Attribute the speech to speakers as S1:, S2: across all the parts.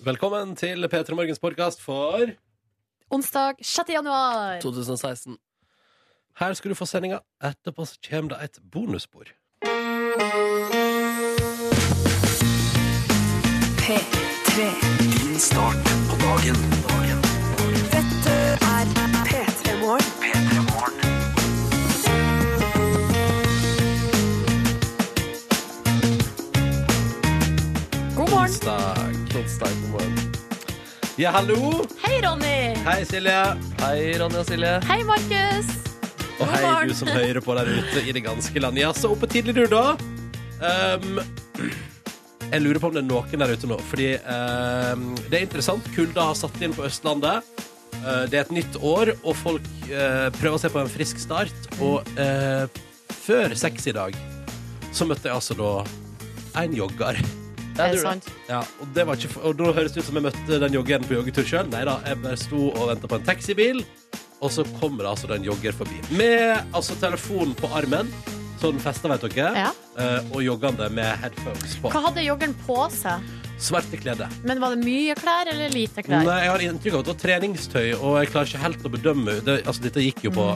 S1: Velkommen til P3 Morgens podkast for
S2: Onsdag 6. januar.
S1: 2016. Her skal du få sendinga. Etterpå så kommer det et bonusbord.
S3: P3.
S4: Din start på dagen. dagen.
S3: Dette er P3 Morgen.
S4: P3 Morgen.
S2: God morgen.
S1: Onsdag. Ja, hallo.
S2: Hei, Ronny.
S1: Hei, Silje.
S5: Hei, Ronja og Silje.
S2: Hei, Markus.
S1: Og
S2: God
S1: hei,
S2: morgen.
S1: du som hører på der ute i det ganske land. Ja, så oppe tidlig, du, da. Um, jeg lurer på om det er noen der ute nå, fordi um, det er interessant. Kulda har satt inn på Østlandet. Uh, det er et nytt år, og folk uh, prøver å se på en frisk start. Og uh, før seks i dag så møtte jeg altså da en jogger.
S2: Er det
S5: Jeg tror det.
S2: sant?
S1: Ja, og, det var ikke, f- og da høres det ut som jeg møtte den joggeren på joggetur sjøl. Nei da, jeg bare sto og venta på en taxibil, og så kommer det altså den jogger forbi. Med altså telefonen på armen, så den festa, vet dere,
S2: Ja.
S1: eh, og joggende med headphones på.
S2: Hva hadde joggeren på seg?
S1: Svarte klede.
S2: Men Var det mye klær eller lite klær?
S1: Nei, jeg har inntrykk av at det var treningstøy, og jeg klarer ikke helt å bedømme det, Altså, dette gikk jo på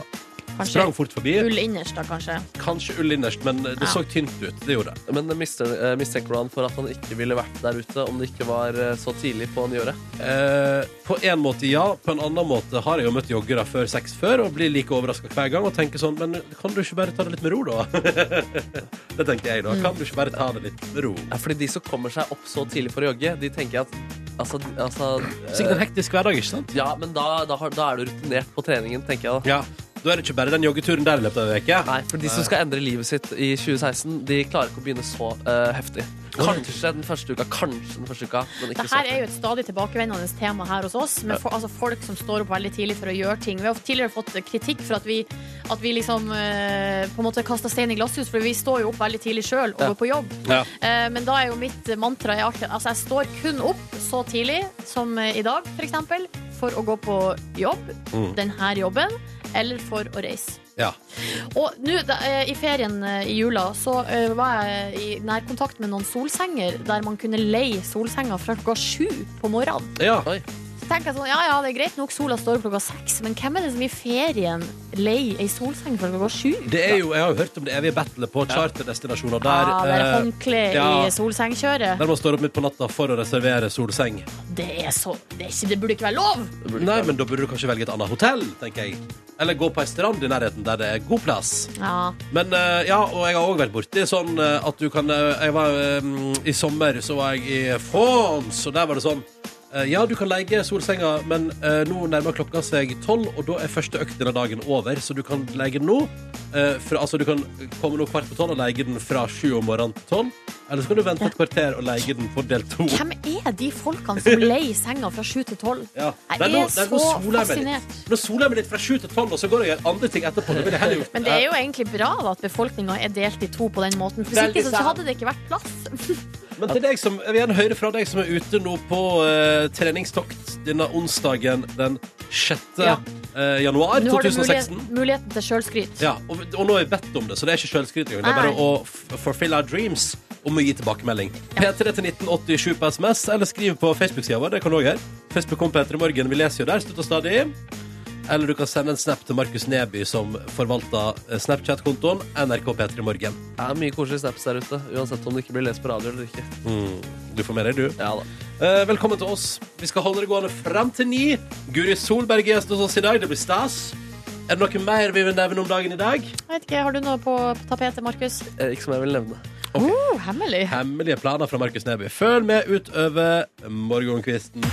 S2: Mm, Kanskje
S1: Sprang fort forbi.
S2: ull innerst, da, kanskje.
S1: Kanskje ull innerst, men det
S2: Ja.
S1: så tynt ut. Det gjorde det.
S5: Men miste- eh, mistenker du han for at han ikke ville vært der ute om det ikke var eh, så tidlig på nyåret?
S1: Eh, på en måte ja, på en annen måte har jeg jo møtt joggere før seks før og blir like overraska hver gang og tenker sånn Men kan du ikke bare ta det litt med ro, da? det tenker jeg, da. Kan du ikke bare ta det litt med ro?
S5: Ja, fordi de som kommer seg opp så tidlig for å jogge, de tenker at Altså, altså eh,
S1: Sikkert en hektisk hverdag, ikke sant?
S5: Ja, men da, da, har- da er du rutinert på treningen, tenker jeg da.
S1: Ja. Da er det ikke bare den joggeturen der i løpet av ei uke.
S5: Nei, for de som skal endre livet sitt i 2016, de klarer ikke å begynne så eh, heftig. Kanskje den første uka, kanskje den første uka, men ikke
S2: Det
S5: så
S2: her er
S5: heftig.
S2: jo et stadig tilbakevendende tema her hos oss, med for, altså folk som står opp veldig tidlig for å gjøre ting. Vi har tidligere fått kritikk for at vi, at vi liksom eh, på en måte kaster stein i glasshus, for vi står jo opp veldig tidlig sjøl og
S5: Ja.
S2: går på jobb.
S1: Ja.
S2: Eh, Men da er jo mitt mantra er alltid Altså, jeg står kun opp så tidlig som eh, i dag, for eksempel, for å gå på jobb,
S1: Mm.
S2: denne jobben, eller for å reise.
S1: Ja.
S2: Og nå da, eh, i ferien eh, i jula så eh, var jeg i nærkontakt med noen solsenger der man kunne leie solsenger fra klokka sju på morgenen.
S1: ja.
S2: Så tenker jeg sånn, ja ja, det er greit nok sola står opp klokka seks, men hvem er det som i ferien leier ei solseng fra klokka sju?
S1: Det er jo, jeg har jo hørt om det evige battlet på charterdestinasjoner der,
S2: ah, det er
S1: eh,
S2: håndkle
S1: ja.
S2: i solsengkjøret.
S1: der man står opp midt på natta for å reservere solseng.
S2: Det er så det, er ikke, det burde ikke være lov!
S1: Nei, men da burde du kanskje velge et annet hotell, tenker jeg. Eller gå på ei strand i nærheten der det er god plass.
S2: Ja.
S1: Men eh, ja, og jeg har òg vært borti sånn eh, at du kan eh, Jeg var eh, I sommer så var jeg i France, og der var det sånn eh, Ja, du kan leie solsenga, men eh, nå nærmer klokka seg tolv, og da er første økt denne dagen over, så du kan leie den nå. eh, fra, altså, du kan komme nå kvart på tolv og leie den fra sju om morgenen til tolv. Eller så kan du vente et kvarter og leie den på del to.
S2: Hvem er de folkene som leier senga fra sju til tolv?
S1: Ja.
S2: Jeg
S1: Nei, nå-
S2: er
S1: nei, nå
S2: så
S1: soler jeg meg litt.
S2: fascinert.
S1: Nå soler jeg meg litt fra sju til tolv, og så går jeg og gjør andre ting etterpå. Det ville jeg heller gjort.
S2: Men det er jo egentlig bra da, at befolkninga er delt i to på den måten. For Hvis
S1: Veldig
S2: ikke så
S1: sant.
S2: hadde det ikke vært plass.
S1: Men til deg som, jeg vil gjerne høre fra deg som er ute nå på eh, treningstokt denne onsdagen den 6.
S2: Ja.
S1: eh,
S2: Nå
S1: januar
S2: har du
S1: 2016.
S2: mulighet, muligheten til sjølskryt.
S1: Ja, og, og nå har vi bedt om det, så det er ikke selvskryt engang. Det er bare
S2: Nei.
S1: å f- fulfill our dreams om å gi tilbakemelding. P3 til 1987 på SMS, eller skriv på Facebook-sida vår. Det kan du òg gjøre. Facebook kom P3 Morgen. Vi leser jo der, støtt og stadig. Eller du kan sende en snap til Markus Neby, som forvalter eh, Snapchat-kontoen NRK P3 Morgen.
S5: Det er mye koselige snaps der ute, uansett om det ikke blir lest på radio eller ikke.
S1: Mm, Du får med deg, du.
S5: Ja da.
S1: Eh, velkommen til oss. Vi skal holde det gående frem til ni. Guri Solberg er gjest hos oss i dag. Det blir stas. Er det noe mer vi vil nevne om dagen i dag?
S2: Jeg vet ikke, Har du noe på, på tapetet, Markus?
S5: Eh, Ikke som jeg vil nevne.
S2: Oh, hemmelig.
S1: Hemmelige planer fra Markus Neby. Følg med utover morgenkvisten.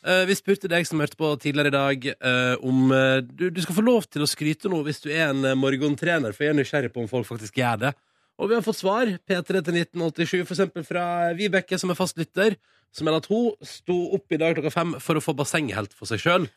S1: Eh, vi spurte deg som hørte på tidligere i dag, eh, om eh, du, du skal få lov til å skryte nå hvis du er en eh, morgentrener, for jeg er nysgjerrig på om folk faktisk gjør det. Og vi har fått svar. P3 til 1987, for eksempel fra Vibeke, som er fast lytter, som mener at hun sto opp i dag klokka fem for å få bassenget helt for seg sjøl.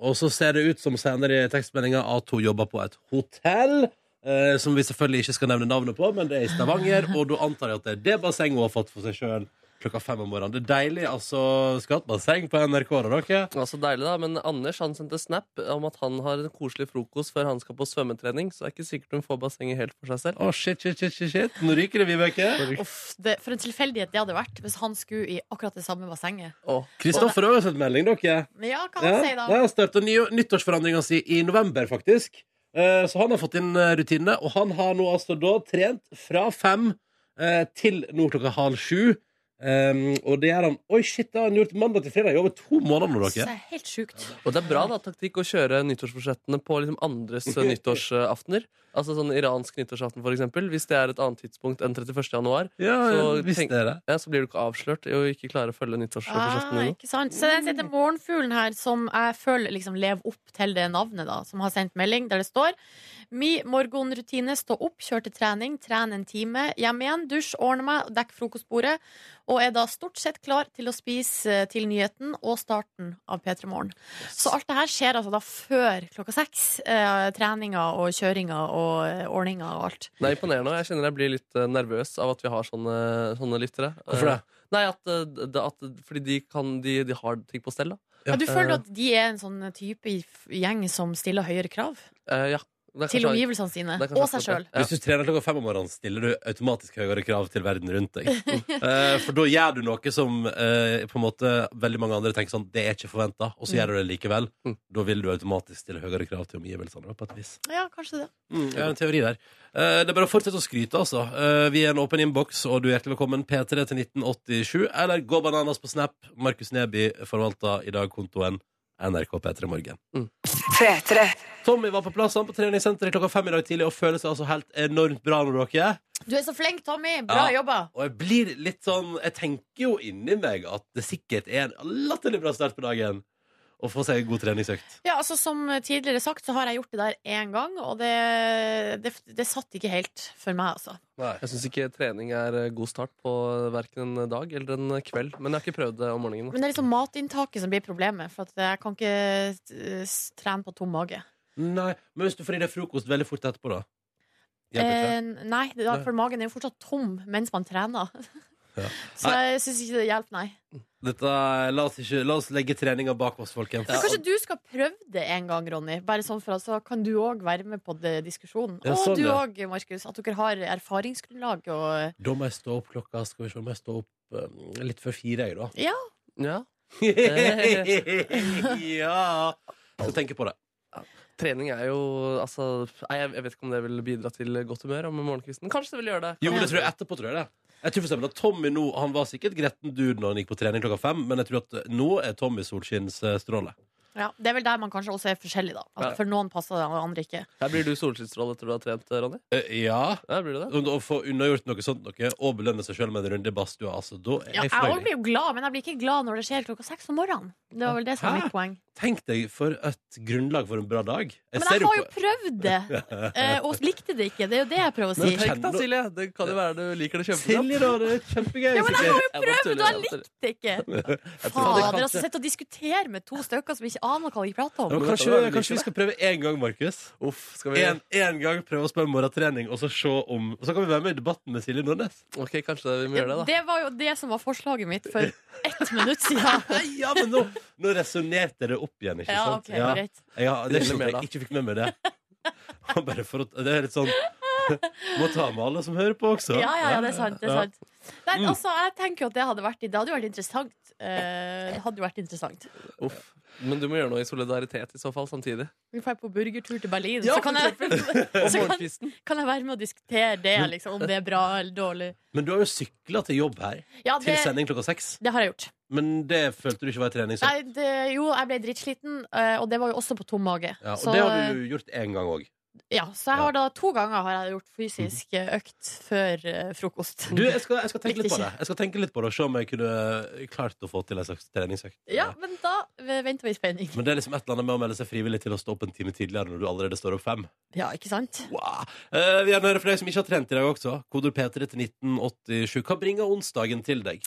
S1: Og så ser det ut som senere i tekstmeldinga at hun jobber på et hotell. Eh, som vi selvfølgelig ikke skal nevne navnet på, men det er i Stavanger. Og da antar jeg at det er det bassenget hun har fått for seg sjøl klokka fem om morgenen. Det er deilig, altså. Skatt basseng på NRK, da, dere.
S5: Det var så deilig da, men Anders han sendte snap om at han har en koselig frokost før han skal på svømmetrening, så det er ikke sikkert hun får bassenget helt for seg selv.
S1: Å, shit, shit, shit, shit, shit. Nå ryker det, Vibeke.
S2: Uff, det, for en tilfeldighet det hadde vært hvis han skulle i akkurat det samme bassenget.
S5: Åh.
S1: Kristoffer har også sendt melding, dere.
S2: Men ja, hva
S1: Ja,
S2: han sier da?
S1: Nei, han starta nyttårsforandringa si i november, faktisk. Eh, Så han har fått inn eh, rutinene, og han har nå altså da trent fra fem eh, til nå klokka halv sju. Em, og det gjør han Oi, shit, det har han gjort mandag til fredag i over to måneder nå,
S2: Det
S1: dere.
S2: er helt sjukt.
S5: Og det er bra da, taktikk å kjøre nyttårsforsettene på liksom andres eh, nyttårsaftener. Altså sånn iransk nyttårsaften, for eksempel. Hvis det er et annet tidspunkt enn 31. januar,
S1: Ja,
S5: Så
S1: visste
S5: tenk-
S1: jeg det.
S5: ja, så blir du ikke avslørt i å ikke klare å følge
S2: Ah,
S5: nyttårsforsettene dine.
S2: ikke sant. Så den heter Morgenfuglen her, som jeg føler liksom lever opp til det navnet, da, som har sendt melding der det står Mi morgenrutine stå opp, kjør til trening, tren en time, hjem igjen, dusj, ordne meg, dekk frokostbordet, og er da stort sett klar til å spise eh, til nyheten og starten av P3 Morgen. Så alt det her skjer altså da før klokka seks. Eh, treninga og kjøringa og eh, ordninga og alt.
S5: Det er imponerende. og Jeg kjenner jeg blir litt eh, nervøs av at vi har sånne, sånne lyttere.
S1: Hvorfor det?
S5: Eh, Nei, at, eh, det, at, fordi de, kan, de, de har ting på stell, da.
S1: Ja.
S2: Ja, du
S5: eh,
S2: føler at de er en sånn type i f- gjeng som stiller høyere krav
S5: Eh, ja. Det er
S2: til
S5: kanskje-
S2: omgivelsene sine,
S5: det er kanskje
S2: og seg
S5: akkurat
S2: sjøl?
S5: det. Ja.
S1: Hvis du trener klokka fem om morgenen, stiller du automatisk høyere krav til verden rundt deg. Eh, for da gjør du noe som eh, på en måte veldig mange andre tenker sånn Det er ikke forventa, og så gjør du det likevel.
S5: Mm.
S1: Da vil du automatisk stille høyere krav til omgivelsene. på et vis.
S2: Ja, kanskje det.
S1: Mm, jeg har en teori der. Eh, det er bare å fortsette å skryte, altså. Eh, vi er en åpen innboks, og du er hjertelig velkommen P3 til 1987. Eller gå bananas på Snap. Markus Neby forvalter i dag kontoen NRK P3 Morgen.
S3: P3.
S1: Tommy var på plass han på treningssenteret klokka fem i dag tidlig og føler seg altså helt enormt bra når dere er.
S2: Du er så flink, Tommy. Bra
S1: Ja.
S2: jobba.
S1: Og jeg blir litt sånn Jeg tenker jo inni meg at det sikkert er en latterlig bra start på dagen å få seg en god treningsøkt.
S2: Ja, altså Som tidligere sagt, så har jeg gjort det der én gang, og det, det, det satt ikke helt for meg, altså.
S5: Jeg syns ikke trening er eh, god start på verken en dag eller en kveld. Men jeg har ikke prøvd det om morgenen. da.
S2: Men det er liksom matinntaket som blir problemet, for at jeg kan ikke eh, s- trene på tom mage.
S1: Nei, Men hvis du får i deg frokost veldig fort etterpå, da? Hjelper ikke det?
S2: Eh, nei, det er da- for magen er jo fortsatt tom mens man trener.
S1: Ja.
S2: Så jeg syns ikke det hjelper, nei.
S1: Dette, la, oss ikke, la oss legge treninga bak oss, folkens.
S2: Men kanskje du skal prøve det en gang, Ronny. Bare sånn for at Så kan du òg være med på det diskusjonen.
S1: Ja, sånn,
S2: og du
S1: ja.
S2: òg, Markus. At dere har erfaringsgrunnlag og
S1: Da må jeg stå opp klokka Skal vi se, må jeg stå opp eh, litt før fire, jeg, da.
S5: Ja,
S1: ja! Så tenker jeg på det.
S5: Trening er jo altså, nei, Jeg jeg vet ikke om det vil bidra til godt humør om morgenkvisten. Kanskje det vil gjøre det.
S1: Jo, men det tror jeg etterpå, tror jeg det. Jeg tror for eksempel at Tommy nå, Han var sikkert gretten dude når han gikk på trening klokka fem, men jeg tror at eh, nå er Tommy solskinnsstråle.
S2: Ja, Det er vel der man kanskje også er forskjellig, da. At
S5: Ja.
S2: For noen passer det, og andre ikke.
S5: Her blir du solskinnsstråle etter du har trent, Ronny.
S1: Eh, ja.
S5: Ja, blir du det?
S1: Sånn, Å få unnagjort noe sånt noe, og belønne seg sjøl med en runde i badstua, altså, da er
S2: Ja,
S1: jeg
S2: jeg også
S1: fornøyd.
S2: blir jo glad, men jeg blir ikke glad når det skjer klokka seks om morgenen. Det var vel det som var
S1: Hæ?
S2: mitt poeng.
S1: Tenk deg for et grunnlag for en bra dag. Jeg
S2: Men
S1: ser
S2: jeg
S1: jo
S2: har jo
S1: på-
S2: prøvd det, eh, og likte det ikke. Det er jo det jeg prøver å
S1: Men
S2: si.
S1: tenk-
S5: Tenk da, Silje. Det kan jo være du liker det kjempebra.
S1: Silje, da. Det er kjempegøy.
S2: Ja, men
S1: sikkert.
S5: Prøv,
S2: du har likt det ikke! Fader, altså, sitte og diskutere med to stykker som ikke aner hva de prater
S1: Ja,
S2: om.
S1: men
S5: Men
S1: kanskje,
S5: dette var veldig
S1: kanskje vi
S5: lite.
S1: skal prøve én gang, Markus?
S5: Uff, skal vi
S1: En, en gang prøve oss på en morgentrening, og så se om Og så kan vi være med i debatten med Silje Nordnes.
S5: Ok, kanskje vi må gjøre det, da.
S2: Det var jo det som var forslaget mitt for ett minutt siden.
S1: Ja, men nå, nå resonnerte det opp igjen, ikke
S2: Ja, ok,
S1: sant?
S2: greit.
S1: ja, det er
S5: Ville
S1: sånn
S5: mer,
S1: at jeg ikke fikk med meg det. Bare for å, det er litt sånn Må ta med alle som hører på også.
S2: Ja, ja, ja, det er sant. Det er
S1: Ja. Mm.
S2: sant. Nei, altså, jeg tenker jo at det hadde vært Det hadde jo vært interessant. Eh, det hadde jo vært interessant.
S5: Uff. Men du må gjøre noe i solidaritet i så fall samtidig.
S2: Vi drar på burgertur til Berlin,
S5: Ja,
S2: så, kan jeg,
S5: Og
S2: så kan,
S5: morgenkvisten.
S2: kan jeg være med og diskutere det, liksom, om det er bra eller dårlig.
S1: Men du har jo sykla til jobb her,
S2: Ja,
S1: til
S2: det,
S1: sending klokka seks.
S2: det har jeg gjort.
S1: Men det følte du ikke var trening. Så.
S2: Nei, det, jo, jeg ble drittsliten, eh, og det var jo også på tom mage.
S1: Ja, og
S2: så,
S1: det har du gjort én gang òg.
S2: ja, så jeg har da to ganger har jeg gjort fysisk eh, økt før eh, frokost.
S1: Mhm. Du, jeg skal, jeg skal
S2: Likte
S1: tenke litt på det
S2: ikke.
S1: Jeg skal tenke litt på det og se om jeg kunne klart å få til en slags treningsøkt.
S2: Ja, men da eh, venter vi i spenning.
S1: Men det er liksom et eller annet med å melde seg frivillig til å stå opp en time tidligere når du allerede står opp fem.
S2: Ja, ikke sant?
S1: Wow. Eh, vi gjerne hører fra deg som ikke har trent i dag også. Kodord P3 til 1987. Hva bringer onsdagen til deg?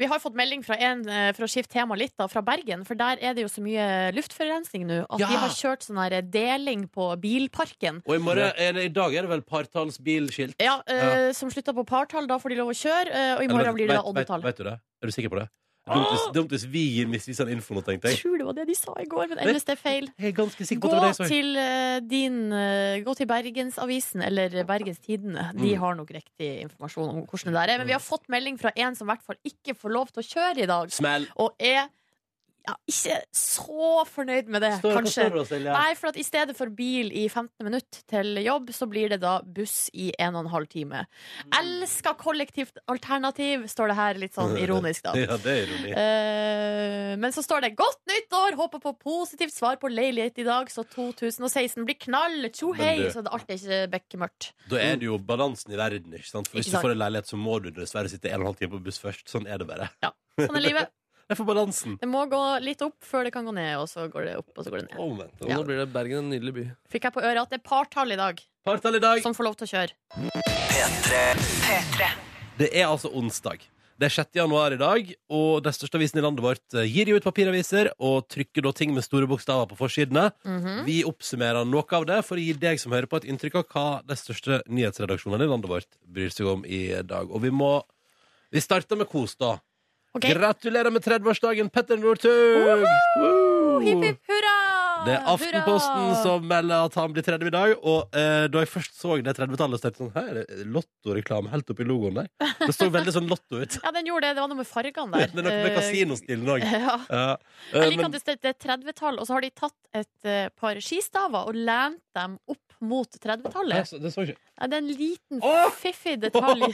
S2: Vi har fått melding fra en eh, for å skifte tema litt da, fra Bergen, for der er det jo så mye luftforurensning nå at
S1: Ja.
S2: de har kjørt sånn her deling på bilparken.
S1: Og i, morgen, eller, i dag er det vel partallsbilskilt?
S2: Ja, eh, Som slutter på partall. Da får de lov å køre, eh, og i morgen blir det da oddetall.
S1: Vet, vet du det? Er du sikker på det? Dumt hvis, dumt hvis vi gir misvisende info nå, tenkte
S2: Jeg
S1: jeg.
S2: tror det var det de sa i går, men ellers det er feil.
S1: Jeg er ganske sikker
S2: Gå
S1: på at det var det jeg så.
S2: til, eh, din, eh, gå til Bergensavisen eller Bergens Tidende. De
S1: Mm.
S2: har nok riktig informasjon om hvordan det der er. Men vi har fått melding fra en som i hvert fall ikke får lov til å kjøre i dag.
S1: Smell!
S2: Og er ja, ikke så fornøyd med det,
S1: Står,
S2: kanskje.
S1: står det, Silje?
S2: Nei, for at i stedet for bil i 15 minutt til jobb, så blir det da buss i 1 12 time.
S1: Mm.
S2: Elsker kollektivt alternativ, står det her litt sånn ironisk, da.
S1: Ja, det er ironi.
S2: Eh, men så står det 'Godt nytt år! Håper på positivt svar på leilighet i dag', så 2016 blir knall. Tjo
S1: Men
S2: hei!
S1: du-
S2: Så det alt er ikke bekmørkt.
S1: Da er det jo balansen i verden, ikke sant? For hvis
S2: Ikke
S1: du
S2: sant.
S1: får en leilighet, så må du dessverre sitte en og en halv time på buss først. Sånn er det bare.
S2: Sånn er livet.
S1: Det er for balansen.
S2: Det må gå litt opp før det kan gå ned, og så går det opp, og så går det ned.
S1: Omvendt.
S5: Og Nå blir det Bergen en nydelig by.
S2: Fikk jeg på øret at det er partall i dag
S1: Partall i dag.
S2: som får lov til å kjøre.
S1: Det er altså onsdag. Det er 6. januar i dag, og den største avisen i landet vårt eh, gir jo ut papiraviser og trykker da ting med store bokstaver på forsidene.
S2: Mhm.
S1: Vi oppsummerer noe av det for å gi deg som hører på, et inntrykk av hva de største nyhetsredaksjonene i landet vårt bryr seg om i dag. Og vi må Vi starter med kos, da.
S2: Ok?
S1: Gratulerer med 30-årsdagen, Petter Northug! Woo!
S2: Hipp, hipp, hurra!
S1: Det er Aftenposten
S2: Hurra!
S1: som melder at han blir 30 i dag. Og eh, da jeg først så det 30-tallet, så tenkte jeg sånn Her er det Lotto-reklame helt oppi logoen der. Det så veldig sånn Lotto ut.
S2: Ja, den gjorde det. Det var noe med fargene der.
S1: Det er noe med kasinostilen òg.
S2: Eh, Ja.
S1: Ja.
S2: Jeg
S1: Eh,
S2: liker
S1: men
S2: at det står- det er 30-tall, og så har de tatt et eh, par skistaver og lent dem opp mot 30-tallet.
S1: Jeg så- det så ikke
S2: Ja, det er en liten,
S1: Åh!
S2: fiffig detalj.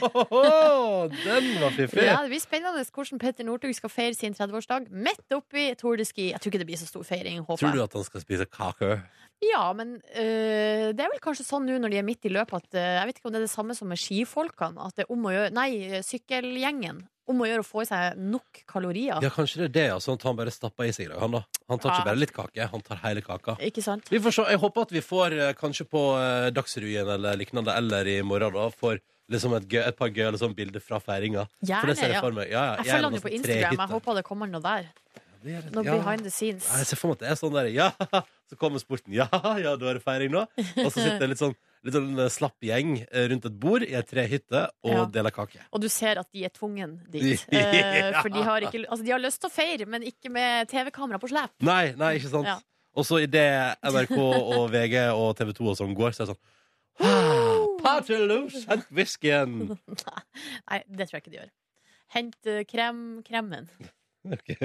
S1: Den var fiffig!
S2: Ja, det blir spennende hvordan Petter Northug skal feire sin 30-årsdag midt oppi Tour de Ski. Jeg tror ikke det blir så stor feiring,
S1: Tror
S2: håper
S1: du
S2: jeg.
S1: at han skal spise kake?
S2: Ja, men øh, det er vel kanskje sånn nå når de er midt i løpet at øh, Jeg vet ikke om det er det samme som med skifolkene. At det er om å gjøre Nei, eh, sykkelgjengen. Om å gjøre å få i seg nok kalorier.
S1: Ja, kanskje det er det. Altså, at han bare stapper i seg i dag. Han, da. han
S2: Ja.
S1: tar ikke bare litt kake, han tar hele kaka.
S2: Ikke sant?
S1: Vi får se. Jeg håper at vi får eh, kanskje på eh, Dagsrevyen eller lignende, eller i morgen, da, får liksom et, gøy, et par gøye eller sånn bilder fra feiringa. For det
S2: Gjerne,
S1: ser jeg
S2: ja.
S1: for meg. Ja, ja,
S2: Jeg følger han
S1: gjerne
S2: jo
S1: noe
S2: på
S1: sånn
S2: Instagram. Jeg
S1: trehytte.
S2: håper det kommer noe der.
S1: Det er-
S2: Noe
S1: ja.
S2: behind the scenes.
S1: Ja, Jeg ser for meg at det er sånn der Ja, så kommer sporten. Ja, ja, da er det feiring nå. Og så sitter det litt sånn Litt sånn eh, slapp gjeng eh, rundt et bord i ei trehytte og
S2: Ja.
S1: deler kake.
S2: Og du ser at de er tvungen dit.
S1: Ja.
S2: Eh, For de har, ikke, altså de har lyst til å feire, men ikke med TV-kamera på slep.
S1: Nei, nei, ikke sant?
S2: Ja.
S1: Og så idet NRK og VG og TV 2 og sånn går, så er det sånn ah, Partyloose! Hent whiskyen!
S2: Nei, det tror jeg ikke de gjør. Hent eh, krem, kremen.
S1: Ok.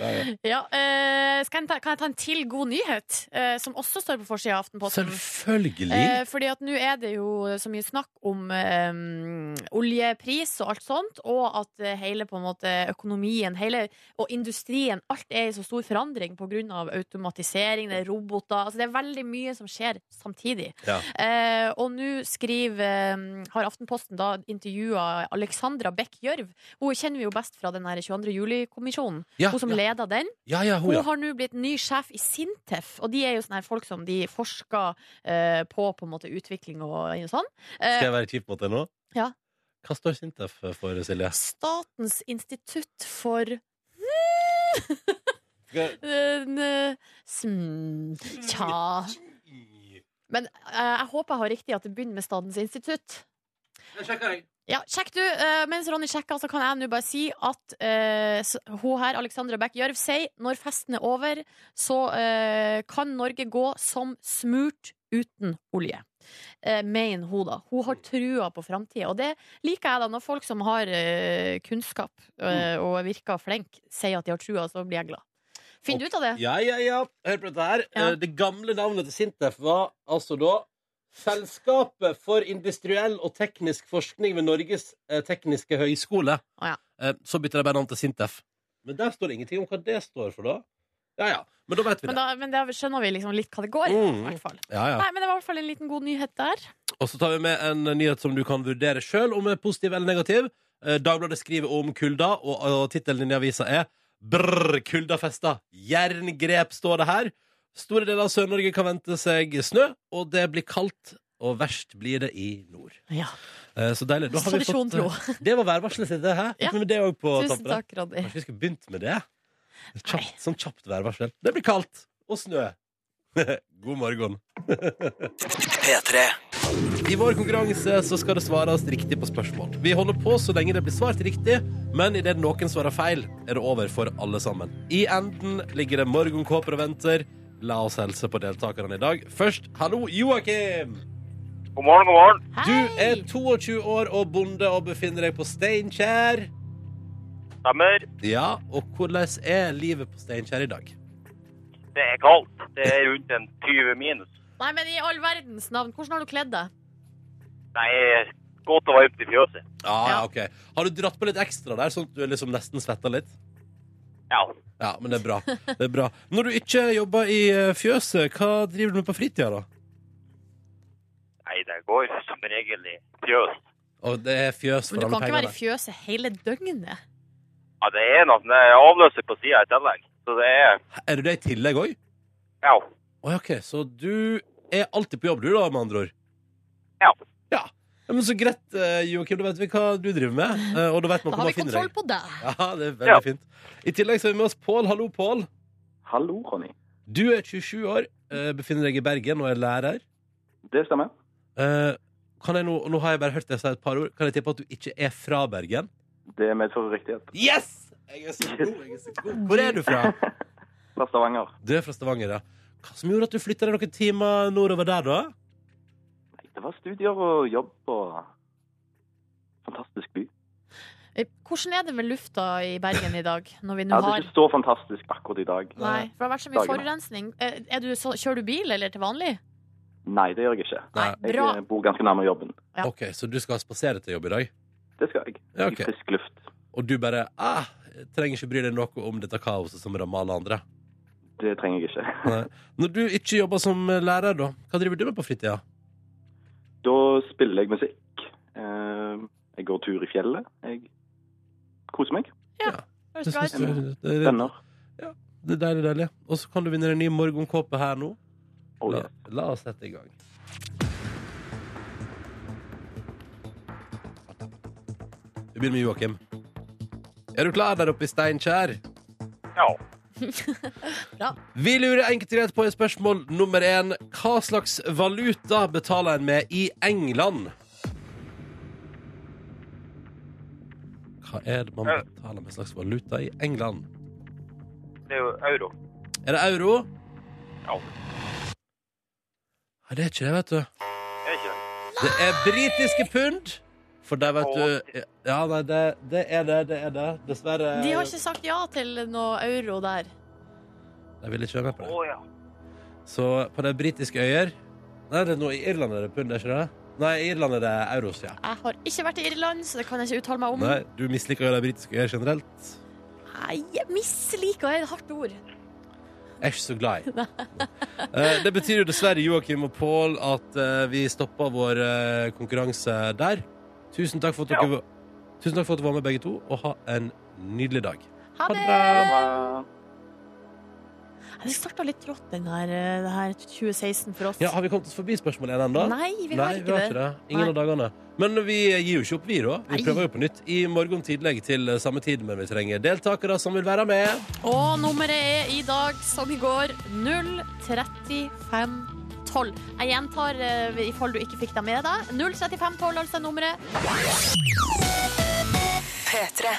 S1: Ja, ja.
S2: Ja, eh, skal jeg ta, kan jeg ta en til god nyhet, eh, som også står på forsida av Aftenposten?
S1: Selvfølgelig!
S2: Eh, fordi at nå er det jo så mye snakk om eh, oljepris og alt sånt, og at eh, hele på en måte økonomien hele, og industrien, alt er i så stor forandring pga. automatisering, det er roboter altså Det er veldig mye som skjer samtidig.
S1: Ja.
S2: Eh, og nå skriver eh, har Aftenposten da intervjua Alexandra Bech Gjørv. Hun kjenner vi jo best fra den her 22. juli-kommisjonen.
S1: Ja,
S2: Hun som
S1: ja,
S2: leda den.
S1: ja, ja, hun,
S2: Hun
S1: ja.
S2: har nå blitt ny sjef i Sintef, og de er jo sånne her folk som de forsker eh, på på en måte utvikling og, og sånn.
S1: Skal
S2: Eh,
S1: jeg være kjip mot deg nå?
S2: Ja.
S1: Hva står Sintef for, Silje?
S2: Statens institutt for eh, n- sm, Tja Men eh, jeg håper jeg har riktig at det begynner med Statens institutt. Ja, sjekk du. Eh, mens Ronny sjekker, så kan jeg nå bare si at eh, s- hun her, Alexandra Bech Gjørv, sier når festen er over, så eh, kan Norge gå som smurt uten olje. Eh, mener hun, da. Hun har trua på framtida. Og det liker jeg, da. Når folk som har eh, kunnskap eh, og virker flink, sier at de har trua, så blir jeg glad. Finner du ut av det?
S1: Ja, ja, ja. Hør på dette her.
S2: Ja.
S1: Eh, Det gamle navnet til Sintef var altså da Selskapet for industriell og teknisk forskning ved Norges eh, tekniske høgskole.
S2: Å, ja.
S1: Eh, Så bytter de bare navn til Sintef. Men der står det ingenting om hva det står for, da. Ja ja. Men da vet vi
S2: Men da, men da skjønner vi liksom litt hva det går i.
S1: Mm.
S2: i hvert fall.
S1: det. Ja, ja.
S2: Nei, men det var i hvert fall en liten god nyhet der.
S1: Og så tar vi med en nyhet som du kan vurdere sjøl, om er positiv eller negativ. Eh, Dagbladet skriver om kulda, og, og tittelen din i avisa er Brrr, kuldafesta. Jerngrep står det her. Store deler av Sør-Norge kan vente seg snø, og det blir kaldt. Og verst blir det i nord.
S2: Ja.
S1: Eh, Så deilig. Da har vi
S2: Tradisjon
S1: fått eh,
S2: tro.
S1: Det var værvarselet sitt, det her.
S2: Ja.
S1: Men det er også på
S2: Tusen
S1: tappet.
S2: takk, Ronny.
S1: Kanskje vi skulle begynt med det? Kjapt, sånn kjapt værvarsel. Det blir kaldt. Og snø. God morgen.
S4: P3
S1: I vår konkurranse så skal det svares riktig på spørsmål. Vi holder på så lenge det blir svart riktig, men idet noen svarer feil, er det over for alle sammen. I enden ligger det morgenkåper og venter. La oss helse på deltakerne i dag. Først, hallo, Joakim!
S6: God morgen, god morgen.
S1: Du
S2: Hei!
S1: er 22 år og bonde og befinner deg på Steinkjer.
S6: Stemmer.
S1: Ja, og hvordan er livet på Steinkjer i dag?
S6: Det er kaldt. Det er rundt en 20 minus.
S2: Nei, men i all verdens navn, hvordan har du kledd deg?
S6: Nei, godt å være ute i fjøset.
S1: Ja, ja,
S2: Ja.
S1: ok. Har du dratt på litt ekstra der, sånn at du er liksom nesten svetta litt?
S6: Ja.
S1: Ja, men det er bra. Det er bra. Når du ikke jobber i eh, fjøset, hva driver du med på fritida, da?
S6: Nei, det går som regel i fjøs.
S1: Og det er fjøs
S2: Men
S1: for
S2: du
S1: alle
S2: kan ikke være
S1: pengene.
S2: i fjøset hele døgnet.
S6: Ja, det er noe sånn det er avløser på sida i tillegg. Så det er
S1: Er du det i tillegg òg?
S6: Ja.
S1: Å, ja, OK, så du er alltid på jobb, du, da, med andre ord?
S6: Ja.
S1: ja. Ja, men Så greit, eh, Joakim. Da vet vi hva du driver med, eh, og da vet man
S2: Da
S1: hvor
S2: har
S1: man
S2: vi
S1: finner
S2: kontroll
S1: deg.
S2: på deg.
S1: Ja, det er veldig
S6: Ja.
S1: fint. I tillegg så har vi med oss Pål. Hallo, Pål.
S7: Hallo, Ronny.
S1: Du er 27 år, eh, befinner deg i Bergen og er lærer.
S7: Det stemmer.
S1: Eh, Kan jeg nå, nå har jeg bare hørt deg si et par ord. Kan jeg tippe at du ikke er fra Bergen?
S7: Det medfører riktighet.
S1: Yes! Jeg er så god, jeg er så god. Hvor er du fra?
S7: Fra Stavanger.
S1: Du er fra Stavanger, ja. Hva som gjorde at du flytta deg noen timer nordover der, da?
S7: Nei, det var studier og jobb og Fantastisk by.
S2: Eh, Hvordan er det med lufta i Bergen i dag, når vi nå
S7: Ja, det er
S2: har
S7: ikke så fantastisk akkurat i dag.
S2: Nei, for det har vært så mye
S7: Dagene.
S2: forurensning. Eh, Er du så, kjører du bil, eller til vanlig?
S7: Nei, det gjør jeg ikke.
S1: Nei.
S7: Jeg
S2: Bra.
S7: eh, bor ganske nærme jobben.
S2: Ja.
S1: OK, så du skal spasere til jobb i dag,
S7: Det skal jeg.
S1: Ja, ok.
S7: I frisk luft.
S1: og du bare ah, jeg trenger ikke bry deg noe om dette kaoset som rammer alle andre.
S7: Det trenger jeg ikke.
S1: Nei. Når du ikke jobber som lærer, da, hva driver du med på fritida?
S7: Da spiller jeg musikk. Eh, Jeg går tur i fjellet. Jeg koser meg.
S2: Høres
S1: Det
S2: bra
S1: synes
S2: ut.
S1: du- det er-
S7: Venner.
S1: Det er deilig, deilig. Og så kan du vinne en ny morgenkåpe her nå.
S7: Oh,
S1: La,
S7: yes.
S1: la oss sette i gang. Vi begynner med Joakim. Er du klar der oppe i Steinkjer?
S6: ja.
S1: Vi lurer enkelt og greit på i spørsmål nummer én. Hva slags valuta betaler en med i England? Hva er det man betaler med slags valuta i England?
S6: Det er jo euro.
S1: Er det euro?
S6: Ja.
S1: Nei, det er ikke det, vet du.
S6: Det er ikke det.
S1: Det er britiske pund. For der, vet du Ja, nei, det, det er det. Det er det. Dessverre.
S2: De har ikke sagt ja til noe euro der.
S1: Jeg vil ikke være med på
S6: Å
S1: det.
S6: ja.
S1: Så på de britiske øyer Nei, det er noe i Irland er det pund, er ikke det? Nei, i Irland er det euros, ja.
S2: Jeg har ikke vært i Irland, så det kan jeg ikke uttale meg om.
S1: Nei, du misliker jo de britiske øyer generelt.
S2: Nei, jeg misliker er et hardt ord.
S1: Jeg er ikke så glad i. Eh, Det betyr jo dessverre, Joakim og Pål, at eh, vi stopper vår eh, konkurranse der. Tusen takk for at dere, Tusen takk for at dere var med, begge to, og ha en nydelig dag.
S2: Ha det!
S7: Hva-
S2: Det starta litt trått, den her, eh, det her 2016 for oss.
S1: Ja, Har vi kommet oss forbi spørsmål én ennå?
S2: Nei, vi har
S1: Nei, vi
S2: ikke
S1: har
S2: det.
S1: ikke det. Ingen
S2: Nei.
S1: av dagene. Men vi gir jo ikke opp, vi, da. Vi
S2: Nei.
S1: prøver jo på nytt i morgen tidlig til eh, samme tid, men vi trenger deltakere som vil være med.
S2: Og nummeret er i dag, som i går, 03512. Jeg gjentar eh, i fall du ikke fikk deg med deg. 03512, altså er nummeret.
S3: P3.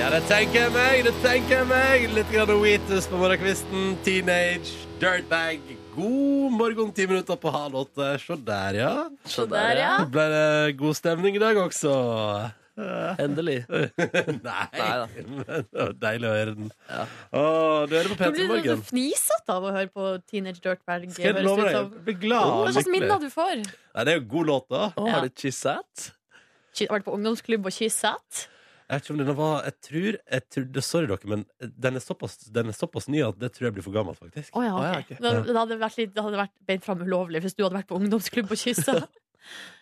S1: Ja, det tenker jeg meg, det tenker jeg meg. Litt grann Wheatus på morgenkvisten. Teenage dirtbag. God morgen, ti minutter på halv åtte. Se der, ja.
S5: Så
S2: der, ja.
S1: Så ble det god stemning i dag også.
S5: Endelig.
S1: Nei,
S5: da.
S1: men det var deilig å høre den.
S5: Ja.
S1: Å, du hører på
S2: Du
S1: P3
S2: blir så
S1: Morgen.
S2: fnisete av å høre på Teenage Dirtbag.
S1: Skal jeg
S2: høres
S1: love
S2: ut
S1: deg?
S2: som.
S1: Jeg blir glad.
S2: Hva
S1: og
S2: slags
S1: lykkelig.
S2: minner du får?
S1: Nei, det er jo god låt, da.
S5: Å,
S2: Ja.
S5: Har du kysset?
S2: Ki- Vært på ungdomsklubb og kysset?
S1: Jeg vet ikke om denne var Jeg tror, jeg tror det, Sorry, dere, men den er, såpass, den er såpass ny at det tror jeg blir for gammelt, faktisk.
S2: Å ja,
S5: Å ja,
S2: ok.
S5: ok.
S2: Det det hadde vært, litt, det hadde vært beint fram ulovlig hvis du hadde vært på ungdomsklubb og kysset.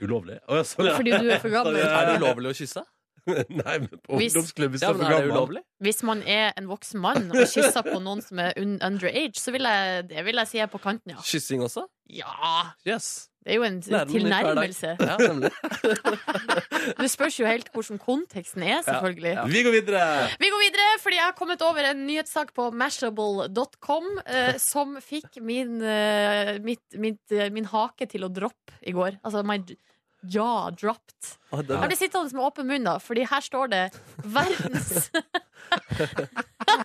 S1: Ulovlig. Å, ja, sånn, ja.
S2: Fordi du er for gammel.
S1: Ja.
S5: Er det ulovlig å kysse?
S1: Nei, men på
S2: Hvis-
S1: ungdomsklubb hvis
S5: Ja,
S1: du for
S5: men er det
S1: gammel.
S5: ulovlig?
S2: Hvis man er en voksen mann og kysser på noen som er un underage, så vil jeg, det vil jeg si er på kanten, ja.
S5: Kyssing også?
S2: ja.
S5: Yes.
S2: Det er jo en
S5: Nærmer litt hver dag.
S2: tilnærmelse.
S5: Ja, nemlig.
S2: Det spørs jo helt hvordan konteksten er, selvfølgelig.
S5: Ja.
S1: Vi går videre!
S2: Vi går videre, fordi jeg har kommet over en nyhetssak på mashable.com eh, som fikk min, eh, mitt, mitt, eh, min hake til å droppe i går. Altså my j- jaw dropped.
S5: Å, den,
S2: Jeg ble sittende med åpen munn, da, fordi her står det 'verdens'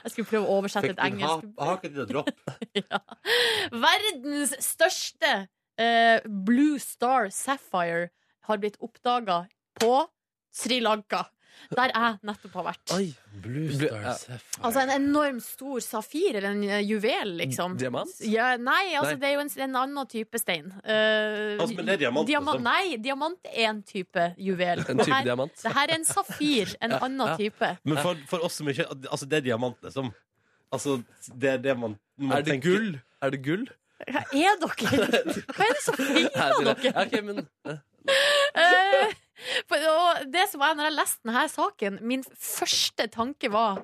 S2: Jeg skulle prøve å oversette et engelsk Verdens største eh, Blue Star Sapphire har blitt oppdaga på Sri Lanka, der jeg nettopp har vært.
S5: Oi.
S1: Blue
S5: Blue-
S1: Star
S5: ja.
S1: Sapphire.
S2: Altså en enormt stor safir, eller en eh, juvel, liksom.
S5: Diamant?
S2: Ja, nei, altså
S5: Nei.
S2: det er jo en, en annen type stein. Eh,
S1: Altså, men det er diamant,
S2: diama-
S1: liksom.
S2: Nei, diamant er en type juvel.
S5: En type
S2: Her-
S5: diamant.
S2: Det her er en safir, en annen
S5: ja.
S2: type.
S1: Men for, for oss som ikke Altså, det er diamant, liksom. Altså, det er det man, man
S5: Er det
S1: tenker-
S5: gull? Er det gull?
S2: Hva er dere? Hva er det som
S5: Nei,
S2: feiler
S5: det-
S2: dere?
S5: Ja, ok, men
S2: Eh, for, og det som jeg, når jeg leste denne saken, min første tanke var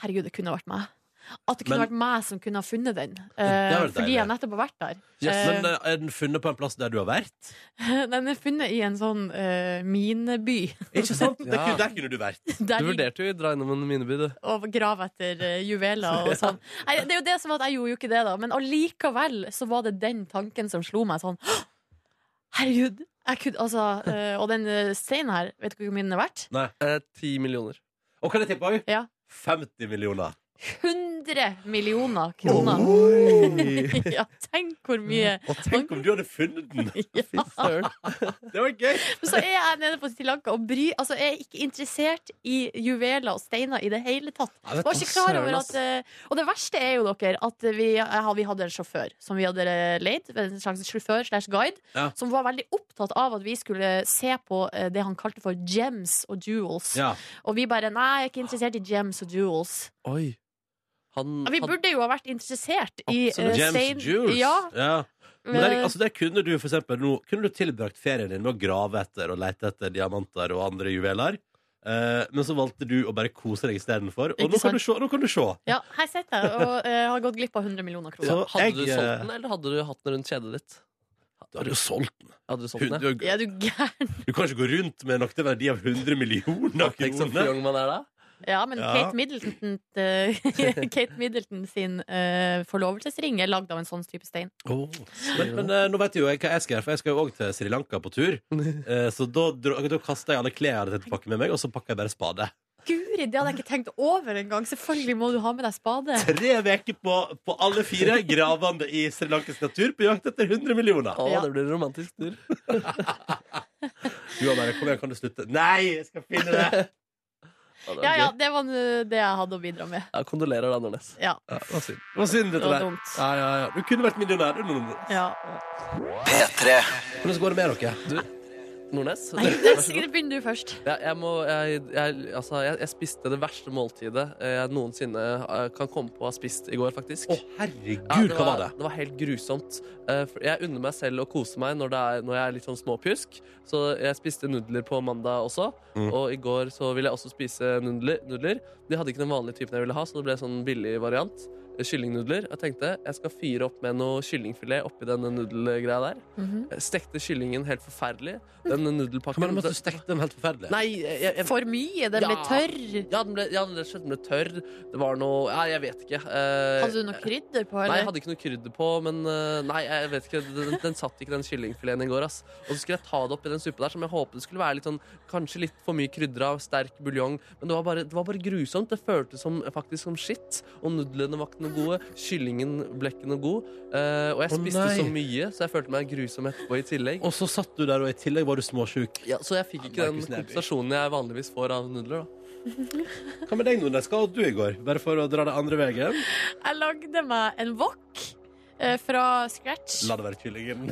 S2: Herregud, det kunne vært meg. At det kunne
S1: Men-
S2: vært meg som kunne ha funnet den.
S1: det
S2: eh,
S1: hadde vært
S2: fordi
S1: deilig.
S2: jeg nettopp har vært der.
S1: Yes,
S2: Eh,
S1: men eh, er den funnet på en plass der du har vært?
S2: Den er funnet i en sånn eh, mineby.
S1: Ikke sant? Der,
S5: Ja.
S1: kunne, der kunne du vært.
S2: Der
S5: Du
S2: de
S5: vurderte jo å dra innom en mineby, du.
S2: og grave etter eh, juveler og sånn. Nei, det er jo det som var at jeg gjorde jo ikke det, da. Men allikevel så var det den tanken som slo meg sånn «Hå! Herregud! Jeg kunne, altså, eh, og den eh, steinen her, vet du hvor mye den er verdt?
S5: Eh, Ti millioner.
S1: Og kan jeg tippe òg?
S2: Ja.
S1: 50 millioner.
S2: 100 millioner kroner. ja, tenk hvor mye.
S1: Og tenk om du hadde funnet den!
S2: Ja.
S5: Søren.
S1: Det var gøy!
S2: Så er jeg nede på Sri Lanka og bry, altså, jeg er ikke interessert i juveler og steiner i det hele tatt.
S5: Jeg vet
S2: Var ikke klar
S5: da,
S2: over
S5: søren,
S2: at eh, Og det verste er jo dere at vi, ja, vi hadde en sjåfør som vi hadde eh, leid. En slags sjåfør slash guide.
S1: Ja.
S2: Som var veldig opptatt av at vi skulle se på eh, det han kalte for gems og jewels.
S1: Ja.
S2: Og vi bare nei, jeg er ikke interessert i gems og jewels.
S5: ass. Oi. Han,
S2: Vi
S5: han
S2: burde jo ha vært interessert i
S5: Absolutt.
S2: eh, stein.
S1: James Jules.
S2: Ja,
S1: Men der,
S2: eh,
S1: altså der kunne du for eksempel nå Kunne du tilbrakt ferien din med å grave etter og lete etter diamanter og andre juveler. Eh, men så valgte du å bare kose deg istedenfor. Og
S2: Ikke
S1: nå kan,
S2: sant?
S1: du se, nå kan du se!
S2: ja, her sitter jeg og eh, har gått glipp av 100 millioner kroner.
S1: Så
S5: Hadde du
S1: jeg,
S5: solgt den,
S1: eh,
S5: eller hadde du hatt den rundt kjedet ditt?
S1: Du har jo solgt den.
S5: Hadde du solgt
S1: Hun-
S5: den?
S1: Du,
S2: Ja, du gæren.
S1: du kan ikke gå rundt med nok til verdi av 100 millioner
S5: Tenk så
S1: kroner.
S5: fjong man er da.
S2: Ja, men
S1: Ja.
S2: Kate Middleton eh, Kate Middleton sin eh, forlovelsesring er lagd av en sånn type stein.
S1: Åh. Men, men eh, nå vet jo jeg hva jeg skal gjøre, for jeg skal jo òg til Sri Lanka på tur. Eh, så da, dro- da kasta jeg alle klærne jeg hadde tenkt å pakke med meg, og så pakka jeg bare spade.
S2: Guri, det hadde jeg ikke tenkt over engang! Selvfølgelig må du ha med deg spade.
S1: Tre uker på, på alle fire gravende i Sri Lankas natur på jakt etter 100 millioner.
S5: Å,
S2: Ja.
S5: det blir en romantisk tur.
S1: Du har bare, kom igjen, kan du slutte? Nei, jeg skal finne det!
S5: Ja, det er
S2: Ja ja,
S5: gøy.
S2: det var eh, det jeg hadde å bidra med.
S5: Ja, kondolerer da, Nordnes.
S2: Ja,
S1: Ja, det var synd. Det var synd,
S2: det
S1: dette
S2: var
S1: der.
S2: dumt.
S1: Ja, ja, ja. Du kunne vært millionær. du, Nordnes.
S2: Ja.
S4: P3
S1: Hvordan går det med dere?
S5: Nordnes?
S2: Nei, det er sikkert begynner du først.
S5: Ja, jeg, må, jeg, jeg, altså, jeg, jeg spiste det verste måltidet jeg noensinne eh, kan komme på å ha spist i går, faktisk.
S1: Å,
S5: Ja,
S1: herregud, hva var det?
S5: Det var helt grusomt. Eh, for Jeg unner meg selv å kose meg når, det er, når jeg er litt sånn småpjusk. Så jeg spiste nudler på mandag også,
S1: Mm.
S5: og i går så ville jeg også spise nudler. nudler. De hadde ikke den vanlige typen jeg ville ha, så det ble sånn billig variant. Eh, Kyllingnudler. Jeg tenkte jeg skal fyre opp med noe kyllingfilet oppi denne nudelgreia der.
S2: Mhm.
S5: Jeg stekte kyllingen helt forferdelig. Den
S1: Hva mener
S5: nudelpakken
S1: du med at du stekte dem helt forferdelig?
S5: Nei, jeg, jeg, jeg
S2: For mye, den ble
S5: Ja.
S2: tørr.
S5: ja, den ble, ja, den ble, den ble tørr. Det var noe Nei, jeg vet ikke. Eh,
S2: Hadde du noe krydder på,
S5: Nei, jeg
S2: eller?
S5: hadde ikke noe krydder på, men eh, Nei, jeg vet ikke, den, den satt ikke den kyllingfileten i går, ass. Og så skulle jeg ta det oppi den suppa der, som jeg håpet skulle være litt sånn Kanskje litt for mye krydder av, sterk buljong, men det var bare, det var bare grusomt. Det føltes som, faktisk som skitt. Og nudlene var ikke noe gode, kyllingen ble ikke noe god. Eh, og jeg
S1: Å,
S5: spiste så
S1: nei.
S5: mye, så jeg følte meg grusom etterpå i tillegg.
S1: Og så satt du der, og i tillegg var du småsjuk.
S5: Ja, så jeg fikk ikke den
S1: Markus Neby.
S5: kompensasjonen jeg vanligvis får av nudler, da.
S1: Hva med deg, Nordnes? Hva hadde du i går? Bare for å dra det andre veien?
S2: Jeg lagde meg en wok eh, fra scratch.
S1: La det være kyllingen.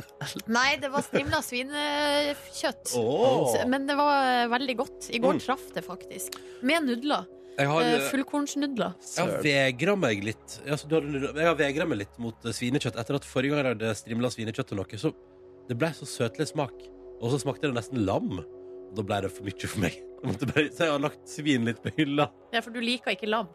S2: Nei, det var strimla svinekjøtt.
S1: Åh.
S2: Så- Men det var eh, veldig godt. I går
S1: Mm.
S2: traff det faktisk. Med nudler.
S1: Jeg har,
S2: Eh, Fullkornsnudler.
S1: jeg har vegra meg litt altså, du hadde, nudler. Jeg har vegret meg litt mot eh, svinekjøtt. Etter at forrige gang jeg hadde strimla svinekjøtt og noe, så det ble så søtlig smak. Og så smakte det nesten lam. Og da ble det for mye for meg. Jeg måtte bare, så jeg har lagt svin litt på hylla.
S2: Ja, for du liker ikke lam.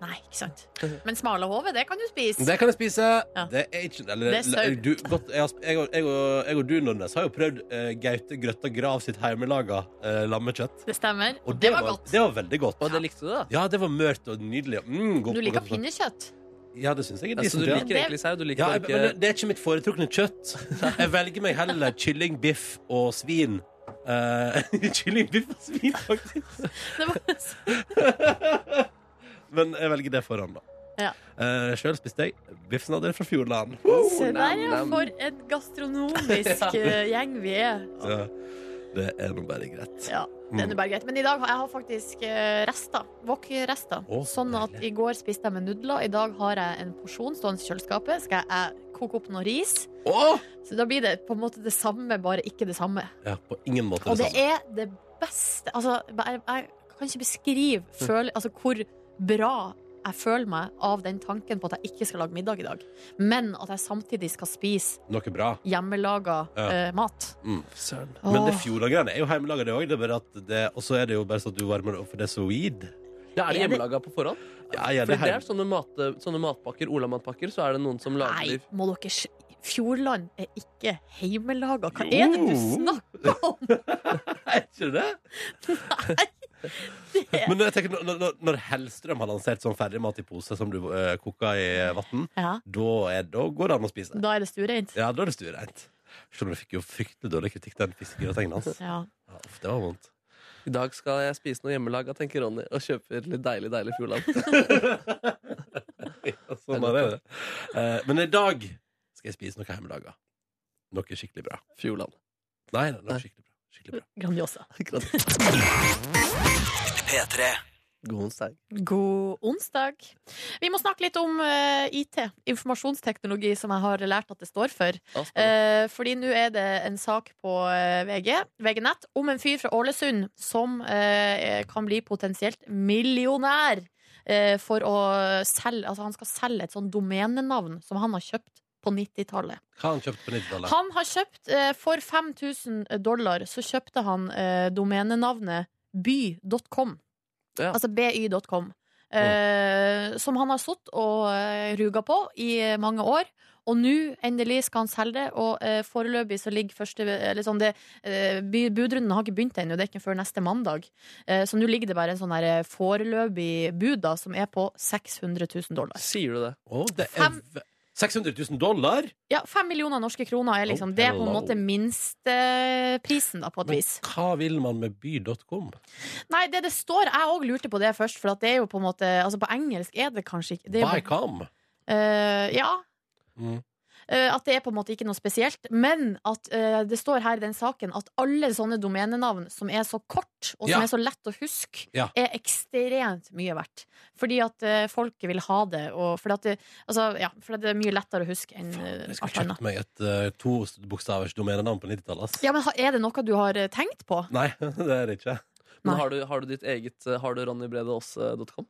S2: Nei, ikke sant. Men smale hove, det kan du spise.
S1: Det kan jeg spise.
S2: Ja.
S1: Det er ikke eller,
S2: Det er sølt.
S1: du, godt, jeg, har sp- jeg, og- jeg, og- jeg og du, Nordnes, har jo prøvd eh, Gaute Grøtta Grav sitt hjemmelaga eh, lammekjøtt.
S2: Det stemmer.
S1: Og
S2: det var godt.
S1: Det var veldig godt.
S5: Og det likte du, da?
S1: Ja, det var mørt og nydelig. Mm, godt,
S2: Du liker
S1: godt, godt.
S2: pinnekjøtt.
S1: Ja, det syns jeg er
S5: Ja, så Altså, du
S1: decent. Ja.
S5: liker egentlig sau? Du liker
S1: Ja,
S5: bare
S1: jeg, men det,
S5: ikke
S1: det er ikke mitt foretrukne kjøtt. Jeg velger meg heller kylling, biff og svin. Eh, kylling, biff og svin, faktisk.
S2: Det var
S1: Men jeg velger det foran, da.
S2: Ja.
S1: Eh, Sjøl spiste jeg biffsnadder fra Fjordland.
S2: Se der, ja.
S5: nam.
S2: For en gastronomisk eh, gjeng vi er.
S1: Så det er nå bare greit. Mm.
S2: Ja, det er nå bare greit. Men i dag har jeg har faktisk eh, rester. Wok-rester.
S1: Å, så
S2: sånn at i går spiste jeg med nudler. I dag har jeg en porsjon stående i kjøleskapet. Skal jeg koke opp noe ris?
S1: Å!
S2: Så da blir det på en måte det samme, bare ikke det samme.
S1: Ja, på ingen måte
S2: Og det
S1: det samme.
S2: er det beste Altså, jeg, jeg kan ikke beskrive
S1: Mm.
S2: føl, altså, hvor bra jeg føler meg av den tanken på at jeg ikke skal lage middag i dag, men at jeg samtidig skal spise
S1: Noe bra.
S2: hjemmelaga
S1: Ja.
S2: eh, mat.
S1: Mm.
S5: Søren.
S1: Men det
S2: Åh.
S1: Fjordland-greiene er jo hjemmelaga, det òg. Og så er det jo bare sånn at du varmer det opp, for det er så weed.
S5: Ja, er det
S2: Er det-
S5: hjemmelaga på forhånd?
S1: Ja, ja,
S5: For
S1: det
S5: det
S1: er
S5: er sånne, mat, sånne matpakker, Ola-matpakker, så er det noen som lager
S2: Nei,
S5: de
S2: må dere s- Fjordland er ikke heimelaga. Hva er det du
S1: Jo.
S2: snakker om?
S1: Er ikke det?
S2: Det-
S1: Men jeg tenker, når, når- når Hellstrøm har lansert sånn ferdigmat i pose som du uh, koker i vann,
S2: Ja,
S1: da, er- da går det an å spise det.
S2: da er det stuereint.
S1: Ja, da er det stuereint. Selv om du fikk jo fryktelig dårlig kritikk, den fiskegratengen hans.
S2: Ja.
S1: Ja, uff, det var vondt.
S5: I dag skal jeg spise noe hjemmelaga, tenker Ronny, og kjøper litt deilig, deilig Fjordland.
S1: Ja, sånn er det. Eh, men i dag skal jeg spise noe hjemmelaga. Noe skikkelig bra.
S5: Fjordland.
S1: Nei, nei, noe skikkelig bra. Skikkelig bra.
S2: Grandiosa.
S4: P3.
S5: God onsdag.
S2: God onsdag. Vi må snakke litt om eh, IT, informasjonsteknologi, som jeg har lært at det står for.
S5: Ja, spennende.
S2: Eh, fordi nå er det en sak på eh, VG, VG-nett, om en fyr fra Ålesund som eh, kan bli potensielt millionær eh, for å selge Altså, han skal selge et sånn domenenavn som han har kjøpt på 90-tallet.
S1: Hva har han kjøpt på 90-tallet?
S2: Han har kjøpt eh, for 5000 dollar, så kjøpte han eh, domenenavnet by.com.
S5: Ja.
S2: Altså by.com. Eh, som han har sittet og eh, ruga på i eh, mange år. Og nå endelig skal han selge det, og eh, foreløpig så ligger første eller sånn, det, eh, by- Budrunden har ikke begynt ennå, det er ikke før neste mandag. Eh, så nå ligger det bare en sånn her, eh, foreløpig bud da, som er på 600 000 dollar.
S5: Sier du det?
S1: Å, det er
S2: Fem-
S1: ve- 600 000 dollar?
S2: Ja, Fem millioner norske kroner er liksom
S1: Oh,
S2: Det er på en
S1: hello.
S2: måte minsteprisen, da, på et
S1: Men
S2: vis.
S1: hva vil man med by.com?
S2: Nei, det det står Jeg òg lurte på det først, for at det er jo på en måte Altså, på engelsk er det kanskje ikke det er jo på-
S1: Bycom?
S2: Eh, ja.
S1: Mm.
S2: Eh, at det er på en måte ikke noe spesielt. Men at eh, det står her i den saken at alle sånne domenenavn som er så kort, og som
S1: Ja.
S2: er så lett å huske,
S1: Ja.
S2: er ekstremt mye verdt. Fordi at uh, folket vil ha det, og fordi at det, altså, ja, fordi det er mye lettere å huske enn eh,
S1: Jeg skulle
S2: alt annet.
S1: kjøpt meg et uh, tobokstavers domenenavn på 90-tallet. ass.
S2: Ja, men ha- er det noe du har eh, tenkt på?
S1: Nei, det er det ikke.
S2: Nei.
S5: Men har du, har du ditt eget eh, Har du ronnybredeås.com?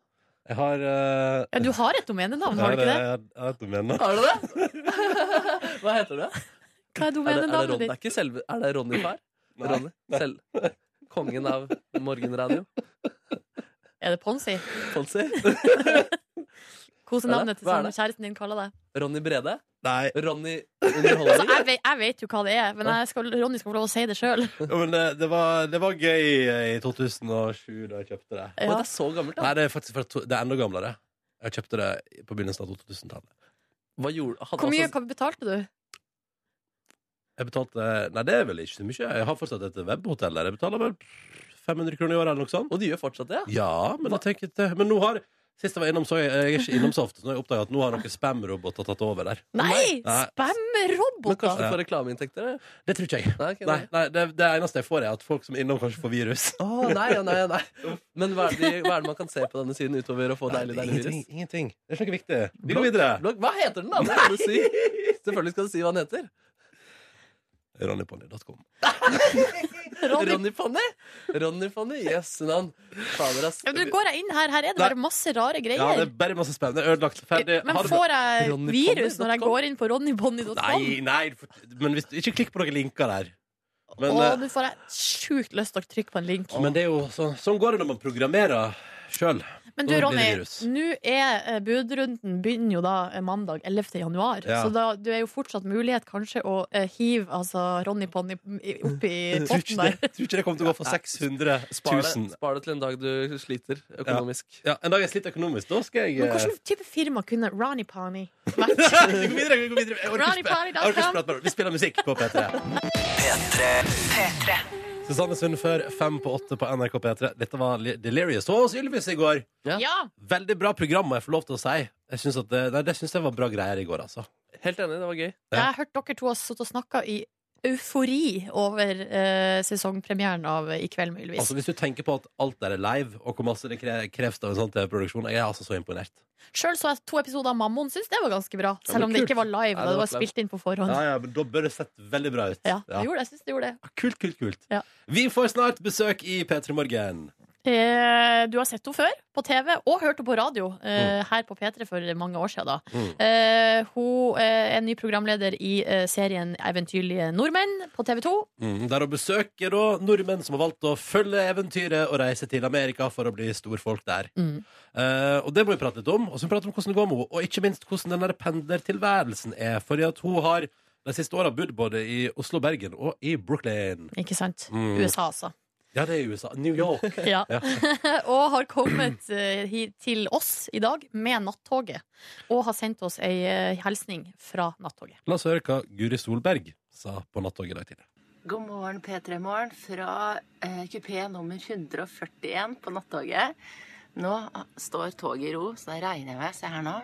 S1: Jeg har eh,
S2: Ja, du har et domenenavn, har du ikke
S1: jeg
S2: det?
S1: har- Jeg har et domenenavn.
S5: Har du det? Hva heter det?
S2: Hva er
S5: Er det, er det,
S2: domenenavnet
S5: Ron, det
S2: ditt?
S5: er ikke selve Er det Ronny Fær?
S1: Nei.
S5: Ronny? Selv, kongen av morgenradio?
S2: Er det Ponsi?
S5: Fonsi?
S2: Kosenavnet til
S5: Hva er
S2: som
S5: det?
S2: kjæresten din kaller deg.
S5: Ronny Brede?
S1: Nei,
S5: Ronny
S2: Altså,
S5: Underholdning?
S2: jeg, vet, jeg vet jo hva det er, men jeg skal, Ronny skal få lov å si det sjøl.
S1: ja, men eh, det var, det var gøy eh, i 2007 da jeg kjøpte det.
S5: Oi,
S2: Ja.
S5: det er så gammelt, da.
S1: Nei, det er faktisk fra to, det er enda gamlere. Jeg kjøpte det på begynnelsen av 2000-tallet.
S5: Hva gjorde hadde
S2: Hvor mye
S5: altså-
S2: hva betalte du?
S1: Jeg betalte Nei, det er vel ikke så mye. Jeg har fortsatt et webhotell der. Jeg betaler vel 500 kroner i året eller noe sånt.
S5: Og de gjør fortsatt det, ja?
S1: Ja, men jeg tenker ikke Men nå har Sist jeg var innom, så jeg, jeg er ikke innom så ofte, så nå har jeg oppdaget at nå har noen spam-roboter tatt over der.
S2: Nei!
S1: Nei.
S5: Men kanskje
S2: Spam-roboter!
S5: du
S1: Ja.
S5: får reklameinntekter? eller?
S1: Det tror ikke jeg.
S5: Nei, ok,
S1: Nei, nei det, det eneste jeg får, er at folk som er innom, kanskje får virus.
S5: Å, nei, ja, nei, ja, nei. Men hva er, det, hva er det man kan se på denne siden utover å få
S1: Nei,
S5: deilig, deilig
S1: ingenting,
S5: virus?
S1: ingenting. Det er ikke noe viktig. Vi
S5: Blokk,
S1: går videre.
S5: Blogg, hva heter den, da? Det skal du si. Selvfølgelig skal du si hva den heter.
S1: Ronnyponny.com.
S2: Ronny-
S5: Ronny Fanny! Ronny Fanny, Jøss, navn. Fader, ass.
S2: Ja, men du går jeg inn her, her er det
S1: Nei.
S2: bare masse rare
S1: Ja, det
S2: greier.
S1: er bare masse spennende. Ødelagt. Ferdig.
S2: Men
S1: Ha det bra.
S2: får jeg
S5: Ronny
S2: virus når jeg
S5: Bonny.com?
S2: går inn på ronnybonny.com?
S1: Nei, nei, du får- men hvis, du- ikke klikk på noen linker der. Men,
S2: Å,
S1: eh,
S2: nå får jeg sjukt lyst til å trykke på en link.
S1: men det er jo så, sånn går det når man programmerer sjøl.
S2: Men du,
S1: Da blir det
S2: Ronny,
S1: virus.
S2: nå er eh, budrunden begynner jo da eh, mandag 11. januar.
S1: Ja.
S2: Så da, du er jo fortsatt mulighet kanskje å eh, hive altså, Ronny Ponni i- opp i
S1: Tror
S2: potten
S1: ikke
S2: der.
S1: det, tror ikke det kommer til å gå for
S5: Nei.
S1: 600
S5: Spar det,
S1: 000.
S5: spar det til en dag du sliter økonomisk.
S1: Ja, en dag jeg sliter økonomisk, da skal jeg
S2: Men
S1: eh,
S2: hvilken type firma kunne Ronny Ponni
S1: Vi
S2: vært?
S1: går videre, vi går videre. Jeg orker ikke sp- jeg orker ikke
S2: Ronnyparty.com.
S1: prate med dere. Vi spiller musikk på P3. Susanne Sundfør, fem på åtte på NRK P3. Dette var li- Delirious og hos Ylvis i går.
S2: Ja!
S1: Veldig bra program, må jeg få lov til å si. Jeg synes at det, nei, det syns jeg var bra greier i går, altså.
S5: Helt enig, det var gøy.
S1: Ja.
S2: Jeg har hørt dere to har sittet og snakka i eufori over eh, sesongpremieren av eh, I kveld med Ylvis.
S1: altså. Hvis du tenker på at alt der er live, og hvor masse det kre kreves av en sånn TV-produksjon, jeg er altså så imponert.
S2: Sjøl så jeg to episoder av Mammon, syns det var ganske bra.
S1: men
S2: Selv om det
S1: kult.
S2: ikke var live,
S5: Ja,
S2: da
S5: det
S2: det var
S5: var
S2: spilt inn på forhånd.
S1: Ja, ja, men Da bør det sett veldig bra ut.
S2: Ja, det
S1: Ja.
S2: gjorde det. Jeg synes det gjorde det.
S1: Kult, kult, kult.
S2: Ja.
S1: Vi får snart besøk i P3 Morgen.
S2: Eh, du har sett henne før på TV og hørt henne på radio eh, her på P3 for mange år siden. Da.
S1: Mm.
S2: Eh, hun eh, er ny programleder i eh, serien Eventyrlige nordmenn på TV 2.
S1: Mm, der å besøke da nordmenn som har valgt å følge eventyret og reise til Amerika for å bli storfolk der.
S2: Mm.
S1: Eh, og det må vi prate litt om. Og så må vi prate om hvordan det går med henne, og ikke minst hvordan den der pendlertilværelsen er. Fordi at hun har de siste åra bodd både i Oslo, Bergen og i Brooklyn.
S2: Ikke sant?
S1: Mm.
S2: USA, altså.
S1: Ja, det er i USA. New York.
S2: Ja.
S1: Ja.
S2: og har kommet eh, hit til oss i dag med nattoget. Og har sendt oss ei eh, hilsning fra nattoget.
S1: La oss høre hva Guri Solberg sa på nattoget i dag tidlig.
S8: God morgen, P3 Morgen, fra eh, kupé nummer 141 på nattoget. Nå står toget i ro, så da regner jeg med. Se her nå.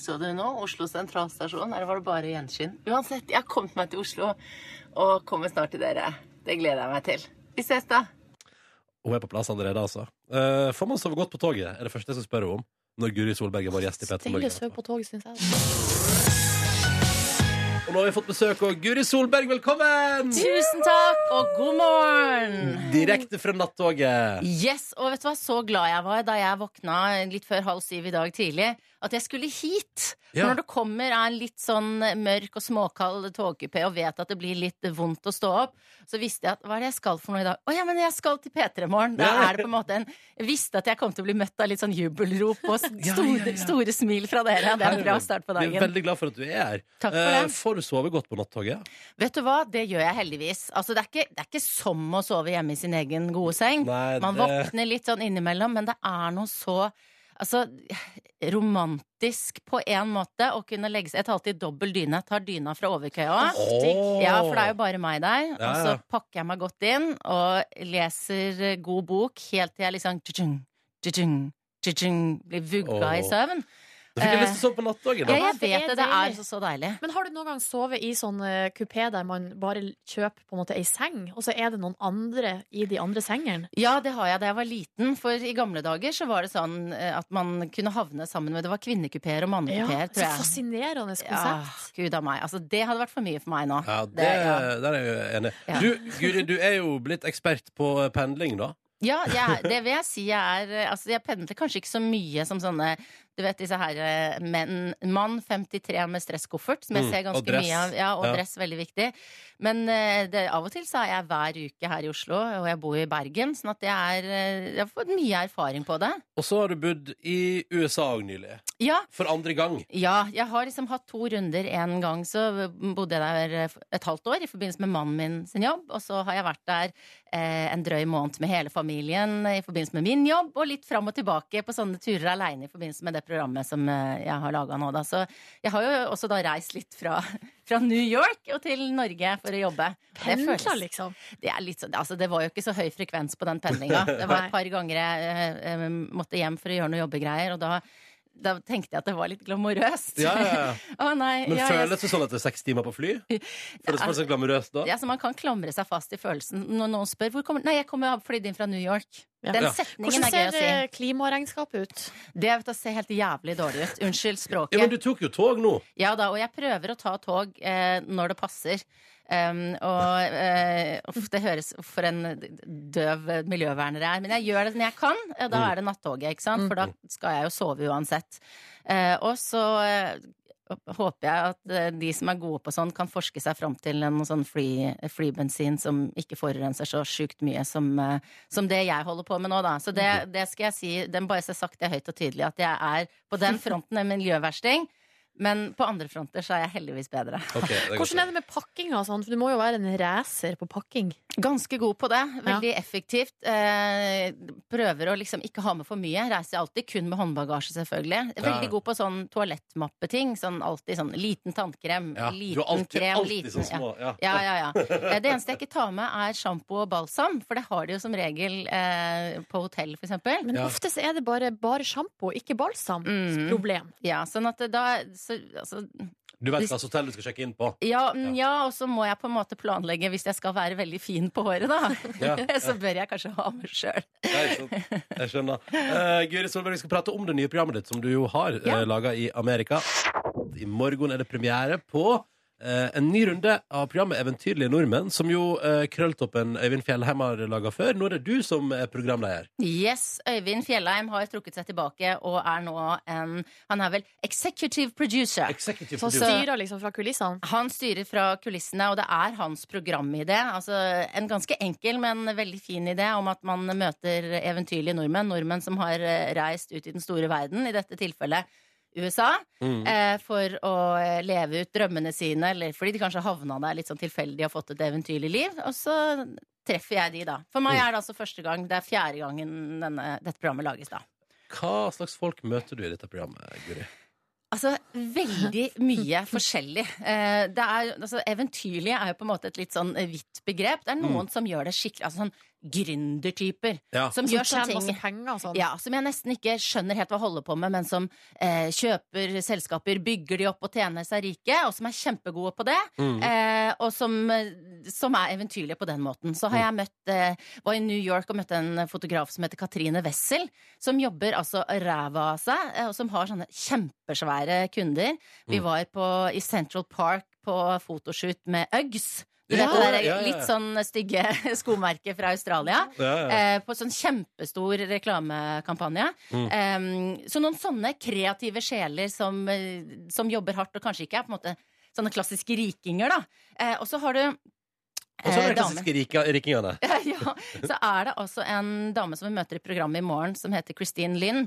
S8: Så du nå? Oslo sentralstasjon. Her var det bare gjenskinn. Uansett, jeg har kommet meg til Oslo, og kommer snart til dere. Det gleder jeg meg til. Vi ses da.
S1: Hun er på plass allerede, altså. Eh, får man sove godt på toget, er det første jeg skal spørre henne om. Når Guri Solberg er vår gjest i P3
S2: Stille søv
S1: Morgen.
S2: på toget, syns jeg. altså.
S1: Og nå har vi fått besøk av Guri Solberg, velkommen!
S8: Tusen takk, og god morgen!
S1: Direkte fra nattoget.
S8: Yes, og vet du hva, så glad jeg var da jeg våkna litt før halv syv i dag tidlig, at jeg skulle hit. For
S1: Ja.
S8: når du kommer av en litt sånn mørk og småkald togkupé og vet at det blir litt vondt å stå opp, så visste jeg at hva er det jeg skal for noe i dag? Å ja, men jeg skal til P3 Morgen. Da
S1: Ja.
S8: er det på en måte en Jeg visste at jeg kom til å bli møtt av litt sånn jubelrop og s-
S1: ja,
S8: store,
S1: ja.
S8: store smil fra dere. Det er en bra start
S1: Vi
S8: på
S1: er
S8: dagen.
S1: veldig glad for at du er her.
S8: Takk for det.
S1: Eh, Får du sove godt på nattoget?
S8: Vet du hva, det gjør jeg heldigvis. Altså, det er ikke, det er ikke som å sove hjemme i sin egen gode seng.
S1: Nei,
S8: Man
S1: det-
S8: våkner litt sånn innimellom, men det er noe så Altså, romantisk på en måte å kunne legge seg Jeg tar alltid dobbel dyne. Tar dyna fra overkøya.
S1: Åh.
S8: Ja, for det er jo bare meg der.
S1: Ja,
S8: Og så
S1: ja.
S8: pakker jeg meg godt inn og leser eh, god bok helt til jeg liksom tjung, tjung, tjung, blir vugga i
S1: Åh.
S8: søvn.
S1: Da fikk jeg
S8: Eh,
S1: lyst til å sove på nattoget.
S8: Ja,
S1: Da.
S2: ja,
S8: jeg
S2: det er
S8: vet det. Det
S2: deilig.
S8: er så, så deilig.
S2: Men har du noen gang sovet i sånn eh, kupé der man bare kjøper på en måte ei seng, og så er det noen andre i de andre sengene?
S8: Ja, det har jeg da jeg var liten. For i gamle dager så var det sånn eh, at man kunne havne sammen med Det var kvinnekupeer og
S2: Ja,
S8: mannekupeer,
S2: så
S8: tror jeg.
S2: fascinerende
S8: Ja,
S2: konsept.
S8: Gud a meg. Altså, det hadde vært for mye for meg nå.
S1: Ja, det,
S8: ja.
S1: Der er jeg jo enig.
S8: Ja.
S1: Du, Guri, du er jo blitt ekspert på eh, pendling, da.
S8: Ja, jeg, det vil jeg si jeg er eh, Altså, jeg pendler kanskje ikke så mye som sånne Du vet disse her eh, menn Mann 53 med stresskoffert, som jeg
S1: Mm,
S8: ser
S1: og
S8: ganske
S1: dress.
S8: mye av. Ja, og
S1: Ja.
S8: dress, veldig viktig. Men eh, det, av og til så er jeg hver uke her i Oslo, og jeg bor i Bergen, sånn at det er eh, Jeg har fått mye erfaring på det.
S1: Og så har du bodd i USA òg nylig.
S8: Ja,
S1: For andre gang.
S8: Ja, jeg har liksom hatt to runder. En gang så bodde jeg der eh, et halvt år i forbindelse med mannen min sin jobb. Og så har jeg vært der eh, en drøy måned med hele familien eh, i forbindelse med min jobb. Og litt fram og tilbake på sånne turer aleine i forbindelse med det programmet som eh, jeg har laga nå, da. Så jeg har jo også da reist litt fra, fra New York og til Norge for å jobbe. Og det
S2: Pendler,
S8: føles-
S2: liksom.
S8: det, er litt sånn, altså det var jo ikke så høy frekvens på den pendlinga. Det var
S2: Nei.
S8: et par ganger jeg eh, eh, måtte hjem for å gjøre noe jobbegreier, og da, da tenkte jeg at det var litt glamorøst.
S1: Ja, ja, ja.
S8: Å nei.
S1: Men
S8: ja, jeg-
S1: føles det sånn etter seks timer på fly? Føles det så glamorøst da?
S8: ja, så Man kan klamre seg fast i følelsen når noen spør hvor kommer, Nei, jeg kommer flydd inn fra New York.
S2: Ja.
S8: Den
S1: Ja.
S8: setningen
S2: Hvordan
S8: er gøy å
S2: ser eh,
S8: si.
S2: klimaregnskapet ut?
S8: Det vet, du, ser helt jævlig dårlig ut. Unnskyld språket.
S1: Ja, men du tok jo tog nå.
S8: Ja da, og jeg prøver å ta tog eh, når det passer. Um, og eh, uff, det høres uff, for en døv miljøverner jeg er. Men jeg gjør det når jeg kan. og Da er det nattoget, ikke sant? for da skal jeg jo sove uansett. Eh, og så eh, håper jeg at eh, de som er gode på sånn, kan forske seg fram til en sånn fly, flybensin som ikke forurenser så sjukt mye som, eh, som det jeg holder på med nå, da. Så det, det skal jeg si, den bare så sagt det høyt og tydelig, at jeg er på den fronten en miljøversting. Men på andre fronter så er jeg heldigvis bedre.
S1: Ok, det er godt.
S2: Hvordan er det med pakkinga og sånn? For du må jo være en racer på pakking.
S8: Ganske god på det. Veldig effektivt. Eh, prøver å liksom ikke ha med for mye. Reiser alltid kun med håndbagasje, selvfølgelig. Veldig god på sånn toalettmappeting. Sånn alltid sånn liten tannkrem,
S1: Ja, du
S8: liten
S1: er alltid,
S8: krem,
S1: alltid
S8: liten
S1: sånn små. Ja.
S8: ja. Ja, ja, ja. Eh, Det eneste jeg ikke tar med, er sjampo og balsam, for det har de jo som regel eh, på hotell, for eksempel.
S2: Men
S1: Ja.
S2: ofte så er det bare, bare sjampo, ikke balsam.
S8: Mm.
S2: Problem.
S8: Ja, sånn at da så, altså,
S1: Du vet hva slags hotell du skal sjekke inn på.
S8: ja, mm, ja, og så må jeg på en måte planlegge hvis jeg skal være veldig fin på håret, da.
S1: Ja, ja.
S8: Så bør jeg kanskje ha med sjøl.
S1: Ja, ikke sant? Jeg skjønner. Eh, Guri Solberg, vi skal prate om det nye programmet ditt, som du jo har
S8: Ja.
S1: eh, laga i Amerika. I morgen er det premiere på eh, en ny runde av programmet Eventyrlige nordmenn, som jo eh, Krølltoppen Øyvind Fjellheim har laga før. Nå er det du som er programleder.
S8: Yes, Øyvind Fjellheim har trukket seg tilbake og er nå en Han er vel executive producer.
S1: Executive
S2: Så
S1: producer.
S2: styrer liksom fra kulissene.
S8: Han styrer fra kulissene, og det er hans programidé. Altså, en ganske enkel, men veldig fin idé om at man møter eventyrlige nordmenn. Nordmenn som har eh, reist ut i den store verden, i dette tilfellet USA,
S1: Mm.
S8: eh, for å eh, leve ut drømmene sine, eller fordi de kanskje havna der litt sånn tilfeldig og fått et eventyrlig liv. Og så treffer jeg de, da. For meg er det altså første gang. Det er fjerde gangen denne, dette programmet lages, da.
S1: Hva slags folk møter du i dette programmet, Guri?
S8: Altså, veldig mye forskjellig. Eh, det er, altså, eventyrlige er jo på en måte et litt sånn eh, vidt begrep. Det er noen som gjør det skikkelig Altså sånn gründertyper.
S1: Ja.
S8: Som,
S2: Som tjener
S8: gjør sånne
S2: masse
S8: ting
S2: penger og sånn.
S8: ja, som jeg nesten ikke skjønner helt hva holder på med, men som eh, kjøper selskaper, bygger de opp og tjener seg rike, og som er kjempegode på det.
S1: Mm.
S8: Eh, og som, eh, som er eventyrlige på den måten. Så har jeg
S1: Mm.
S8: møtt eh, var i New York og møtte en fotograf som heter Katrine Wessel, som jobber altså ræva av seg, eh, og som har sånne kjempesvære kunder.
S1: Mm.
S8: Vi var på, i Central Park på fotoshoot med Uggs. Du
S1: Ja,
S8: vet det der
S1: ja, ja, ja.
S8: litt sånn stygge skomerket fra Australia.
S1: Ja, ja. Mm.
S8: Eh, på sånn kjempestor reklamekampanje. Eh, så noen sånne kreative sjeler som, eh, som jobber hardt og kanskje ikke er på en måte sånne klassiske rikinger, da. Eh, og så har du
S1: Og så er
S8: eh,
S1: det klassiske rika- rikingene.
S8: ja, så er det altså en dame som vi møter i programmet i morgen, som heter Christine Lynn.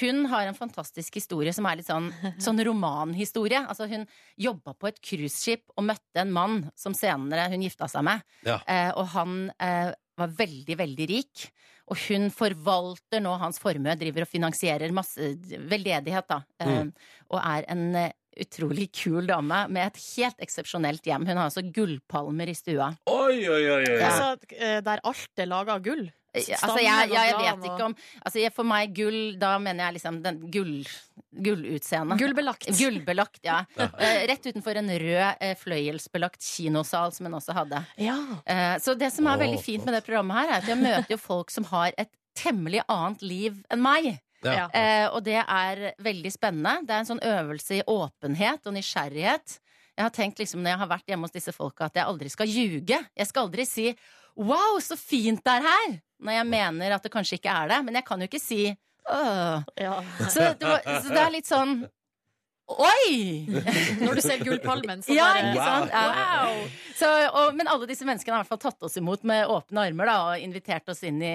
S8: Hun har en fantastisk historie som er litt sånn, sånn romanhistorie. Altså, hun jobba på et cruiseskip og møtte en mann som senere hun gifta seg med.
S1: Ja.
S8: Eh, og han eh, var veldig, veldig rik. Og hun forvalter nå hans formue, driver og finansierer masse veldedighet, da. Eh, Og er en eh, utrolig kul dame med et helt eksepsjonelt hjem. Hun har altså gullpalmer i stua.
S1: Oi, oi, oi, oi.
S8: Ja.
S2: Altså, eh, der alt er laga av gull.
S8: Altså,
S2: Stammen
S8: jeg,
S2: og
S8: jeg, jeg
S2: bladene
S8: vet
S2: og-
S8: ikke om altså, jeg- For meg, gull, da mener jeg liksom den gull, gullutseendet.
S2: Gullbelagt.
S8: Gullbelagt, ja. Eh, Rett utenfor en rød eh, fløyelsbelagt kinosal som hun også hadde.
S2: Ja.
S8: Eh, Så det som er
S1: Å,
S8: veldig fint med det programmet her, er at jeg møter jo folk som har et temmelig annet liv enn meg.
S1: Ja.
S8: Eh, og det er veldig spennende. Det er en sånn øvelse i åpenhet og nysgjerrighet. Jeg har tenkt liksom når jeg har vært hjemme hos disse folka, at jeg aldri skal ljuge. Jeg skal aldri si 'wow, så fint det er her', når jeg mener at det kanskje ikke er det. Men jeg kan jo ikke si «Åh».
S2: ja.
S8: Så det, var, så det er litt sånn Oi!
S2: Når du ser gullpalmen, så
S8: Ja,
S2: bare
S8: ikke sant? Ja.
S2: Wow.
S8: Så, og, men alle disse menneskene har i hvert fall tatt oss imot med åpne armer da, og invitert oss inn i,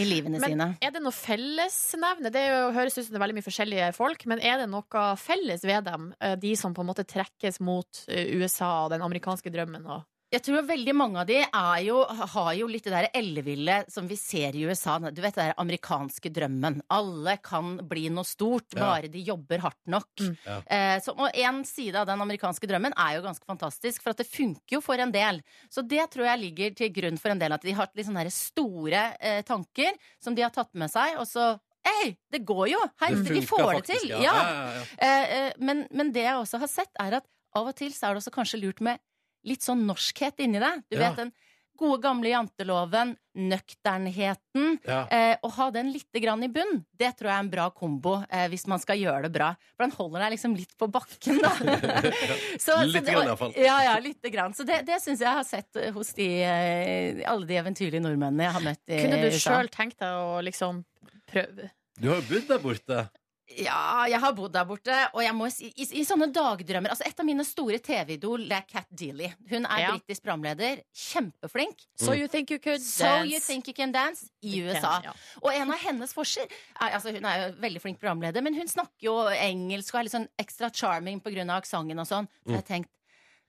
S8: i livene
S2: Men-
S8: sine.
S2: Er det noe fellesnevne? Det er jo, høres ut som det er veldig mye forskjellige folk, men er det noe felles ved dem? Eh, De som på en måte trekkes mot eh, USA og den amerikanske drømmen og
S8: Jeg tror veldig mange av de er jo, har jo litt det der elleville som vi ser i USA. Du vet det der amerikanske drømmen. Alle kan bli noe stort,
S1: Ja.
S8: bare de jobber hardt nok.
S1: Ja.
S8: Eh, så, og en side av den amerikanske drømmen er jo ganske fantastisk, for at det funker jo for en del. Så det tror jeg ligger til grunn for en del at de har hatt litt sånne her store eh, tanker som de har tatt med seg, og så Hei, det går jo! Hei, vi
S1: funker
S8: får det
S1: faktisk,
S8: til!
S1: Ja,
S8: ja.
S1: ja, ja.
S8: Eh, eh, men, men det jeg også har sett, er at av og til så er det også kanskje lurt med litt sånn norskhet inni deg. Du
S1: Ja.
S8: vet den gode gamle janteloven, nøkternheten.
S1: ja.
S8: Eh, å ha den litt grann i bunn, det tror jeg er en bra kombo eh, hvis man skal gjøre det bra. For den holder deg liksom litt på bakken, da.
S1: Litt
S8: det-
S1: grann, i hvert fall.
S8: Ja, ja, lite grann. Så det, det syns jeg har sett eh, hos de, eh, alle de eventyrlige nordmennene jeg har møtt i
S2: Kunne du
S8: USA.
S2: sjøl tenkt deg å liksom prøve?
S1: Du har jo bodd der borte.
S8: Ja, jeg har bodd der borte, og jeg må si, i, i sånne dagdrømmer altså Et av mine store TV-idol det er Kat Dealey. Hun er
S2: Ja.
S8: britisk programleder. Kjempeflink.
S2: So you think you could dance.
S8: So You Think You Can Dance i
S2: You can,
S8: USA.
S2: ja.
S8: Og en av hennes forser er, altså Hun er jo veldig flink programleder, men hun snakker jo engelsk og er litt sånn ekstra charming pga. aksenten og sånn.
S1: Mm.
S8: Så jeg tenkte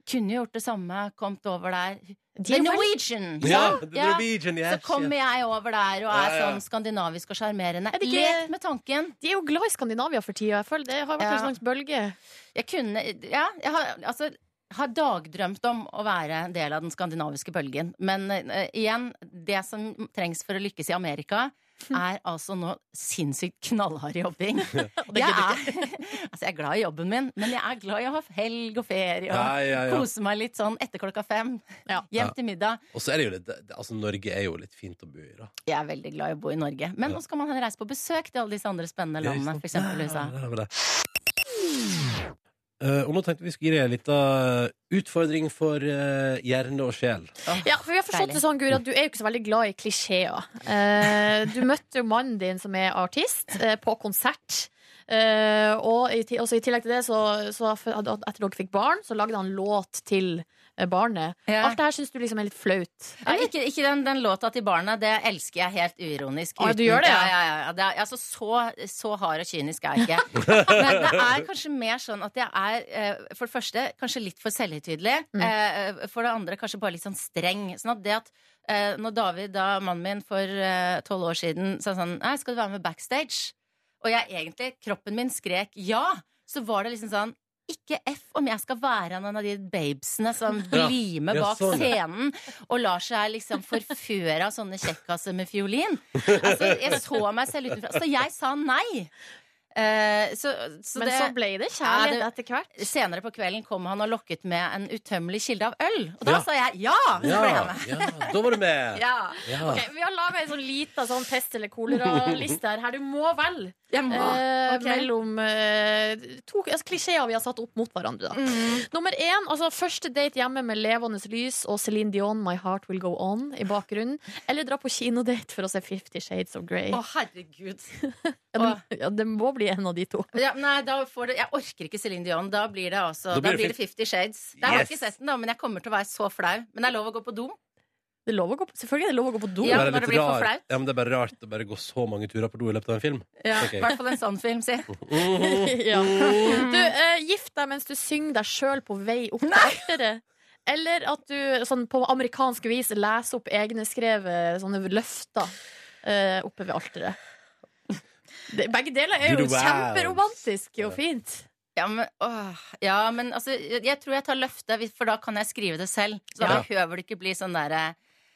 S8: kunne gjort det samme, kommet over der.
S2: De
S8: The
S2: er veldig-
S8: Norwegian!
S1: Ja,
S8: sant?
S1: The Norwegian, yes,
S8: Så kommer jeg over der og er
S1: Ja, ja.
S8: sånn skandinavisk og sjarmerende.
S2: Er det ikke-
S8: Lek med tanken.
S2: De er jo glad i Skandinavia for tida. Jeg føler det har vært
S8: Ja.
S2: en slags bølge.
S8: Jeg kunne Ja, jeg har, altså, har dagdrømt om å være en del av den skandinaviske bølgen. Men eh, igjen, det som trengs for å lykkes i Amerika, er altså nå sinnssykt knallhard jobbing. jeg, er, altså, jeg er glad i jobben min, men jeg er glad i å ha helg og ferie og
S1: Ja, ja, ja.
S8: kose meg litt sånn etter klokka fem.
S2: Ja.
S1: Ja.
S8: Hjem til middag.
S1: Og så er det jo litt det- det- Altså, Norge er jo litt fint å bo i, da.
S8: Jeg er veldig glad i å bo i Norge. Men
S1: Ja.
S8: nå skal man reise på besøk til alle disse andre spennende landene, f.eks. USA.
S1: Ja, det er det. Eh, og nå tenkte vi skulle gi deg en liten utfordring for eh, hjerne og sjel.
S2: Ja, for vi har forstått
S8: Deilig.
S2: det sånn, Guri, at du er jo ikke så veldig glad i klisjeer. Eh, du møtte jo mannen din, som er artist, eh, på konsert. Eh, og i, ti- også i tillegg til det, så, så f- hadde- etter dere fikk barn, så lagde han låt til eh, barnet.
S8: Ja.
S2: Alt det her syns du liksom er litt flaut.
S8: Ja, ikke ikke den, den låta til barna. Det elsker jeg helt uironisk.
S2: Å,
S8: uten-
S2: du gjør det, ja?
S8: ja? Ja, ja, ja. Det er, altså, så, så hard og kynisk er jeg ikke. Men det er kanskje mer sånn at jeg er, eh, for det første, kanskje litt for selvhøytidelig.
S2: Mm.
S8: eh, For det andre, kanskje bare litt sånn streng. Sånn at det at eh, når David, da mannen min, for eh, tolv år siden sa sånn Nei, skal du være med backstage? Og jeg egentlig, kroppen min skrek ja, så var det liksom sånn ikke F om jeg skal være en av de babesene som
S1: Ja.
S8: blir med
S1: Ja,
S8: bak
S1: sånn, ja.
S8: scenen og lar seg liksom forføre av sånne kjekkaser med fiolin. Altså, jeg så meg selv utenfra. Så jeg sa nei. Eh, så, så
S2: Men
S8: det,
S2: så ble det
S8: Ja,
S2: kjærlighet
S8: det-
S2: etter hvert.
S8: senere på kvelden kom han og lokket med en utømmelig kilde av øl. Og da
S1: Ja.
S8: sa jeg ja! Så ble jeg
S1: Ja,
S8: med.
S1: ja, da var du med!
S2: Ja.
S1: Ja.
S2: Ok, vi har laga ei sånn lita sånn pest eller kolera-liste her. her. Du må velge
S8: Jeg må.
S2: eh,
S8: Ah, ok.
S2: mellom eh, to altså, klisjeer vi har satt opp mot hverandre. Da.
S8: Mm.
S2: Nummer én, altså første date hjemme med levende lys og Céline Dion, 'My Heart Will Go On' i bakgrunnen. Eller dra på kinodate for å se Fifty Shades of Grey.
S8: Å, herregud.
S2: ja, det, ja, det må bli en av de to.
S8: Ja, nei, da får det, jeg orker ikke Céline Dion. Da blir det altså
S1: Da blir
S8: Da
S1: det
S8: blir det Fifty Shades. Jeg har
S1: Yes.
S8: ikke sett den, da, men jeg kommer til å være så flau. Men det er lov å gå på do.
S2: Det er lov å gå på, selvfølgelig er det lov å gå på do.
S8: Ja,
S1: Bare
S8: når
S1: litt
S8: det blir for
S1: rar-
S8: flaut.
S1: Ja, men det er bare rart å bare gå så mange turer på do i løpet av en film.
S8: Ja,
S1: Ok.
S8: I hvert fall en sånn film, si.
S2: Ja. Du, eh, gift deg mens du synger deg sjøl på vei opp til alteret. Eller at du sånn, på amerikansk vis leser opp egenskrevet sånne løfter eh, oppe ved alteret. Det, begge deler er jo
S1: Good vows.
S2: kjemperomantisk og fint.
S8: Ja, men, åh, ja, men altså, jeg jeg tror jeg tar løftet, hvis- for da kan jeg skrive det selv. Så da
S1: Ja.
S8: behøver det ikke bli sånn derre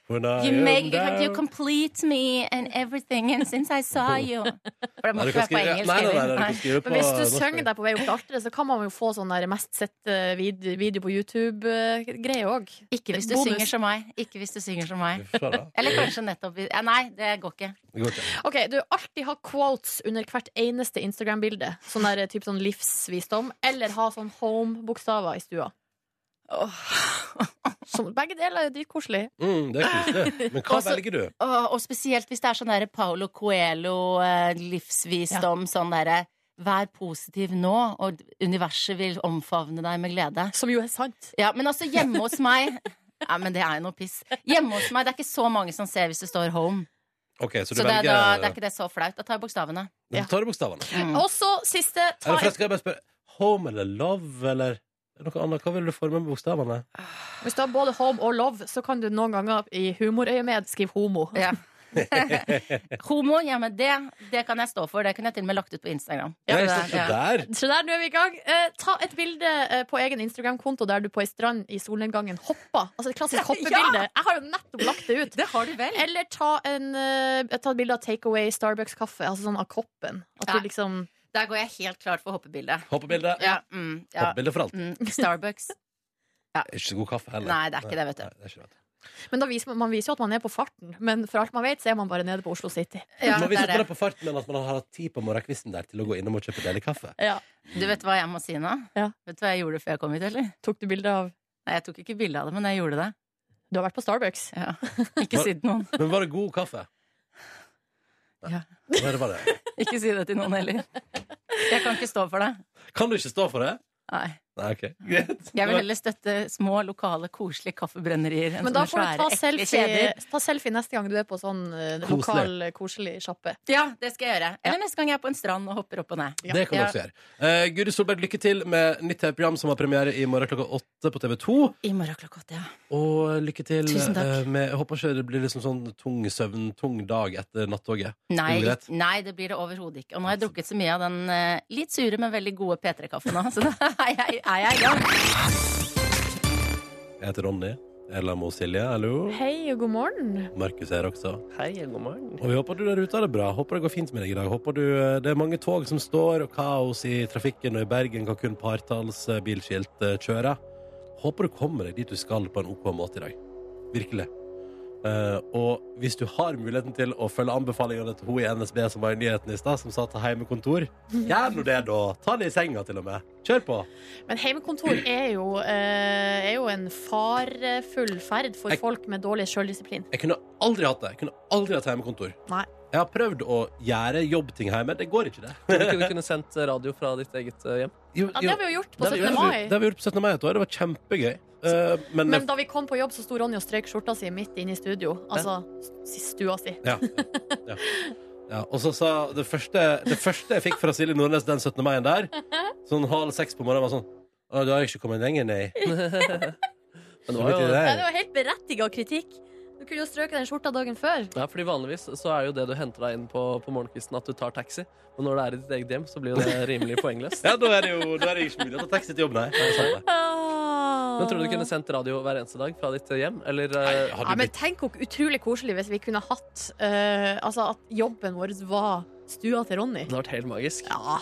S1: When I
S8: you,
S1: am
S8: make-
S1: down.
S8: you complete me and everything and since I saw you. For det må
S1: Nei, du
S8: ikke
S1: kan
S8: være på
S1: skrive-
S8: engelsk.
S1: Nei, nei, nei, nei, du
S8: heller.
S1: kan
S8: Nei.
S1: skrive på
S2: Men hvis du
S1: norsk.
S2: synger deg på vei opp til alteret, så kan man jo få sånn der mest sette vid video på eh, YouTube-greie òg.
S8: Ikke hvis du
S2: Bonus.
S8: synger som meg. Ikke hvis du synger som meg.
S1: Fy faen, da.
S8: Eller kanskje nettopp hvis- ja, Nei, det går ikke.
S1: Det går ikke.
S2: Ok, du alltid ha quotes under hvert eneste Instagram-bilde. Sånn der typ sånn livsvisdom. Eller ha sånn home-bokstaver i stua. Som, begge deler er dritkoselig.
S1: Mm, det er koselig. Men hva
S8: Også-
S1: velger du?
S8: Åh, og spesielt hvis det er sånn derre Paolo Coelho, eh, livsvisdom, sånn derre Vær positiv nå, og universet vil omfavne deg med glede.
S2: Som jo er sant.
S8: Ja, men altså hjemme hos meg Nei, men det er jo noe piss. Hjemme hos meg, det er ikke så mange som ser hvis det står home.
S1: Ok, Så du
S8: Så det er,
S1: velger
S8: da, det er ikke det så flaut. Da tar jeg bokstavene.
S1: Du tar bokstavene.
S2: Og så siste ta
S1: Eller forresten, skal jeg bare spørre Home eller love eller er det noe annet? Hva vil du forme med bokstavene?
S2: Hvis du har både home og love, så kan du noen ganger i humorøyemed skrive homo.
S8: Ja. Homo, ja, men det, det kan jeg stå for. Det kunne jeg til og med lagt ut på Instagram.
S1: Ja,
S8: det,
S1: så
S8: ja.
S1: der.
S2: Så der, nå er vi i gang. Eh, ta et bilde eh, på egen Instagram-konto der du på ei strand i solnedgangen hopper. Altså et klassisk hoppebilde. Jeg har jo nettopp lagt det ut.
S8: det har du vel.
S2: Eller ta, en, eh, ta et bilde av takeaway Starbucks-kaffe, altså sånn av koppen. At
S8: Ja.
S2: du liksom
S8: Der går jeg helt klart for hoppebildet.
S1: Hoppebilde.
S8: Ja, mm, ja.
S1: Hoppebilde for alt.
S8: Mm, Starbucks.
S1: Ikke så god kaffe heller.
S8: Nei, det er ikke det, vet du.
S1: Nei, det er ikke det.
S2: Men da viser man, man viser jo at man er på farten, men for alt man vet, så er man bare nede på Oslo City.
S8: Ja,
S1: man
S8: det
S1: viser på
S8: er
S1: det
S8: det.
S1: på farten, men at man har hatt tid på morgenkvisten der til å gå innom og kjøpe deilig kaffe.
S2: Ja.
S8: Du vet hva jeg må si nå?
S2: Ja.
S8: Vet du hva jeg gjorde før jeg kom hit, eller?
S2: Tok du bilde av
S8: Nei, jeg tok ikke bilde av det, men jeg gjorde det.
S2: Du har vært på Starbucks.
S8: Ja. Ikke si det til noen.
S1: Men var det god kaffe?
S8: Ja.
S1: Nei, det var det.
S8: Ikke si det til noen heller. Jeg kan ikke stå for det.
S1: Kan du ikke stå for det?
S8: Nei.
S1: Nei, ok. Greit.
S8: Jeg vil heller støtte små, lokale, koselige kaffebrennerier enn
S2: Men da
S8: sånne
S2: får du ta
S8: svære, ekle
S2: selfie,
S8: kjeder.
S2: ta selfie neste gang du er på sånn eh,
S1: Koselig.
S2: lokal, koselig sjappe.
S8: Ja, det skal jeg gjøre. Eller neste gang jeg er på en strand og hopper opp og ned.
S1: Det kan du
S8: Ja.
S1: også gjøre. Uh, Guri Solberg, lykke til med nytt TV-program som har premiere i morgen klokka åtte på TV2.
S8: I morgen klokka åtte, ja.
S1: Og lykke til
S8: Tusen takk.
S1: eh, med Jeg håper ikke det blir liksom sånn tung søvn, tung dag etter nattoget.
S8: Nei,
S1: Ugreit.
S8: ikk- nei, det blir det overhodet ikke. Og nå har jeg drukket så mye av den eh, litt sure, men veldig gode P3-kaffen nå, så da er jeg, er jeg i gang.
S1: Jeg heter Ronny. Ella Mo Silje, hallo.
S2: Hei og god morgen.
S1: Markus er her også.
S5: Hei, god morgen.
S1: Og vi håper du der ute har det bra. Håper det går fint med deg i dag. Håper du, eh, Det er mange tog som står, og kaos i trafikken, og i Bergen kan kun partalls eh, bilskilt eh, kjøre. Håper du kommer deg dit du skal på en OK måte i dag. Virkelig. Eh, og hvis du har muligheten til å følge anbefalingene til hun i NSB som var i nyheten i stad, som sa ta hjemmekontor, gjør nå det, da. Ta det i senga, til og med. Kjør på.
S2: Men heimekontor er jo, eh, er jo en farefull ferd for
S1: Jeg-
S2: folk med dårlig sjøldisiplin.
S1: Jeg kunne aldri hatt det. Jeg kunne aldri hatt hjemmekontor.
S2: Nei.
S1: Jeg har prøvd å gjøre jobbting hjemme. Det går ikke, det.
S5: Tror du ikke du kunne sendt radio fra ditt eget eh, hjem?
S1: Jo,
S2: Ja, det
S1: jo.
S2: har vi jo gjort på
S1: Det har vi
S2: 17.
S1: gjort- Det
S2: mai.
S1: har vi gjort på 17. mai et år. Det var kjempegøy. Eh, men,
S2: Men da vi kom på jobb, så sto Ronny og strøk skjorta si midt inne i studio. Altså s- stua si.
S1: ja, ja, ja. Og så sa det første, det første jeg fikk fra Silje Nordnes den 17. mai der, sånn halv seks på morgenen, var sånn Å, du har ikke kommet lenger, nei.
S5: Men det
S1: Så
S5: var
S1: midt i
S5: jo,
S2: Ja, det
S1: der.
S2: var helt berettiga kritikk. Du kunne jo strøket den skjorta dagen før.
S5: ja, fordi vanligvis så er jo det du henter deg inn på, på morgenkvisten, at du tar taxi. Men når det er i ditt eget hjem, så blir jo det rimelig poengløst.
S1: Ja, da er det jo da er det ikke mulig å ta taxi til jobb, nei. nei sant det.
S2: Ah.
S5: Men tror du du kunne sendt radio hver eneste dag fra ditt eh, hjem? Eller eh,
S1: Nei, hadde
S2: Ja, men
S1: blitt,
S2: tenk hvor utrolig koselig hvis vi kunne hatt eh, Altså at jobben vår var stua til Ronny.
S5: Det hadde vært helt magisk.
S2: Ja.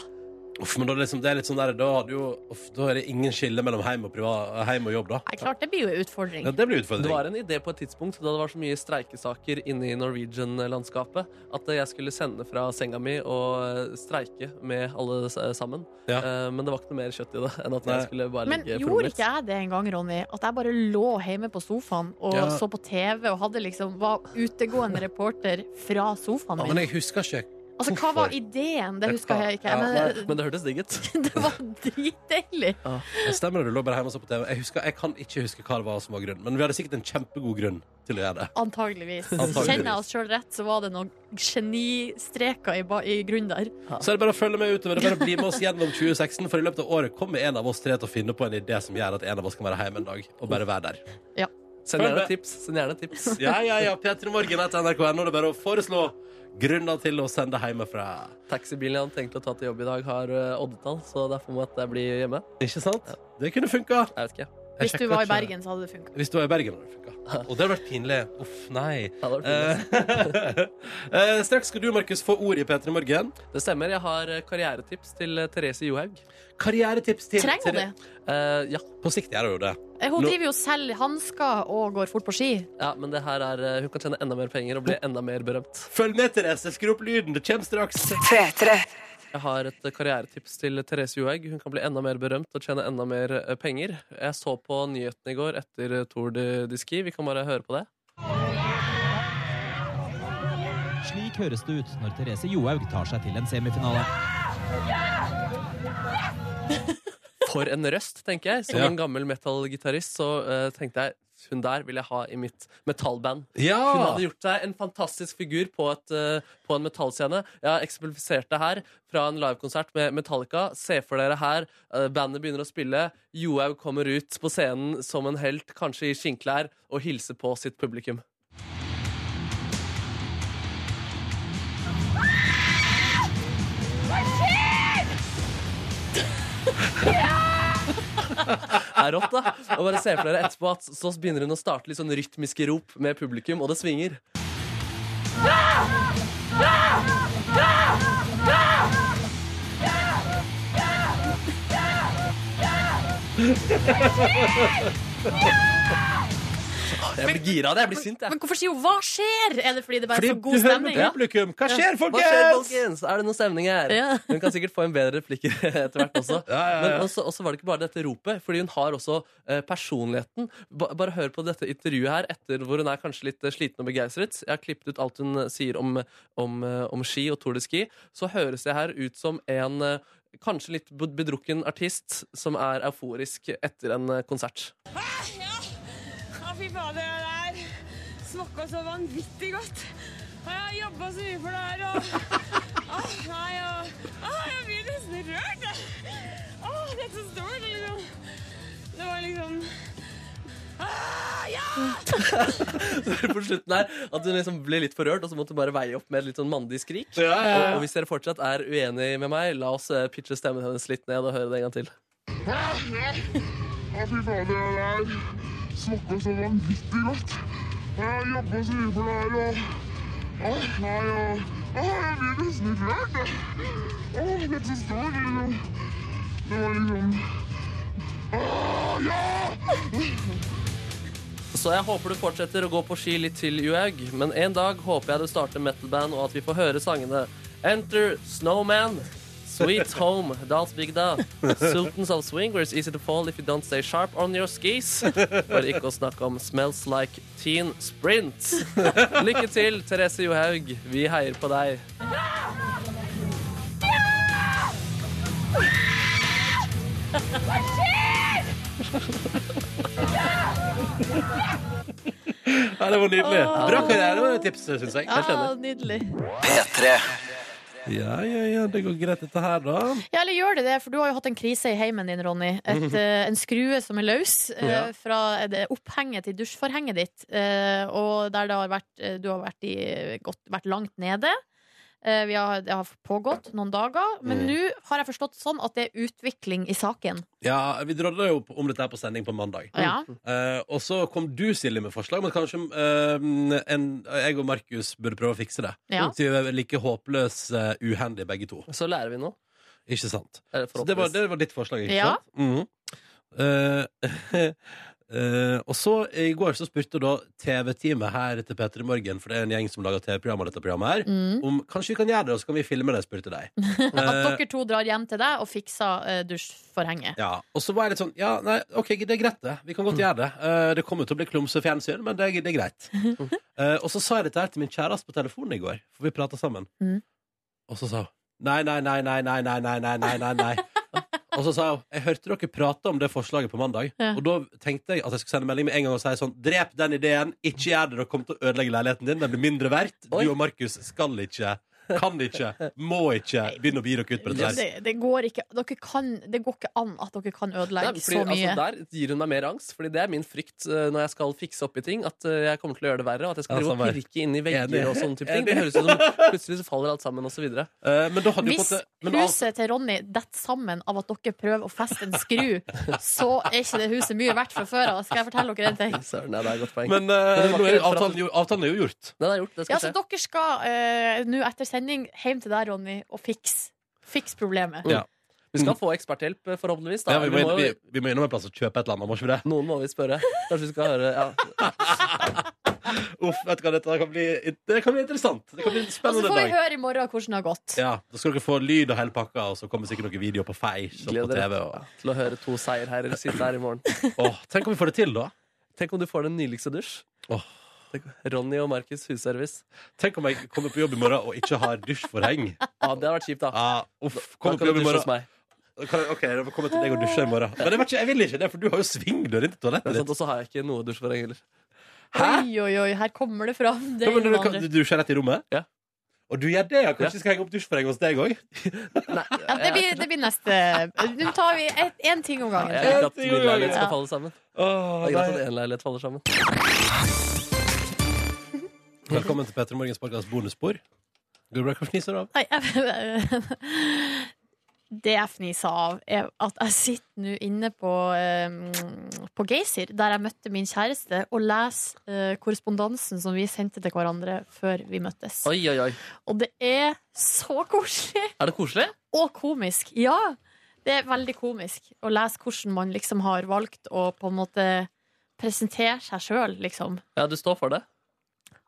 S1: uff, men da, liksom, det er litt sånn der, da, hadde jo, uff, da er det ingen skille mellom hjem og, priva- hjem og jobb, da.
S2: Nei, klart det blir jo en utfordring.
S1: Ja, det blir
S5: Det var
S1: utfordring.
S5: en idé på et tidspunkt da det var så mye streikesaker inne i Norwegian-landskapet, at jeg skulle sende fra senga mi og eh, streike med alle s- sammen.
S1: Ja.
S5: Eh, Men det var ikke noe mer kjøtt i det enn at
S1: Nei.
S5: jeg skulle bare
S2: Men
S5: ligge på
S2: gjorde
S5: rommet
S2: ikke jeg det en gang, Ronny? At jeg bare lå hjemme på sofaen og
S1: Ja.
S2: så på TV og hadde liksom, var utegående reporter fra sofaen
S1: Ja, men
S2: min?
S1: jeg husker ikke.
S2: Altså, hva
S1: hvorfor?
S2: var ideen? Det husker jeg ikke.
S1: Ja,
S2: Men
S5: Men det hørtes digg ut.
S2: det var dritdeilig.
S1: Det stemmer det, du lå bare hjemme og så på TV. Jeg, husker, jeg kan ikke huske hva det var som var grunnen, men vi hadde sikkert en kjempegod grunn til å gjøre det.
S2: Antageligvis.
S1: Antageligvis.
S2: Kjenner jeg oss sjøl rett, så var det noen genistreker i, ba- i grunnen der.
S1: Så er det bare å følge med utover. Det er bare å bli med oss gjennom 2016, for i løpet av året kommer en av oss tre til å finne på en idé som gjør at en av oss kan være hjemme en dag og bare være der.
S5: Send
S1: Følg
S5: gjerne
S1: med.
S5: tips. Send gjerne tips.
S1: Ja, ja, ja. P3 Morgen etter NRK.no. Det er bare å foreslå grunner til å sende hjemmefra.
S5: Taxibilen jeg hadde tenkt å ta til jobb i dag, har eh, oddetall, så derfor må jeg bli hjemme.
S1: Ikke sant? Det kunne funka.
S5: Jeg vet ikke.
S1: Jeg
S2: Hvis du
S1: sjekker
S2: var i
S1: ikke.
S2: Bergen, så hadde det funka.
S1: Hvis du var i Bergen, hadde det funka. Og det hadde vært pinlig. Uff, nei.
S5: Ja, det, var fint.
S1: Eh, eh, straks skal du, Markus, få ord i P3 Morgen.
S5: det stemmer. Jeg har eh, karrieretips til eh, Therese Johaug.
S1: Karrieretips til
S2: Trenger hun det?
S5: Eh, ja,
S1: På sikt gjør hun jo det.
S2: Eh, Hun
S1: Nå-
S2: driver jo og selger hansker og går fort på ski.
S5: ja, men det her er eh, Hun kan tjene enda mer penger og bli enda mer berømt.
S1: Følg med, Therese. Skru opp lyden. Det kommer straks.
S3: P3.
S5: Jeg har et eh, karrieretips til Therese Johaug. Hun kan bli enda mer berømt og tjene enda mer eh, penger. Jeg så på nyhetene i går etter eh, Tour de, de Ski. Vi kan bare høre på det.
S9: Slik høres det ut når Therese Johaug tar seg til en semifinale.
S5: For en røst, tenker jeg. Som
S1: Ja.
S5: en gammel metal-gitarist så eh, tenkte jeg hun der vil jeg ha i mitt metallband. Hun
S1: Ja!
S5: hadde gjort seg en fantastisk figur på, et, eh, på en metallscene. Jeg har eksemplifisert det her fra en livekonsert med Metallica. Se for dere her, eh, bandet begynner å spille. Johaug kommer ut på scenen som en helt, kanskje i skinnklær, og hilser på sitt publikum. er rått, da. Og bare se for dere etterpå at så begynner hun å starte litt sånn rytmiske rop med publikum, og det svinger. Jeg blir gira av det. Jeg blir sint, jeg.
S2: Men hvorfor sier hun 'hva skjer'? Er det fordi det bare
S1: Fordi
S2: er så
S1: du
S2: god
S1: hører med
S2: stemning?
S1: publikum. Hva skjer,
S5: Hva skjer,
S1: folkens?
S5: folkens? Er det noe stemning her?
S2: Ja.
S5: Hun kan sikkert få en bedre replikker etter hvert også.
S1: Ja, ja, ja.
S5: Men også, også var det ikke bare dette ropet, fordi hun har også eh, personligheten. Ba, bare hør på dette intervjuet her etter hvor hun er kanskje litt eh, sliten og begeistret. Jeg har klippet ut alt hun eh, sier om, om, eh, om ski og Tour de Ski. Så høres jeg her ut som en eh, kanskje litt bed- bedrukken artist som er euforisk etter en eh, konsert.
S10: Å, fy fader, det her smakka så vanvittig godt. Og jeg har jobba så mye for det her, og Å, nei, og Å, jeg blir nesten rørt, jeg. Å, det er så stort, liksom. Det var liksom Å, ja!
S5: Så på slutten her At hun liksom ble litt forrørt, og så måtte hun bare veie opp med et litt sånn mandig skrik.
S1: Ja, ja, ja.
S5: Og, og hvis dere fortsatt er uenig med meg, la oss eh, pitche stemmen hennes litt ned og høre det en gang til.
S10: Å, fy fader, det her smakka så vanvittig godt. Og jeg har jobba så mye for det her, og Å, nei, og Å, jeg blir nesten rørt, jeg. Å, det er så stort, liksom. Det var liksom Å, ja!
S5: Så jeg håper du fortsetter å gå på ski litt til, Juhaug. Men en dag håper jeg du starter metalband, og at vi får høre sangene Enter Snowman, Sweet Home, Dalsbygda, Sultans of Swing, where it's easy to fall if you don't stay sharp on your skis. For ikke å snakke om Smells Like Teen Sprint. Lykke til, Therese Johaug. Vi heier på deg.
S10: Hva skjer?!
S1: Ja, det var nydelig.
S2: Åh.
S1: Bra karrieretips, syns jeg.
S2: Ja, Ah, nydelig.
S1: P3. Ja, ja, ja, det går greit, dette her, da.
S2: Ja, eller gjør det det, for du har jo hatt en krise i heimen din, Ronny. Et,
S1: Mhm.
S2: eh, en skrue som er løs eh,
S1: Ja.
S2: fra det opphenget til dusjforhenget ditt. eh, og der det har vært, eh, du har vært, i, gått, vært langt nede. Eh, vi har, det har pågått noen dager, men
S1: Mm.
S2: nå har jeg forstått sånn at det er utvikling i saken.
S1: Ja, Vi drodla jo om dette her på sending på mandag.
S2: Ja.
S1: Eh, og så kom du, Silje, med forslag, men kanskje eh, en, jeg og Markus burde prøve å fikse det.
S5: Ja.
S1: Så vi er like håpløs uh, uhendige, begge to.
S5: Så lærer vi nå.
S1: Ikke sant?
S5: Eller
S1: Så det var,
S5: forhåpentligvis.
S1: det var ditt forslag, ikke
S5: Ja.
S1: sant? Mhm. Eh, eh, og så i går så spurte da TV-teamet her til Petter i Morgen, for det er en gjeng som lager TV-program av dette programmet her,
S2: Mhm.
S1: om kanskje vi kan gjøre det, og så kan vi filme det, spurte de.
S2: At
S1: Eh,
S2: dere to drar hjem til deg og fikser eh, dusjforhenget.
S1: ja, og så var jeg litt sånn Ja, nei, ok, det er greit, det. Vi kan godt gjøre det. Eh, det kommer til å bli klumse fjernsyn, men det, er- det er greit. Eh, og så sa jeg dette her til min kjæreste på telefonen i går, for vi prata sammen.
S2: Mhm.
S1: Og så sa hun nei, nei, nei, nei, nei, nei, nei, nei, nei, nei, nei. Og så sa hun jeg hørte dere prate om det forslaget på mandag, og da tenkte jeg at jeg skulle sende melding med en gang og si sånn Drep den ideen, ikke gjør det, dere kommer til å ødelegge leiligheten din, den blir mindre verdt. Du og Markus skal ikke, kan ikke, må ikke begynne å gi dere ut på dette. her.
S2: Det, det, går ikke, dere kan, det går ikke an at dere kan ødelegge
S5: Nei,
S2: så mye.
S5: Altså, der gir hun meg mer angst, Fordi det er min frykt eh, når jeg skal fikse opp i ting. At eh, jeg kommer til å gjøre det verre, og at jeg skal
S1: Ja,
S5: drive
S1: samme her.
S5: og pirke inn i
S1: Altså, Enig.
S5: vegger og sånne type ting. Det
S1: Enig.
S5: høres ut som plutselig så faller alt sammen, osv.
S1: Eh, men da hadde jo på
S2: Hvis
S1: en måte men alt-
S2: huset til Ronny detter sammen av at dere prøver å feste en skru, så er ikke det huset mye verdt fra før av. Skal jeg fortelle dere en ting?
S5: Søren, ja, det er et godt poeng.
S1: Men eh,
S5: hun var
S1: nå er
S5: ikke redd for at-
S1: avtalen, jo, avtalen er jo gjort.
S5: Den er gjort, det
S2: Ja,
S5: skal
S2: så
S5: skje.
S2: dere skal eh, nå etter sending hjem til deg, Ronny, og fikse fiks problemet.
S1: Ja.
S5: Vi skal få eksperthjelp, eh, forhåpentligvis. Da.
S1: Ja, vi, må
S5: Vi
S1: inn,
S5: må
S1: vi,
S5: jo-
S1: vi må innom en plass og kjøpe et eller annet, må ikke vi det?
S5: Noen må vi spørre. Kanskje vi skal høre ja.
S1: Uff, vet du hva, dette kan bli, det kan bli interessant. Det kan bli en
S2: Og så
S1: spennende
S2: får vi
S1: dag.
S2: høre i morgen hvordan det har gått.
S1: Ja, Da skal dere få lyd og hele pakka, og så kommer sikkert noen videoer på Face og på
S5: Gleder dere
S1: TV. Og...
S5: til å høre to seierherrer sitte her i morgen.
S1: Åh, tenk om vi får det til, da.
S5: Tenk om du får den nyligste dusj. Tenk, Ronny og Markus husservice.
S1: Tenk om jeg kommer på jobb i morgen og ikke har dusjforheng.
S5: Ja, Ah, det hadde vært kjipt, da.
S1: uff,
S5: da
S1: kommer
S5: kan
S1: på jobb
S5: du
S1: Ah, i
S5: dusje hos
S1: morgen.
S5: meg.
S1: Da Kan, jeg- ok, da kommer jeg til deg og dusje i morgen. Men jeg, vet ikke, jeg vil ikke det, for du har jo svingdør inn til
S5: Det er
S1: toalettet
S5: sant,
S1: ditt.
S5: Sånn, Og så har jeg ikke noe dusjforheng heller.
S2: Oi, oi, oi, her kommer det fram. Det
S1: Ja, men
S2: ene
S1: du,
S2: og
S1: kan,
S2: andre.
S1: du dusjer rett i rommet?
S5: Ja.
S1: Og du gjør det, ja?
S5: Ja.
S1: Kanskje vi skal henge opp dusjforheng hos deg òg?
S2: Ja, det, blir, det blir neste. Nå tar vi én ting om
S5: Ja,
S2: gangen.
S5: jeg vil ikke at
S1: Helt i
S5: min
S1: gang,
S5: leilighet skal
S2: ja.
S5: falle sammen.
S1: Åh,
S5: Det er greit
S1: nei.
S5: at en leilighet faller sammen.
S1: Velkommen til Petter Morgens podkast bonusspor. Går det bra? Hvorfor fniser du av?
S2: Nei, jeg, det jeg fnisa av, er at jeg sitter nå inne på, eh, på Geysir, der jeg møtte min kjæreste, og leser eh, korrespondansen som vi sendte til hverandre før vi møttes.
S5: Oi, oi, oi.
S2: Og det er så koselig!
S5: Er det koselig?
S2: Og komisk. Ja! Det er veldig komisk å lese hvordan man liksom har valgt å på en måte presentere seg sjøl, liksom.
S5: Ja, du står for det.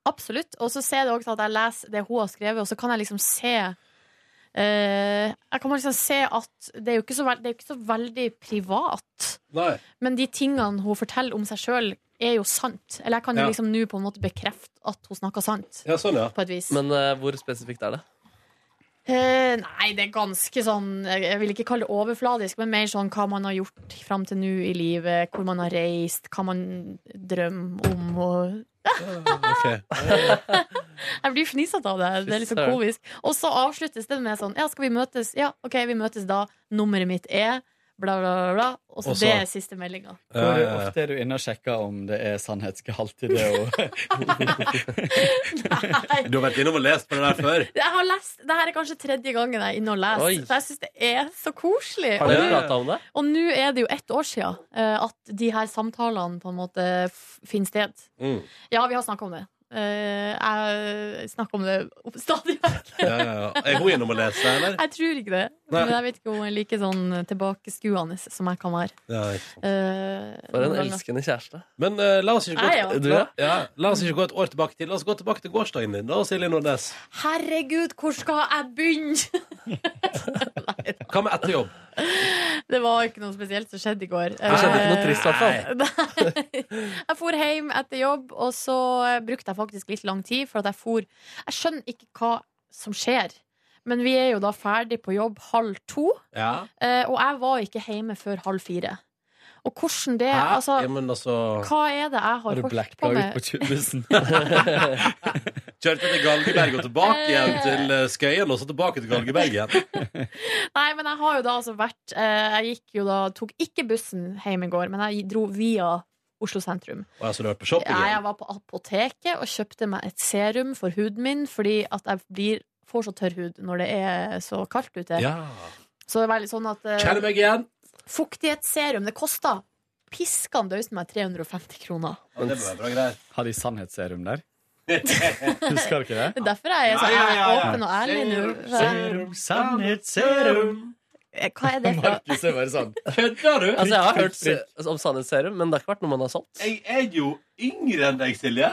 S2: Absolutt. Og så ser jeg det også at jeg leser det hun har skrevet, og så kan jeg liksom se eh, Jeg kan liksom se at det er jo ikke så, vel- det er jo ikke så veldig privat.
S1: Nei.
S2: Men de tingene hun forteller om seg sjøl, er jo sant. Eller jeg kan jo
S5: Ja.
S2: liksom nå på en måte bekrefte at hun snakker sant.
S1: Ja, sånn, ja.
S2: På et vis.
S5: Men eh, hvor spesifikt er det?
S2: Eh, nei, det er ganske sånn Jeg vil ikke kalle det overfladisk, men mer sånn hva man har gjort fram til nå i livet. Hvor man har reist, hva man drømmer om og Jeg blir fnisete av det. Det er liksom
S11: Fy søren.
S2: komisk. Og så avsluttes det med sånn Ja, skal vi møtes? Ja, OK, vi møtes da. Nummeret mitt er bla, bla, bla. bla. Og så
S11: Og så-
S2: det er siste meldinga.
S11: Hvor ofte er du inne og sjekker om det er sannhetsgehalt i det? Og...
S1: Du har vært innom og lest på det der før.
S2: Jeg har lest, det her er kanskje tredje gangen jeg er inne og
S1: Oi.
S2: leser. For jeg syns det er så koselig.
S5: Har dere
S2: Og nå-
S5: pratet om det?
S2: Og nå er det jo ett år siden eh, at de her samtalene på en måte f- finner sted.
S1: Mm.
S2: Ja, vi har snakka om det. Eh, jeg snakker om det opp- stadig vekk.
S1: Ja, ja, ja. Er hun innom og leser, eller?
S2: Jeg tror ikke det.
S1: Nei.
S2: Men jeg vet ikke om jeg er like sånn tilbakeskuende som jeg kan være.
S1: Ja,
S2: Eh,
S5: For en
S2: noen ganger.
S5: elskende kjæreste.
S1: Men eh, la, oss ikke gå,
S2: Jeg, ja.
S1: la, ja, la oss ikke gå et år tilbake til. La oss gå tilbake til gårsdagen din, da, Silje Nordnes.
S2: Herregud, hvor skal jeg begynne?
S1: Hva med etter jobb?
S2: Det var ikke noe spesielt som skjedde i går. Eh,
S1: Det skjedde ikke noe trist, i hvert fall.
S2: Jeg for hjem etter jobb, og så eh, brukte jeg faktisk litt lang tid, for at jeg for Jeg skjønner ikke hva som skjer, men vi er jo da ferdig på jobb halv to,
S1: Ja.
S2: eh, og jeg var ikke hjemme før halv fire. Og hvordan det
S1: Hæ?
S2: Altså,
S1: ja, men altså
S2: hva er det jeg har holdt på med?
S1: tjuvbussen? Kjørte til Galgeberg og tilbake igjen til eh, Skøyen, og så tilbake til Galgeberg igjen.
S2: Nei, men jeg har jo da altså vært eh, Jeg gikk jo da, tok ikke bussen hjem i går, men jeg dro via Oslo sentrum.
S1: Og jeg så du har vært på shopping
S2: Ja, jeg
S1: igjen.
S2: var på apoteket og kjøpte meg et serum for huden min, fordi at jeg blir, får så tørr hud når det er så kaldt ute.
S1: Ja.
S2: Så det var litt sånn at eh,
S1: Kjenner meg igjen.
S2: Fuktighetsserum, det kosta piskan døysen meg 350 kroner.
S1: Ja, det var bra greier.
S11: Har de sannhetsserum der? Husker du ikke det?
S2: Det er derfor jeg er så
S11: Ja, ja, ja, ja.
S2: åpen og ærlig nå.
S11: Serum, sannhetsserum.
S2: Eh, Hva er det for
S11: Markus er bare sånn.
S1: Kødder du?
S5: Altså, jeg har hørt
S11: Prikk,
S5: se- om sannhetsserum, men det har ikke vært noe man har solgt.
S1: Jeg er jo yngre enn deg, Silje.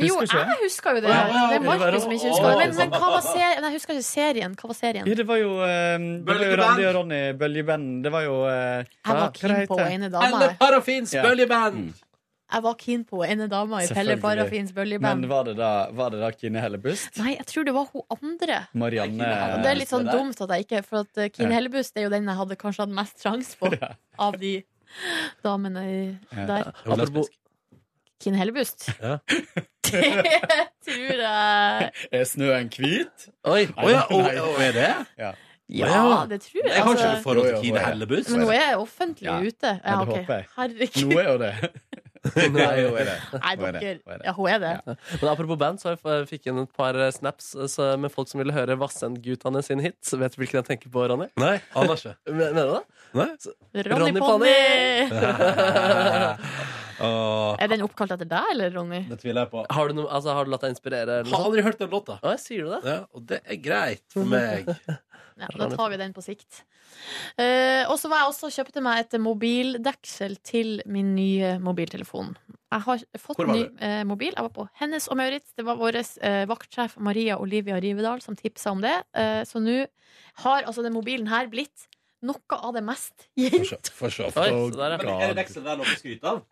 S2: Jo,
S11: Husker ikke
S2: jeg husker jo det.
S11: Å, ja, ja,
S2: Det
S11: ja.
S2: er Markus som ikke husker det. Men, men hva var serien? Nei, Jeg husker ikke serien. Hva var serien?
S11: Ja, det var jo, eh, det var jo
S2: Bølgeband.
S11: Randi og Ronny, Bøljeband. Det var jo eh,
S2: Jeg var
S11: hva- hva
S2: keen
S11: det
S2: på
S11: heter?
S2: ene dama. jeg.
S1: Parafins
S11: Ja.
S1: bøljeband!
S2: Jeg var keen på ene dama i Pelle
S11: Selvfølgelig.
S2: Parafins bøljeband.
S11: Men var det da, var det da Kine Hellebust?
S2: Nei, jeg tror det var hun andre.
S11: Marianne
S2: Det er litt sånn
S11: der?
S2: dumt at jeg ikke For at eh, Kine
S11: Ja.
S2: Hellebust er jo den jeg hadde kanskje hatt mest sjanse på av de damene i- der.
S5: Apropos
S2: Kine Hellebust.
S1: Ja.
S2: Det tror jeg
S11: Er snøen hvit?
S5: Oi,
S1: Å ja, og, og er det?
S11: Ja.
S2: Ja, det tror jeg.
S1: Jeg har ikke
S2: Altså-
S1: noe forhold
S11: Jo,
S1: til Kine
S11: jo,
S1: altså.
S11: jo, ja.
S1: Hellebust.
S2: Men nå er jeg offentlig ute.
S11: Ja,
S2: Ja,
S11: det
S2: ok.
S11: håper jeg.
S2: Herregud.
S11: Nå er jo det. Nå er jo det.
S2: Nei,
S5: Hun er
S2: dere
S5: det. Hun er det.
S2: Ja, hun er det.
S5: Men apropos band, så jeg fikk inn et par snaps eh, så- med folk som ville høre Vassendgutane sin hit. Så Vet du hvilken jeg tenker på, Ronny?
S1: Nei, aner ikke.
S5: Men- Mener du det?
S1: Nei?
S2: Ronny Ponni! Er den oppkalt etter deg, eller, Ronny?
S1: Det tviler jeg på.
S5: Har du, noe, altså, har du latt deg inspirere? eller noe
S1: Har
S5: sånt?
S1: aldri hørt den låta.
S5: Å, jeg sier du det?
S1: Ja, og det er greit for meg.
S2: Ja, da tar vi den på sikt. Eh, og så var jeg også kjøpte meg et mobildeksel til min nye mobiltelefon. Jeg har fått
S12: Hvor var
S2: ny
S12: du?
S2: eh, mobil. Jeg var på Hennes og Maurits. Det var vår eh, vaktsjef Maria Olivia Rivedal som tipsa om det. Eh, så nå har altså den mobilen her blitt noe av det mest jentete
S1: For så
S5: Oi, så der, ja.
S1: Men er det Dexel der noe å skryte av?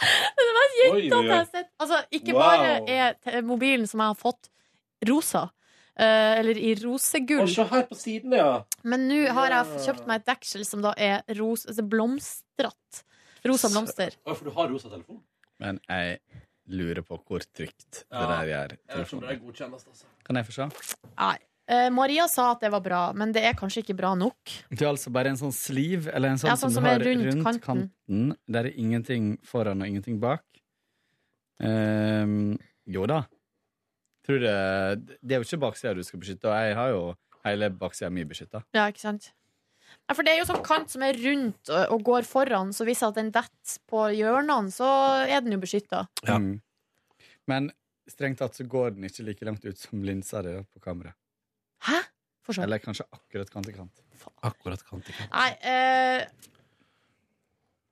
S2: Det mest
S1: Oi, oi,
S2: jentete
S1: oi.
S2: jeg har sett. Altså, ikke
S1: Wow.
S2: bare er te- mobilen som jeg har fått, rosa. eh, eller i rosegull.
S1: Og se her på siden, ja.
S2: Men nå har jeg
S1: Ja.
S2: kjøpt meg et deksel som da er ros, altså blomstrat. Rosa blomster.
S1: Å, For du har rosa telefon?
S11: Men jeg lurer på hvor trygt det der gjør.
S1: Jeg vet ikke om det er godkjennest, altså.
S11: Kan jeg få se?
S2: Nei. Eh, Maria sa at det var bra, men det er kanskje ikke bra nok.
S11: Det er altså bare en sånn sliv, eller en sånn,
S2: Ja, sånn
S11: som
S2: som
S11: du
S2: er
S11: har rundt,
S2: rundt
S11: kanten.
S2: kanten.
S11: Der er ingenting foran og ingenting bak. Ehm, jo da. Tror det, det er jo ikke baksida du skal beskytte, og jeg har jo hele baksida mi beskytta.
S2: Ja, ikke sant? Ja, for det er jo sånn kant som er rundt og, og går foran, så hvis at den detter på hjørnene, så er den jo beskytta.
S11: Mm. Men strengt tatt så går den ikke like langt ut som linsa di på kamera.
S2: Hæ? Forstå.
S11: Eller kanskje akkurat kant til kant.
S1: Akkurat kant til kant.
S2: Nei eh,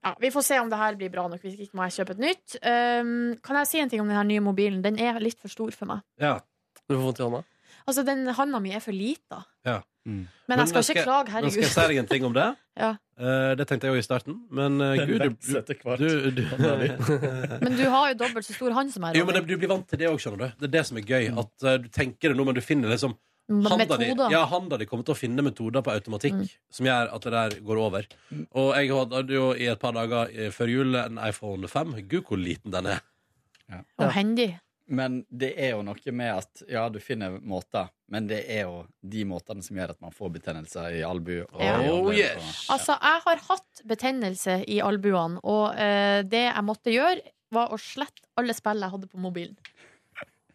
S2: ja, Vi får se om det her blir bra nok. Hvis ikke må jeg kjøpe et nytt. Um, kan jeg si en ting om den her nye mobilen? Den er litt for stor for meg.
S1: Ja.
S5: Du får vondt i hånda?
S2: Altså, den Handa mi er for lita.
S1: Ja.
S12: Mm.
S2: Men jeg skal ikke klage, herregud.
S1: Men skal jeg si deg en ting om det?
S2: Ja.
S1: Eh, det tenkte jeg òg i starten, men eh,
S11: Den
S1: gud du-
S11: vokser etter hvert.
S1: du, du,
S2: Men du har jo dobbelt så stor hånd som jeg.
S1: Mm. Jo, men det, du blir vant til det òg, skjønner du. Det er det som er gøy. At eh, du tenker det nå, men du finner liksom Handa di,
S2: Metoder. Mm.
S1: ja, handa di kommer til å finne metoder på automatikk som gjør at det der går over. Og jeg hadde jo i et par dager eh, før jul en iPhone 5. Gud, hvor liten den er.
S2: Og handy.
S11: Men det er jo noe med at ja, du finner måter, men det er jo de måtene som gjør at man får betennelser i albu. Og
S1: Ja.
S11: i håndledd
S1: Oh,
S11: og-
S1: yes.
S2: Altså, jeg har hatt betennelse i albuene, og eh, det jeg måtte gjøre, var å slette alle spill jeg hadde på mobilen.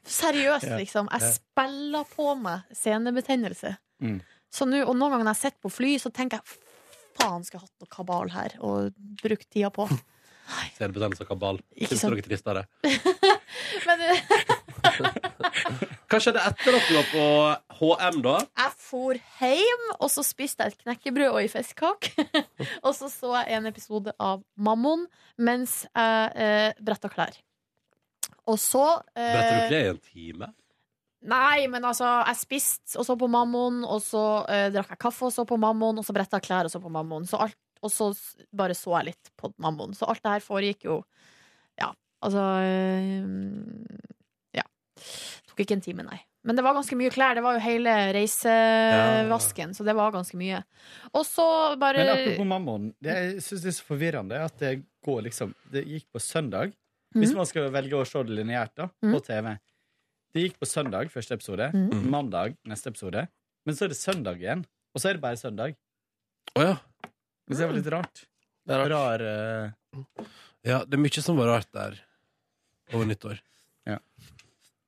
S2: Seriøst,
S12: Ja.
S2: liksom.
S12: Ja.
S2: Jeg spiller på meg senebetennelse.
S12: Mm.
S2: Så nå, og noen ganger når jeg sitter på fly, så tenker jeg faen, skulle jeg hatt noe kabal her og brukt tida på.
S1: Selbetennelse og kabal.
S2: Ikke
S1: Syns
S2: sant.
S1: dere tristere?
S2: Men eh,
S1: Hva skjedde etter at du var på HM, da?
S2: jeg for hjem, og så spiste jeg et knekkebrød og ei fiskekake. og så så jeg en episode av Mammon mens jeg eh, bretta klær. Og så eh,
S1: Bretter du ikke det i en time?
S2: Nei, men altså, jeg spiste og så på Mammon, og så eh, drakk jeg kaffe og så på Mammon, og så bretta jeg klær og så på Mammon. Så alt, og så s- bare så jeg litt på Mammon. Så alt det her foregikk jo Ja, altså eh, Ja. Tok ikke en time, nei. Men det var ganske mye klær. Det var jo hele reisevasken, så det var ganske mye. Og så bare
S11: Men apropos mammon, det jeg synes det er så forvirrende at det går liksom Det gikk på søndag. Hvis
S12: Mhm.
S11: man skal velge å se det lineært, da, på TV. Det gikk på søndag, første episode.
S12: Mhm.
S11: Mandag, neste episode. Men så er det søndag igjen. Og så er det bare søndag.
S1: Å ja.
S11: Men så er det litt rart.
S1: Det er
S11: Rar eh,
S1: Ja, det er mye som var rart der over nyttår.
S11: Ja.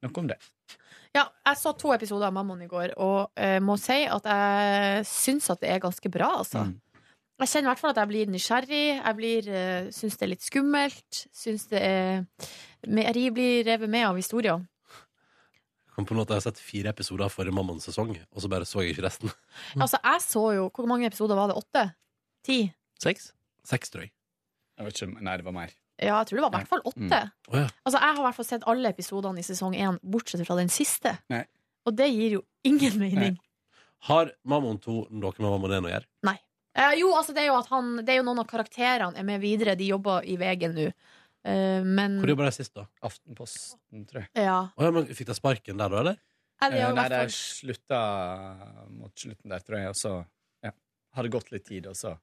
S11: Nok om det.
S2: Ja, jeg så to episoder av Mammon i går, og eh, må si at jeg syns at det er ganske bra, altså.
S11: Mm.
S2: Jeg kjenner i hvert fall at jeg blir nysgjerrig, jeg blir, eh, syns det er litt skummelt, syns det er mer, Jeg blir revet med av historier.
S1: Kom på noe at jeg har sett fire episoder av forrige Mammon-sesong, og så bare så jeg ikke resten.
S11: Mm.
S2: Altså, jeg så jo Hvor mange episoder var det? Åtte? Ti?
S1: Seks? Seks, tror jeg.
S11: Jeg vet ikke, om- nei, det var mer.
S2: Ja, jeg tror det var i hvert fall åtte.
S11: Mm.
S2: Altså, jeg har i hvert fall sett alle episodene i sesong én, bortsett fra den siste.
S11: Nei.
S2: Og det gir jo ingen mening.
S1: Har Mammon 2 noe med Mammon 1 å gjøre?
S2: Nei. Eh, jo, altså, det er jo at han Det er jo noen av karakterene er med videre. De jobber i VG nå. Eh, men
S1: Hvor jobba de sist, da?
S11: Aftenposten, tror jeg.
S2: Ja.
S1: Å ja, men fikk de sparken der, da, eller?
S2: Ja, det er jo
S11: Eh,
S2: i
S11: Nei,
S2: hvert
S11: det
S2: fall-
S11: er slutta mot slutten der, tror jeg. Og så ja. har det gått litt tid, og så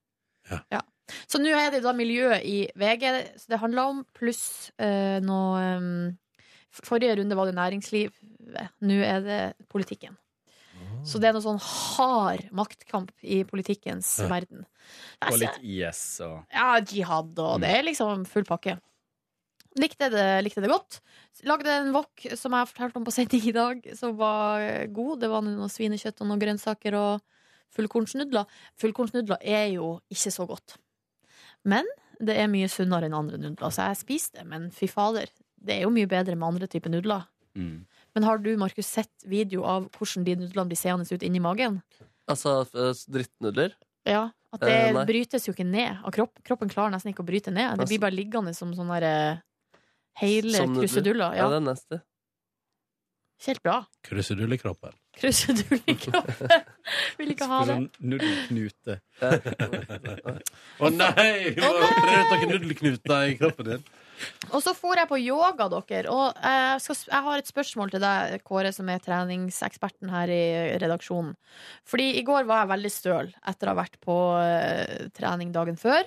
S2: Så nå er det da miljøet i VG Så det handler om, pluss eh, noe eh, Forrige runde var det næringsliv. Nå er det politikken. Så det er noe sånn hard maktkamp i politikkens
S11: Ja.
S2: verden.
S11: Og
S2: Altså,
S11: litt IS og
S2: Ja, jihad, og det er liksom full pakke. Likte det, likte det godt. Lagde en wok som jeg fortalte om på sending i dag, som var god. Det var noe svinekjøtt og noen grønnsaker og fullkornsnudler. Fullkornsnudler er jo ikke så godt. Men det er mye sunnere enn andre nudler, så jeg spiste det. Men fy fader, det er jo mye bedre med andre typer nudler.
S11: mm.
S2: Men har du, Markus, sett video av hvordan de nudlene blir seende ut inni magen?
S5: Altså f- drittnudler?
S2: Ja, at det
S5: Eh, nei.
S2: brytes jo ikke ned av kropp. Kroppen klarer nesten ikke å bryte ned. Det
S5: Altså-
S2: blir bare liggende som sånne der, eh, hele
S5: Som nudler.
S2: kruseduller. Ja.
S5: Ja, det er nasty.
S2: Ikke Helt bra.
S1: Krusedull i kroppen.
S2: Krusedull i kroppen. Vil ikke ha det.
S11: sånn nudelknute.
S1: Å nei! Vi må operere ut noen nudelknuter i kroppen din.
S2: Og så for jeg på yoga, dere. Og eh, jeg, skal, jeg har et spørsmål til deg, Kåre, som er treningseksperten her i redaksjonen. Fordi i går var jeg veldig støl etter å ha vært på eh, trening dagen før.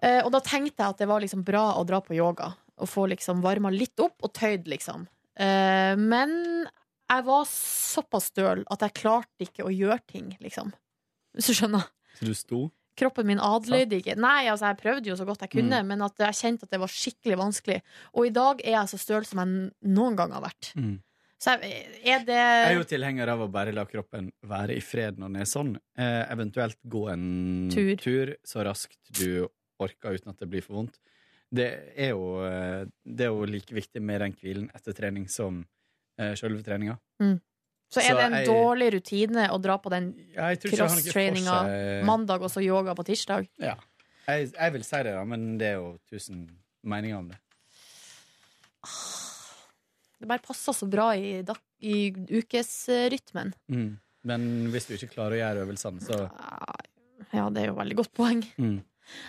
S2: Eh, og da tenkte jeg at det var liksom bra å dra på yoga og få liksom varma litt opp og tøyd, liksom. Eh, men jeg var såpass støl at jeg klarte ikke å gjøre ting, liksom. Hvis du skjønner?
S11: Så du sto?
S2: Kroppen min adlød ikke. Nei, altså, jeg prøvde jo så
S11: Mm.
S2: godt jeg kunne, men at jeg kjente at det var skikkelig vanskelig. Og i dag er jeg så støl som jeg n- noen gang har vært. Så jeg, er det
S11: Mm. Jeg er jo tilhenger av å bare la kroppen være i fred når den er sånn. Eh, eventuelt gå en
S2: Tur.
S11: tur. så raskt du orker uten at det blir for vondt. Det er jo, eh, det er jo like viktig med den hvilen etter trening som eh, sjølve treninga.
S2: Mm. Så er
S11: Så
S2: det en
S11: jeg-
S2: dårlig rutine å dra på den
S11: Ja, jeg tror ikke jeg har noe for
S2: cross-traininga
S11: seg-
S2: mandag og så yoga på tirsdag?
S11: Ja. Jeg, jeg vil si det, da, men det er jo tusen meninger om det.
S2: Det bare passer så bra i, dag- i ukesrytmen.
S11: Mm. Men
S2: Ah,
S11: hvis du ikke klarer å gjøre øvelsene, så
S2: Ja, det er jo veldig godt poeng.
S11: Mm.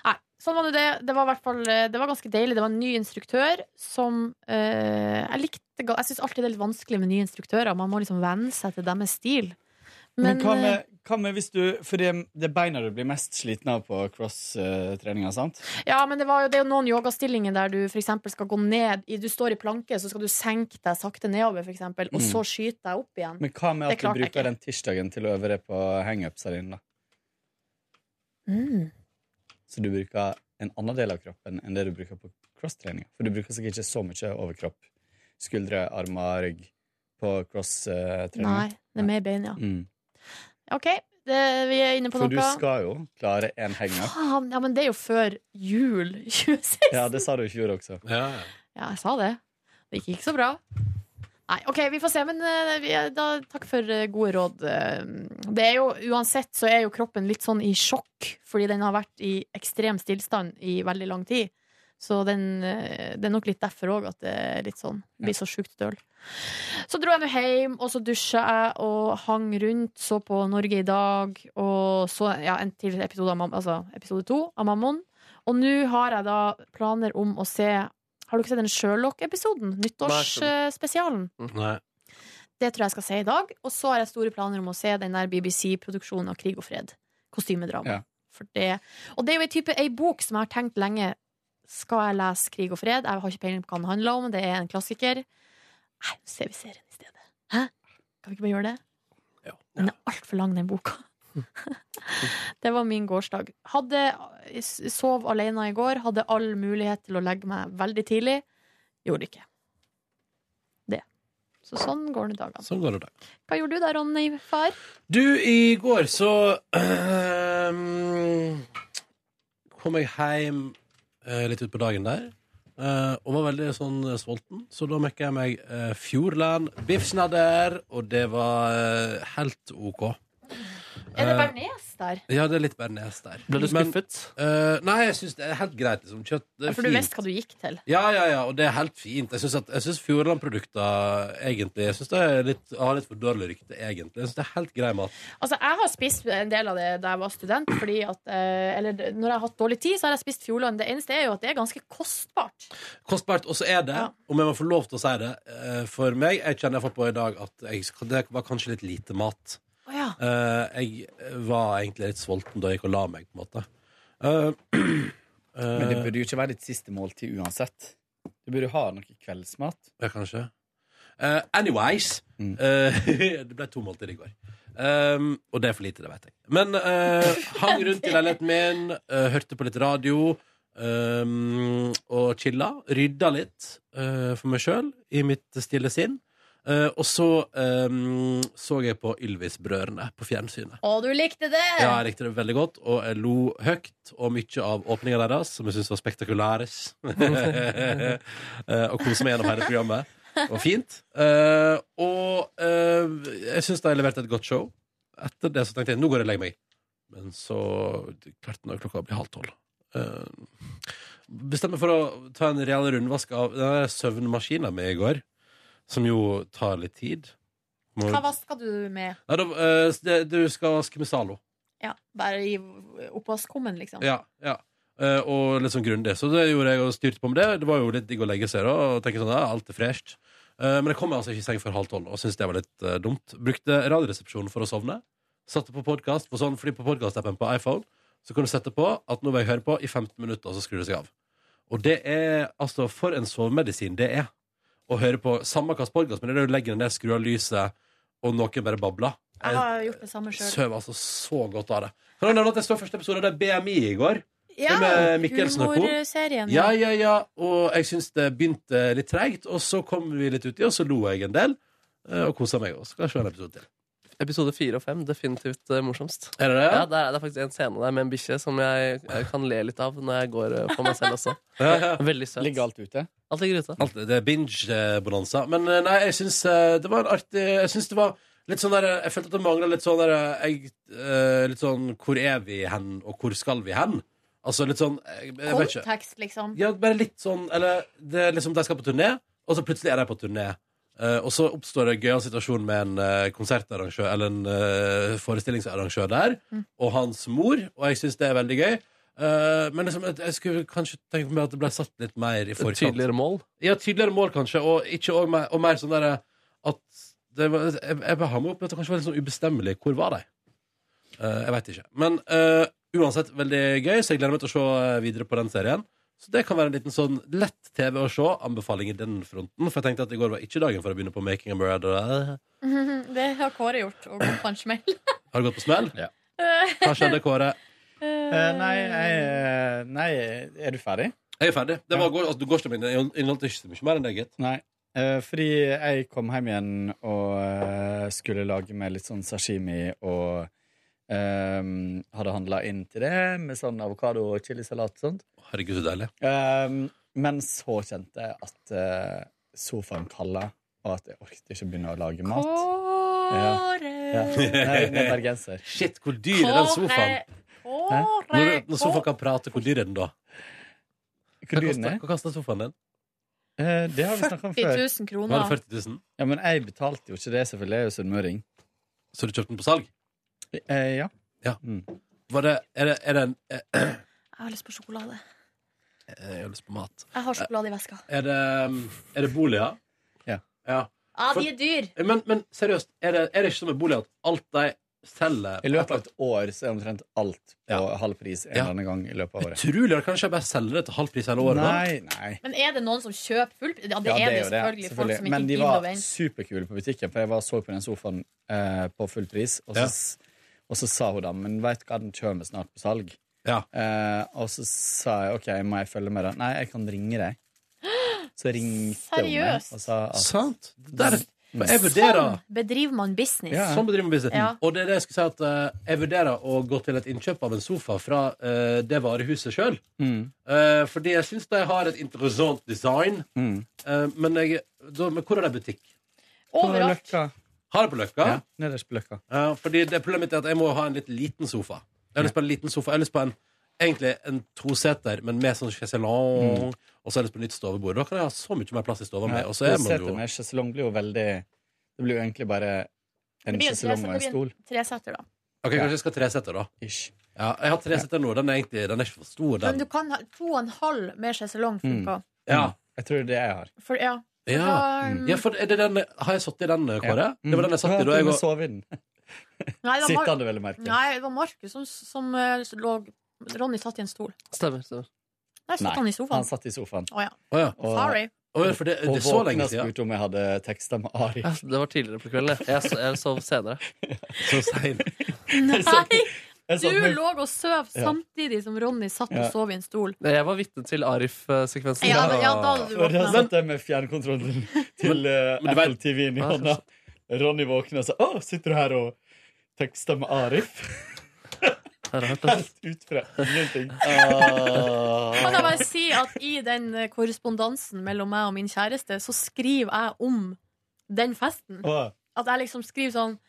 S2: Nei, Sånn var nå det. Det var, i hvert fall, eh, det var ganske deilig. Det var en ny instruktør som eh, Jeg likte ga- Jeg syns alltid det er litt vanskelig med nye instruktører. Man må liksom venne seg til deres stil.
S11: Men, hva,
S2: eh,
S11: med, hva med hvis du For det, det er beina du blir mest sliten av på cross-treninga, sant?
S2: Ja, men det, var jo, det er jo noen yogastillinger der du for eksempel skal gå ned i- Du står i planke, så skal du senke deg sakte nedover, for eksempel, og
S11: Mm.
S2: så skyte deg opp igjen.
S11: Men hva med
S2: Det
S11: at du
S2: klarte jeg
S11: bruker
S2: ikke.
S11: den tirsdagen til å øve deg på hangupsa dine, da?
S2: Mm.
S11: Så du bruker en annen del av kroppen enn det du bruker på cross-treninga. For du bruker sikkert ikke så mye overkropp. Skuldre, armer, rygg på eh,
S2: Nei,
S11: cross-treninga.
S2: det er mer bein, ja.
S11: Mm.
S2: OK, det, vi er inne på
S11: For du
S2: noe.
S11: skal jo klare en hangup.
S2: Faen, ja, men det er jo før jul 2016.
S11: Ja, det sa du i fjor også.
S2: Ja, jeg sa det. Det gikk ikke så bra. Nei, OK, vi får se. Men eh, vi, er- da, takk for eh, gode råd. Eh, Det er jo, uansett så er jo kroppen litt sånn i sjokk, fordi den har vært i ekstrem stillstand i veldig lang tid. Så den, eh, det er nok litt derfor òg at det er litt sånn. Det blir så sjukt døl. Så dro jeg nå hjem, og så dusja jeg og hang rundt, så på Norge i dag, og så ja, en til episode, av Mam altså, episode to av Mammon. Og nå har jeg da planer om å se Har du ikke sett den Sherlock-episoden? Nyttårsspesialen?
S1: Nei.
S2: Det tror jeg jeg skal se i dag. Og så har jeg store planer om å se den der BBC-produksjonen av Krig og fred. Kostymedrama.
S11: Ja.
S2: For det. Og det er jo en type ei bok som jeg har tenkt lenge. Skal jeg lese Krig og fred? Jeg har ikke peiling på hva den handler om. Det er en klassiker. Nei, så ser vi serien i stedet. Hæ? Kan vi ikke bare gjøre det? Den er altfor lang, den boka. det var min gårsdag. Hadde, sov alene i går. Hadde all mulighet til å legge meg veldig tidlig. Gjorde ikke. Det. Så sånn går det dagene.
S1: Sånn går det da.
S2: Hva gjorde du da, Ronny far?
S1: Du, i går så ehm, kom jeg hjem eh, litt utpå dagen der. eh, og var veldig sånn eh, sulten, så da mekka jeg meg eh, Fjordland, biffsnadder, og det var eh, helt OK.
S2: Er det
S1: Eh,
S2: bearnés der?
S1: Ja, det er litt bearnés der.
S5: Ble du
S1: Men,
S5: skuffet?
S1: eh, nei, jeg syns det er helt greit. Liksom. Kjøtt det
S2: Ja,
S1: er
S2: for du
S1: fint.
S2: visste hva du gikk til.
S1: Ja, ja, ja, og det er helt fint. Jeg syns, at, jeg synes Fjordland-produkter egentlig Jeg synes det er litt, har litt for dårlig rykte, egentlig. Jeg syns det er helt grei mat.
S2: Altså, jeg har spist en del av det da jeg var student, fordi at eh, Eller når jeg har hatt dårlig tid, så har jeg spist Fjordland. Det eneste er jo at det er ganske kostbart.
S1: Kostbart. Og så er det, om jeg må få lov til å si det, eh, for meg Jeg kjenner iallfall på i dag at jeg, sk- det var kanskje litt lite mat.
S2: Å ja.
S1: Eh, Jeg var egentlig litt sulten da jeg gikk og la meg, på en måte. Eh,
S11: Men det burde jo ikke være ditt siste måltid uansett. Du burde ha noe kveldsmat.
S1: Ja, kanskje. Eh, anyways eh, Det ble to måltider i går. Um, og det er for lite, det vet jeg. Men eh, hang rundt i leiligheten min, eh, hørte på litt radio um, og chilla. Rydda litt eh, for meg sjøl, i mitt stille sinn. Eh, og så um, så jeg på Ylvis-brødrene på fjernsynet.
S2: Å, du likte det!
S1: Ja, jeg likte det veldig godt, og jeg lo høyt og mye av åpninga deres, som jeg syntes var spektakulæres. Eh, og koste meg gjennom hele programmet. Det var fint. Eh, og eh, jeg syns de leverte et godt show. Etter det så tenkte jeg nå går jeg og legger meg. Men så klarte nå klokka å bli halv tolv. Eh, bestemte meg for å ta en real rundvask av den der søvnmaskina mi i går, som jo tar litt tid. Må-
S2: Hva vaska du med?
S1: Nei, da, eh, det- du skal vaske med Zalo.
S2: Ja, bare i oppvaskkummen, liksom.
S1: Ja, ja. Eh, og litt sånn grundig. Så det gjorde jeg og styrte på med det. Det var jo litt digg å legge seg da og tenke sånn ja, alt er fresht. Eh, men jeg kom meg altså ikke i seng før halv tolv og syntes det var litt eh, dumt. Brukte Radioresepsjonen for å sovne. Satte på podkast, for sånn, fordi på podkastappen på iPhone så kan du sette på at nå vil jeg høre på i 15 minutter, og så skrur det seg av. Og det er altså for en sovemedisin det er å høre på samme hvilken podkast, men det er det du legger den ned, skrur av lyset, og noen bare babler.
S2: Jeg har gjort det samme sjøl.
S1: Søv altså så godt av det. Kan jeg nevne at jeg så første episode av det BMI i går?
S2: Ja,
S1: det med Mikkelsen og co.
S2: humorserien,
S1: Ja,
S2: ja.
S1: ja, ja. Og jeg syns det begynte litt treigt, og så kom vi litt uti, og så lo jeg en del. eh, Og kosa meg også. Skal jeg se en episode til.
S5: Episode fire og fem, definitivt eh, morsomst.
S1: Er det det?
S5: Ja, der er det faktisk en scene der med en bikkje som jeg, jeg kan le litt av når jeg går eh, for meg selv også.
S1: Ja, ja.
S5: Veldig søt.
S11: Ligger alt ute?
S5: Alt ligger ute.
S1: Alt, det er binge-bonanza. Men eh, nei, jeg syns eh, det var en artig Jeg syns det var litt sånn der eh, Jeg følte at det mangla litt sånn der eh, jeg, eh, Litt sånn Hvor er vi hen, og hvor skal vi hen? Altså litt sånn jeg, jeg vet ikke.
S2: Kontekst, liksom.
S1: Ja, bare litt sånn Eller det er liksom de skal på turné, og så plutselig er de på turné. Eh, og så oppstår det en gøyal situasjon med en eh, konsertarrangør eller en eh, forestillingsarrangør der, og hans mor, og jeg syns det er veldig gøy. Eh, men liksom, jeg- jeg skulle kanskje tenke meg at det ble satt litt mer i forkant.
S5: Tydeligere mål?
S1: Ja, tydeligere mål, kanskje. Og, ikke, og, mer, og mer sånn derre at det var, Jeg, jeg bare har meg opp i at det kanskje var litt sånn ubestemmelig. Hvor var de? Eh, jeg veit ikke. Men eh, uansett veldig gøy, så jeg gleder meg til å se eh, videre på den serien. Så det kan være en liten sånn lett TV å se. Anbefaling i den fronten. For jeg tenkte at i går var ikke dagen for å begynne på Making a Murder. Har
S2: Det har Kåre gjort, og gått på en smell.
S1: du gått på smell? Hva skjedde, Kåre?
S11: Eh, nei, jeg, eh, nei, er du ferdig?
S1: Jeg er ferdig. Det var går, altså, du går ikke min, jeg inneholdt ikke så mye mer enn deg, gitt.
S11: Nei. Eh, fordi jeg kom hjem igjen og eh, skulle lage meg litt sånn sashimi og ehm, hadde handla inn til det med sånn avokado og chilisalat og sånt.
S1: Herregud, så deilig.
S11: Ehm, men så kjente jeg at eh, sofaen kalla, og at jeg orket ikke begynne å lage mat. Kåre! Ja. Ja. Jeg er bergenser.
S1: Shit, hvor dyr er den sofaen?
S11: Hæ?
S1: Når, du- når sofaen kan prate, hvor dyr er den da?
S11: Hvor dyr
S1: koster-
S11: den er?
S1: Hva koster sofaen din?
S11: Eh, det har vi snakka om
S2: 40
S11: før.
S2: 000 kroner. Var det
S1: 40 000?
S11: Ja, men jeg betalte jo ikke det, selvfølgelig. Jeg er jo sunnmøring.
S1: Så du kjøpte den på salg?
S11: Eh, ja.
S1: Ja. Var det, er det, er det en eh,
S2: Jeg har lyst på sjokolade.
S1: Jeg har lyst på mat.
S2: Jeg har sjokolade i veska.
S1: Er det, um, er det boliger?
S11: Ja.
S2: Ja, de er dyr.
S1: Men, men seriøst, er det, er det ikke som med boliger at alt de selger
S11: I løpet av et år så er omtrent alt på halv pris en
S1: Ja.
S11: eller annen gang i løpet av året.
S1: Utrolig at kanskje jeg bare selger det til halv pris hele året. da?
S11: Nei, nei.
S2: Men er det noen som kjøper full Ja, det er
S11: Ja,
S2: det jo
S11: jo
S2: selvfølgelig. Folk som ikke
S11: Men de
S2: gidder å
S11: var
S2: vente.
S11: superkule på butikken, for jeg var og så på den sofaen eh, på full pris, og så, og så sa hun da, men vet du hva, den kommer snart på salg. Eh, og så sa jeg, ok, må jeg følge med da? Nei, jeg kan ringe deg. Så ringte hun meg
S2: Seriøst?
S11: og sa at...
S1: Sant? Der,
S11: Mm.
S1: jeg vurderer
S2: Sånn bedriver man business.
S1: Sånn bedriver man business.
S2: Ja.
S1: Og det er det jeg skulle si at eh, jeg vurderer å gå til et innkjøp av en sofa fra eh, det varehuset sjøl.
S11: Mm.
S1: fordi jeg syns de har et interessant design.
S11: Mm.
S1: Eh, men, jeg, da, men hvor er det butikk?
S2: Overalt.
S1: Har det på Løkka?
S11: Ja, nederst på Løkka.
S1: Ja, fordi det Problemet mitt er at jeg må ha en litt liten sofa. Jeg har lyst på en liten sofa. Jeg har lyst på en Egentlig en toseter, men med sånn chaiselong.
S11: Mm.
S1: Og så har jeg lyst på nytt stovebord. Da kan jeg ha så mye mer plass i stova mi.
S11: Ja,
S1: Og så er man
S11: setet
S1: jo
S11: med sjeselong blir jo veldig Det blir jo egentlig bare
S2: Det
S11: en
S2: blir jo
S11: sjeselong og en
S2: tresetter,
S11: stol.
S2: det blir en tresetter, da.
S1: Ok, Kanskje jeg skal ha tresetter, da. Ja, jeg har tresetter nå. Den er egentlig den er ikke for stor,
S2: Men
S1: den.
S2: du kan ha to og en halv med sjeselong funka.
S1: Ja.
S11: Mm. Jeg tror det er det jeg har.
S2: For ja.
S1: Ja.
S2: Mm.
S1: ja, for er det den, Har jeg sittet i den, Kåre? Det var den jeg satt i da
S11: Mm. Ja, til og
S1: jeg
S11: med sove i den.
S2: Nei, det var Mar-
S11: Sittende, vel å merke.
S2: Nei, det var Markus som, som eh, lå Ronny satt i en stol.
S5: Stemmer. stemmer.
S2: Der satt han i sofaen.
S11: han satt i sofaen.
S2: Å ja.
S1: Å, ja.
S2: Sorry.
S1: Å, ja, for det- det er
S11: og
S1: så lenge
S11: våkna og
S1: siden.
S11: spurte om jeg hadde teksta med Ari.
S5: Ja, det var tidligere på kvelden. det. Jeg, so- jeg sov senere.
S1: Så sein.
S2: Nei!
S5: jeg
S2: Du
S5: satt med-
S2: lå og sov
S5: Ja.
S2: samtidig som Ronny satt og
S5: Ja.
S2: sov i en stol.
S5: Jeg var vitne til Arif-sekvensen.
S2: Ja, da- ja, da hadde du
S11: For jeg
S2: våkna.
S11: satt der med fjernkontrollen til eh, Apple TV-en i
S1: Ah,
S5: Ja,
S11: hånda. Ronny våkna og sa 'Å, sitter du her og tekster med Arif?'
S5: altså.
S11: Helt ut fra ingenting.
S1: Ah.
S2: Kan jeg bare si at i den eh, korrespondansen mellom meg og min kjæreste, så skriver jeg om den festen.
S11: Åh.
S2: At jeg liksom skriver sånn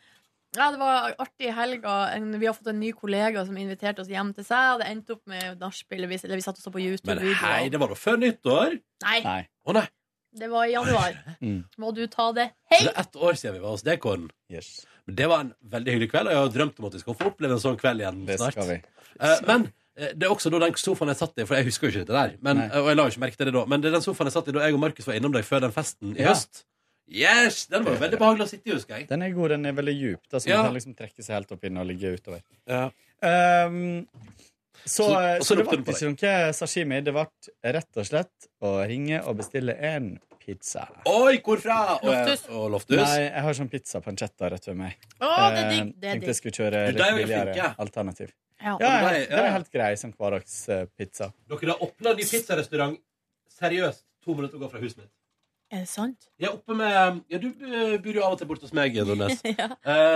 S2: ja, Det var artig i helga. En- Vi har fått en ny kollega som inviterte oss hjem til seg. Og det endte opp med nachspiel. Vi, eller vi satt og så på
S1: Men
S2: YouTube-videoer.
S1: hei, det var da før nyttår?
S2: Nei. Nei.
S1: Å nei.
S2: Det var i januar.
S11: Mm.
S2: Må du ta det hei?
S1: Det er ett år siden vi var hos deg, Kåren.
S11: Yes.
S1: Men Det var en veldig hyggelig kveld, og jeg har drømt om at vi skal få oppleve en sånn kveld igjen
S11: Det
S1: snart.
S11: skal vi.
S1: Eh, men eh, det er også da den sofaen jeg satt i, for jeg husker jo ikke dette der. Men,
S11: Nei.
S1: eh, og jeg la jo ikke merke til det da Men det er den sofaen jeg satt i da jeg og Markus var innom deg før den festen i
S11: Ja.
S1: høst. Yes! Den var jo veldig behagelig å sitte i, husker jeg.
S11: Den er god, den er veldig djup. Da, så
S1: Ja.
S11: man kan liksom trekke seg helt opp inn og ligge utover.
S1: Ja.
S11: Ehm, så,
S1: Så-
S11: så,
S1: og så
S11: det
S1: lukter den
S11: ble
S1: på
S11: ikke noe sashimi. Det ble rett og slett å ringe og bestille en pizza.
S1: Oi, hvor fra? Og, jeg-
S11: Loftus.
S1: og Loftus.
S11: Nei, jeg har sånn pizzapancetta rett ved meg.
S2: Å, det er digg, det er
S11: Eh,
S2: digg.
S11: Tenkte jeg skulle kjøre
S1: Du,
S11: litt
S1: de er jo
S11: billigere
S1: flinke.
S11: alternativ.
S2: Ja.
S11: Ja,
S1: Men de-
S11: den er
S1: ja.
S11: helt grei som eh, hverdagspizza.
S1: Dere har åpna ny pizzarestaurant seriøst to minutter å gå fra huset mitt.
S2: Er det sant?
S1: Jeg er oppe med Ja, du eh, bor jo av og til borte hos meg, Nordnes.
S2: Ja.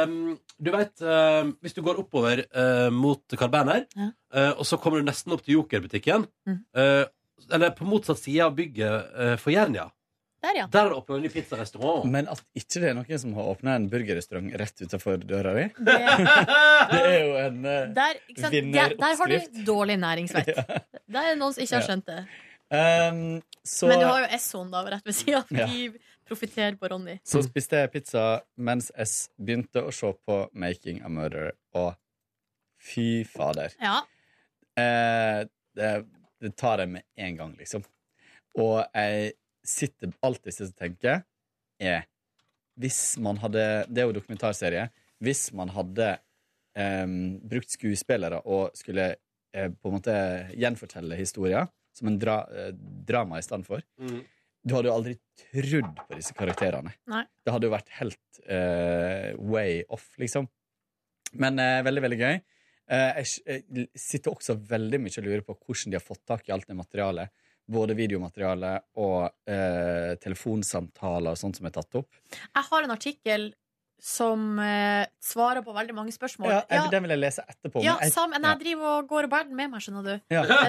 S1: Um, du vet, um, hvis du går oppover uh, mot Carl Berner,
S2: Ja.
S1: uh, og så kommer du nesten opp til Jokerbutikken
S2: Mhm.
S1: uh, Eller på motsatt side av bygget uh, for Jernia.
S2: Der, ja.
S1: Der er det åpna en ny pizzarestaurant.
S11: Men at ikke det er noen som har åpna en burgerrestaurant rett utafor døra di,
S2: Det,
S11: det er jo en eh,
S2: der, ikke sant? Der,
S11: Vinneroppskrift.
S2: der har du dårlig næringsvett. Der er det noen som ikke har
S11: Ja.
S2: skjønt det.
S11: Ehm, så,
S2: Men du har jo Essoen da rett ved sida.
S11: Ja.
S2: De profitterer på Ronny.
S11: så spiste jeg pizza mens jeg begynte å se på Making a Murder, og fy fader.
S2: Ja.
S11: Eh, det, det tar jeg med en gang, liksom. Og jeg sitter alltid sist og tenker er Hvis man hadde Det er jo dokumentarserie. Hvis man hadde eh, brukt skuespillere og skulle eh, på en måte gjenfortelle historier, som en dra, eh, drama i stand for Du hadde jo aldri trodd på disse karakterene.
S2: Nei.
S11: Det hadde jo vært helt eh, way off, liksom. Men eh, veldig, veldig gøy. Eh, jeg, s- jeg sitter også veldig mye og lurer på hvordan de har fått tak i alt det materialet. Både videomateriale og eh, telefonsamtaler og sånt som er tatt opp.
S2: Jeg har en artikkel som eh, svarer på veldig mange spørsmål.
S11: Ja, jeg, Eh, Den vil jeg lese etterpå.
S2: Ja,
S11: men jeg,
S2: sam, nei, jeg driver og går og bærer den med meg, skjønner du.
S11: Ja.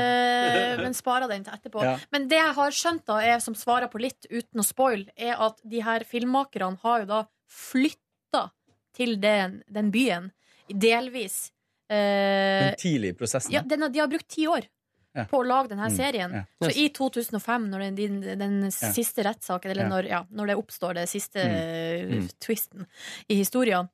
S2: Eh, men sparer den til etterpå.
S11: Ja.
S2: Men det jeg har skjønt, da, er, som svarer på litt uten å spoil, er at de her filmmakerne har jo da flytta til den, den byen, delvis. Eh,
S11: men tidlig i prosessen.
S2: ja, den, har- de har brukt ti år
S11: Ja.
S2: på å lage denne
S11: Mm,
S2: serien.
S11: ja.
S2: Så i 2005, når den, din- den siste rettssaken, eller
S11: Ja.
S2: Når, ja, når det oppstår det siste
S11: Mm.
S2: eh,
S11: Mm.
S2: twisten i historien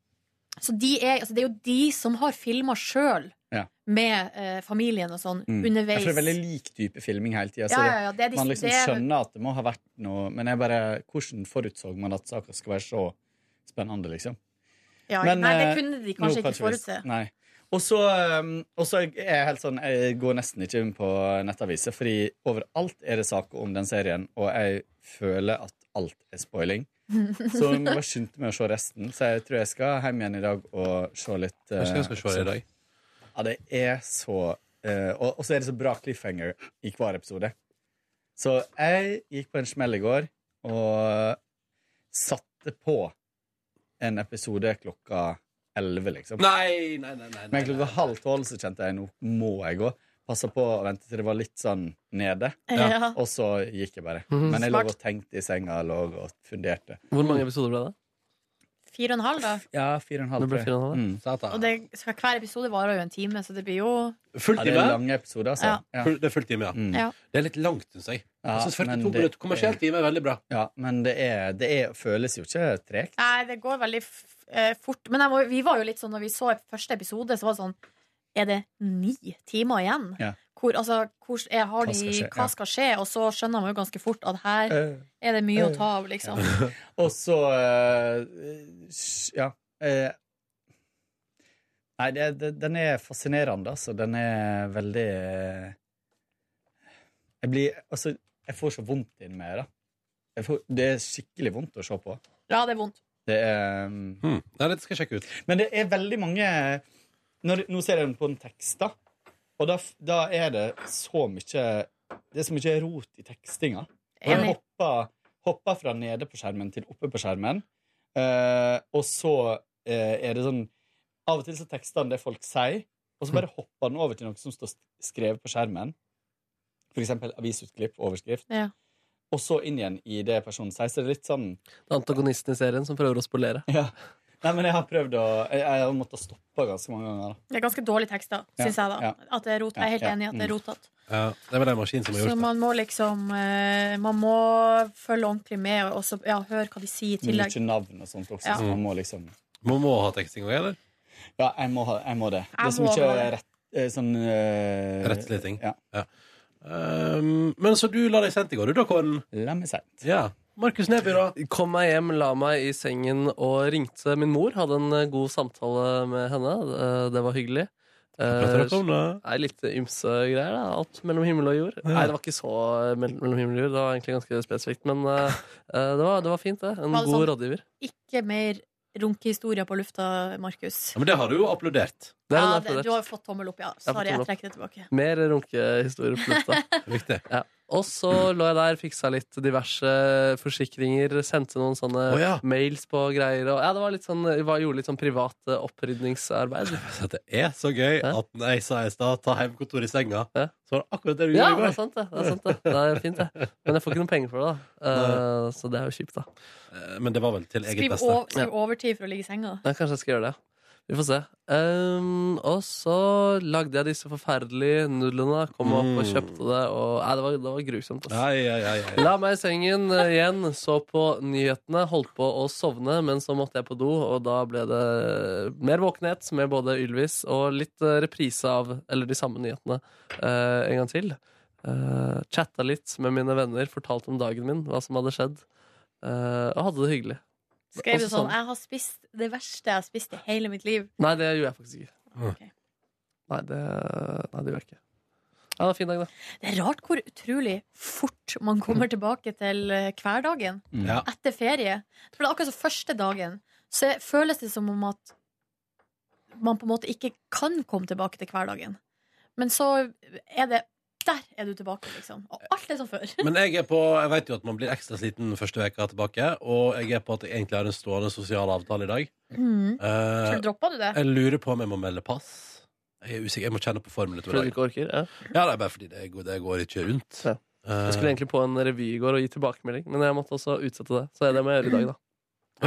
S2: Så de er, altså, det er jo de som har filma sjøl
S11: Ja.
S2: med eh, familien og sånn
S11: Mm.
S2: underveis.
S11: Jeg tror det er veldig lik type filming hele tida.
S2: Ja, ja, ja, det er de-
S11: man liksom
S2: det er-
S11: skjønner at det må ha vært noe Men jeg bare, hvordan forutså man at saker skal være så spennende, liksom?
S2: Ja, nei, det
S11: eh,
S2: kunne de kanskje
S11: nå
S2: ikke
S11: vi-
S2: forutse.
S11: Nei. Og så um, og så er jeg helt sånn Jeg går nesten ikke inn på nettaviser, fordi overalt er det saker om den serien, og jeg føler at alt er spoiling. Så jeg må bare skynde meg å se resten. Så jeg tror jeg skal hjem igjen i dag og se litt. eh,
S1: Hva skal jeg skal se i
S11: episode.
S1: dag?
S11: Ja, det er så eh, Og og så er det så bra cliffhanger i hver episode. Så jeg gikk på en smell i går og satte på en episode klokka elleve, liksom.
S1: Eh, Nei, nei, nei, nei, nei.
S11: Men klokka halv tolv så kjente jeg nå må jeg gå. Passa på å vente til det var litt sånn nede.
S5: Ja.
S11: Og så gikk jeg bare.
S5: Mhm.
S11: Men jeg lå
S5: Smart.
S11: og tenkte i senga lå og funderte.
S5: Hvor mange episoder ble det?
S2: Fire og en halv, da.
S11: Ja, fire og en
S5: Det
S11: halv.
S5: ble
S11: tror jeg.
S5: fire og en halv,
S11: Mm.
S2: Og det, hver episode varer jo en time, så det blir jo
S1: Full
S11: Ja, det er
S1: time?
S11: lange episoder, altså.
S2: Ja.
S11: Ja. Mm.
S1: Full- Det er full time, ja.
S2: Ja.
S1: Det er litt langt, syns jeg.
S11: Ja,
S1: jeg synes 42
S11: men det-
S1: minutter kommersiell time er veldig bra.
S11: Ja, men det, er, det er, føles jo ikke tregt.
S2: Nei, det går veldig f eh, fort. Men jeg må, vi var jo litt sånn når vi så første episode, så var det sånn Er det ni timer igjen?
S11: Ja.
S2: Hvor, altså, hvor er, har
S11: Hva
S2: de,
S11: skal skje?
S2: hva
S11: Ja.
S2: skal skje? Og så skjønner man jo ganske fort at her
S11: Eh,
S2: er det mye å
S11: eh.
S2: ta av, liksom.
S11: Og så eh, s- Ja. eh, nei, det, det, den er fascinerende, altså. Den er veldig eh, Jeg blir Altså, jeg får så vondt inni meg, da. Jeg får, det er skikkelig vondt å se på.
S2: Ja, det er vondt.
S11: Det er um,
S1: Nei, dette skal jeg sjekke ut.
S11: Men det er veldig mange når, Nå ser jeg den på en tekst, da. Og da, f- da er det så mye Det er så mye rot i tekstinga. Man
S2: Enig.
S11: hopper, hopper fra nede på skjermen til oppe på skjermen. Eh, og så eh, er det sånn Av og til så tekster han det folk sier, og så bare hopper han over til noe som står s- skrevet på skjermen. For eksempel avisutklipp, overskrift.
S2: Ja.
S11: Og så inn igjen i det personen sier. Så det er litt sånn
S5: Det er antagonisten i serien som prøver å spolere.
S11: Nei, men jeg har prøvd å Jeg, jeg har måttet stoppe ganske mange ganger. da.
S2: Det er ganske dårlig tekst, da,
S11: Ja,
S2: syns jeg, da.
S11: ja.
S2: At det er rot. Jeg er helt
S11: Ja, ja.
S2: enig i at det er
S11: Mm.
S2: rotete.
S1: Ja, det var den maskinen som har
S2: Så
S1: gjort det.
S2: man må liksom eh, Man må følge ordentlig med, og også, ja, høre hva de sier i tillegg.
S11: Mye navn og sånt også,
S2: Ja.
S11: så man må liksom
S1: Man må ha teksting òg, eller?
S11: Ja, jeg må, ha, jeg må det.
S2: Jeg
S11: det er så
S2: må
S11: mye
S2: ha det.
S11: rett, eh, sånn eh,
S1: Rettsliting.
S11: Ja.
S1: Um, men så du la deg sendt i går, du da, Kåren?
S11: La meg sendt.
S1: Ja. Markus Neby, da?
S5: Kom meg hjem, la meg i sengen og ringte min mor. Hadde en eh, god samtale med henne. Eh, Det var hyggelig. Eh,
S1: prater dere om da?
S5: Nei, litt ymse greier. da Alt mellom himmel og jord. Nei, det var ikke så mell- mellom himmel og jord. Det var egentlig ganske spesifikt. Men eh, eh, det, var, det var fint, det. En
S2: Var det
S5: god
S2: sånn?
S5: rådgiver.
S2: Ikke mer runkehistorier på lufta, Markus.
S1: Ja, men det har du jo applaudert.
S5: Det er en
S2: Ja, det,
S5: applaus.
S2: du har fått tommel opp, ja.
S5: Jeg har fått
S2: Sorry, jeg
S5: tommel opp.
S2: trekker det tilbake.
S5: Mer runkehistorier på lufta.
S1: Riktig.
S5: Ja. Og så lå jeg der, fiksa litt diverse forsikringer, sendte noen sånne
S1: Å, ja.
S5: mails på greier. Og, ja, det var litt sånn, jeg var- gjorde litt sånn privat eh, opprydningsarbeid.
S1: Så det er så gøy at når jeg sa i stad 'ta hjemmekontor i senga', så var det akkurat det du
S5: Ja,
S1: gjorde
S5: altså,
S1: i
S5: det er
S1: går.
S5: sant det. det, er sant det. det er fint, det. Men jeg får ikke noen penger for det, da. Eh, så det er jo kjipt, da.
S1: Eh, Men det var vel til eget
S2: Skriv,
S1: beste.
S2: over, skriv overtid for å ligge i senga.
S5: Ja, kanskje jeg skal gjøre det. ja. Vi får se. Ehm, og så lagde jeg disse forferdelige nudlene. Kom opp og kjøpte det. Og, nei, det, var, det var grusomt. ass. La meg i sengen eh, igjen, så på nyhetene, holdt på å sovne, men så måtte jeg på do, og da ble det mer våkenhet med både Ylvis og litt eh, reprise av eller de samme nyhetene eh, en gang til. Uh, chatta litt med mine venner, fortalte om dagen min, hva som hadde skjedd, eh, og hadde det hyggelig.
S10: Skrev du
S5: Også
S10: sånn 'Jeg har spist det verste jeg har spist i hele mitt liv'.
S5: Nei, det gjorde jeg faktisk ikke.
S10: Ah.
S5: Nei, det, nei, det gjorde jeg ikke. Ja, det var en fin dag, da.
S10: Det er rart hvor utrolig fort man kommer tilbake til eh, hverdagen
S11: Mm.
S5: Ja.
S10: etter ferie. For det er akkurat som første dagen så er- føles det som om at man på en måte ikke kan komme tilbake til hverdagen. Men så er det Der er du tilbake, liksom. Og alt er som før.
S1: Men jeg er på, jeg vet jo at man blir ekstra sliten første veka tilbake, og jeg er på at jeg egentlig har en stående sosial avtale i dag.
S10: Mm.
S1: Eh,
S10: Så droppa du det?
S1: jeg lurer på om jeg må melde pass. Jeg er usikker, jeg må kjenne på formen litt. over
S5: Fordi du ikke orker? Ja,
S1: ja det er bare fordi det går, det går ikke rundt. eh,
S5: Jeg skulle egentlig på en revy i går og gi tilbakemelding, men jeg måtte også utsette det. Så det må jeg gjøre i dag, da.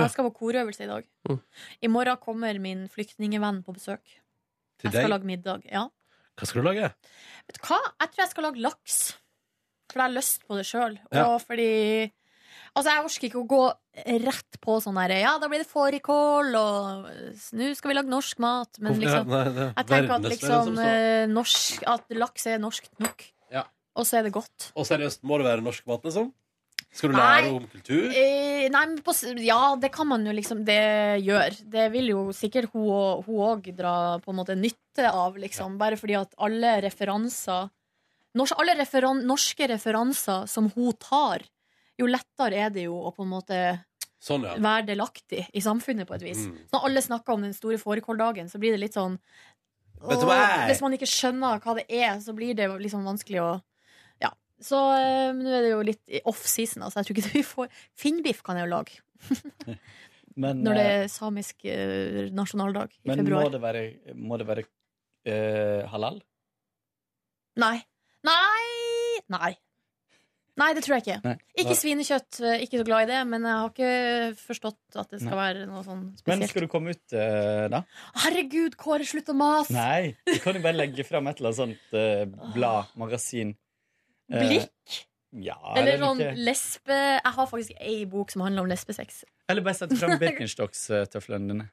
S10: Jeg skal på korøvelse i dag.
S5: Mm.
S10: I morgen kommer min flyktningevenn på besøk.
S1: Til
S10: jeg
S1: deg?
S10: skal lage middag. Ja.
S1: Hva skal du lage?
S10: Vet du hva? Jeg tror jeg skal lage laks. For jeg har lyst på det sjøl.
S1: Ja.
S10: Og fordi Altså, jeg orker ikke å gå rett på sånn her Ja, da blir det fårikål, og s- nå skal vi lage norsk mat. Men
S1: Hvorfor- ja,
S10: liksom
S1: nei, det er
S10: Jeg tenker at
S1: verdens
S10: liksom
S1: verden som
S10: eh, norsk At laks er norsk nok.
S1: Ja.
S10: Og så er det godt.
S1: Og seriøst, må det være norsk mat, liksom? Skal du
S10: eh, Nei.
S1: lære om kultur?
S10: Eh, nei, men på, s- ja, det kan man jo liksom Det gjør. Det vil jo sikkert hun og- hun òg dra på en måte nytte av, liksom. Bare fordi at alle referanser norsk, Alle referan, norske referanser som hun tar, jo lettere er det jo å på en måte
S1: Sånn, ja.
S10: være delaktig i samfunnet, på et vis.
S1: Mm.
S10: Så Når alle snakker om den store fårikåldagen, så blir det litt sånn
S1: Vet du
S10: åh,
S1: hva?
S10: Hvis man ikke skjønner hva det er, så blir det jo liksom vanskelig å ja. Så eh, nå er det jo litt i off-season, altså. Jeg tror ikke vi får Finnbiff kan jeg jo lage
S11: Men,
S10: når det
S11: eh,
S10: er samisk eh, nasjonaldag i
S11: men må
S10: februar.
S11: det være, må det være eh, halal?
S10: Nei. Nei! Nei. Nei, det tror jeg ikke.
S11: Nei.
S10: Ikke svinekjøtt. eh, Ikke så glad i det, men jeg har ikke forstått at det skal
S11: Nei.
S10: være noe sånn
S11: Men
S10: spesielt.
S11: skal du komme ut, eh, da?
S10: Herregud, Kåre, slutt å mase!
S11: Nei, du kan jo bare legge fram et eller annet sånt eh, blad, magasin. Eh,
S10: Blikk?
S11: Ja,
S10: Eller sånn
S11: ikke-
S10: lesbe Jeg har faktisk ei bok som handler om lesbesex.
S11: Eller bare sette fram Birkenstocks-tøflene dine.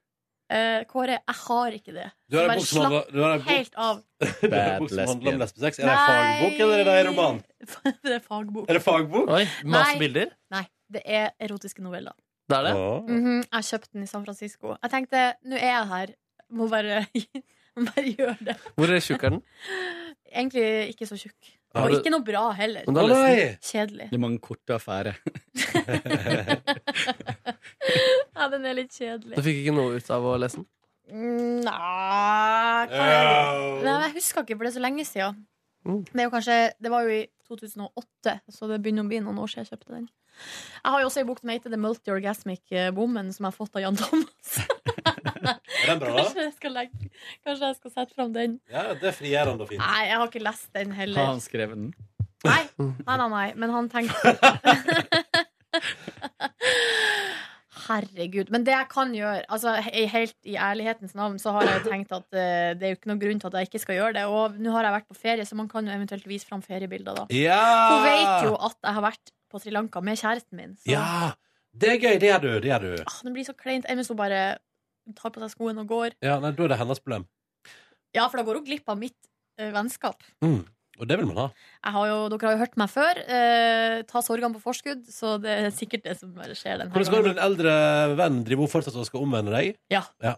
S10: Eh, Kåre, jeg har ikke det.
S11: Du
S10: Så
S11: har en
S10: bare
S11: bok som handler-
S10: slapp
S11: du har en bok-
S10: helt av.
S1: Det er en bok som handler om lesbesex. Er det en
S10: Nei.
S1: fagbok, eller er det en roman?
S10: det er fagbok.
S1: Er det fagbok?
S5: Oi,
S10: masse Nei. bilder? Nei, det er erotiske noveller.
S5: Det er det?
S10: Mhm, jeg kjøpte den i San Francisco. Jeg tenkte, nå er jeg her. Må bare, må bare gjøre det.
S5: Hvor tjukk er den?
S10: Egentlig ikke så tjukk.
S11: Ja,
S10: Og
S11: det-
S10: ikke noe bra heller.
S11: Men da leser
S10: Kjedelig.
S11: Det er mange korte affærer.
S10: Ja, den er litt kjedelig.
S5: Du fikk ikke noe ut av å lese den?
S10: Mm, Nei, hva
S5: Ja.
S10: er det? Nei, jeg husker ikke, for det er så lenge siden.
S5: Mm.
S10: Det, er jo kanskje, det var jo i 2008, så det begynner å bli noen år siden jeg kjøpte den. Jeg har jo også en bok som heter The Multi-Orgasmic eh, Woman, som jeg har fått av Jan Thomas.
S1: Er den bra, da?
S10: Kanskje jeg skal, legge, kanskje jeg skal sette fram den.
S1: Ja, det er frigjørende og fint.
S10: Nei, jeg har ikke lest den
S11: Har
S10: heller.
S11: han skrevet den?
S10: Nei, nei, nei, men han tenkte Herregud. Men det jeg kan gjøre altså, he- Helt i ærlighetens navn så har jeg jo tenkt at eh, det er jo ikke noen grunn til at jeg ikke skal gjøre det. Og nå har jeg vært på ferie, så man kan jo eventuelt vise fram feriebilder, da.
S1: Ja!
S10: Hun vet jo at jeg har vært på Sri Lanka med kjæresten min. Så
S1: Ja! Det er gøy, det er du. Det er du.
S10: Ah, det blir så kleint. Enn hvis hun bare tar på seg skoene og går.
S1: Ja, nei, da er det hennes problem.
S10: Ja, for da går hun glipp av mitt eh, vennskap.
S1: Mm. Og det vil man ha.
S10: Jeg har jo, dere har jo hørt meg før. Eh, ta sorgene på forskudd, så det er sikkert det som bare skjer denne
S1: Hvordan går det med din eldre venn? Driver hun fortsatt og skal omvende deg?
S10: Ja.
S1: ja.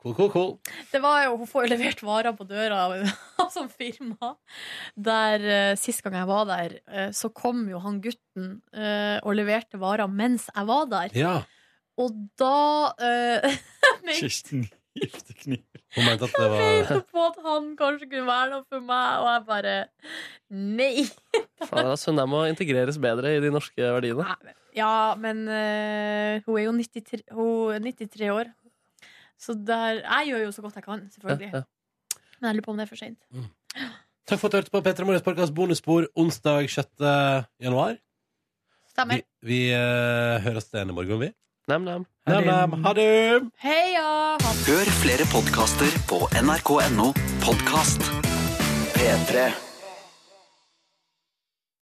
S1: Cool, cool, cool.
S10: Det var jo, Hun får jo levert varer på døra av- som firma. Der eh, Sist gang jeg var der, eh, så kom jo han gutten eh, og leverte varer mens jeg var der.
S1: Ja.
S10: Og da eh, men-
S11: Kirsten Giftekniv.
S1: Hun mente at det
S10: tenkte
S1: var
S10: jeg på at han kanskje kunne være noe for meg, og jeg bare Nei!
S5: Faen, altså, Hun der må integreres bedre i de norske verdiene.
S10: Ja, men eh, hun er jo 93, hun er 93 år. Så der Jeg gjør jo så godt jeg kan, selvfølgelig.
S1: Ja, ja.
S10: Men jeg lurer på om det er for seint.
S1: Takk for at du hørte på P3 Morgens podkast bonusspor onsdag 6. januar.
S10: Stemmer.
S1: Vi eh, høres igjen i morgen, vi.
S5: Nam-nam.
S1: Ha det!
S13: Heia! Ha
S6: Hør flere podkaster på nrk.no podkast. P3.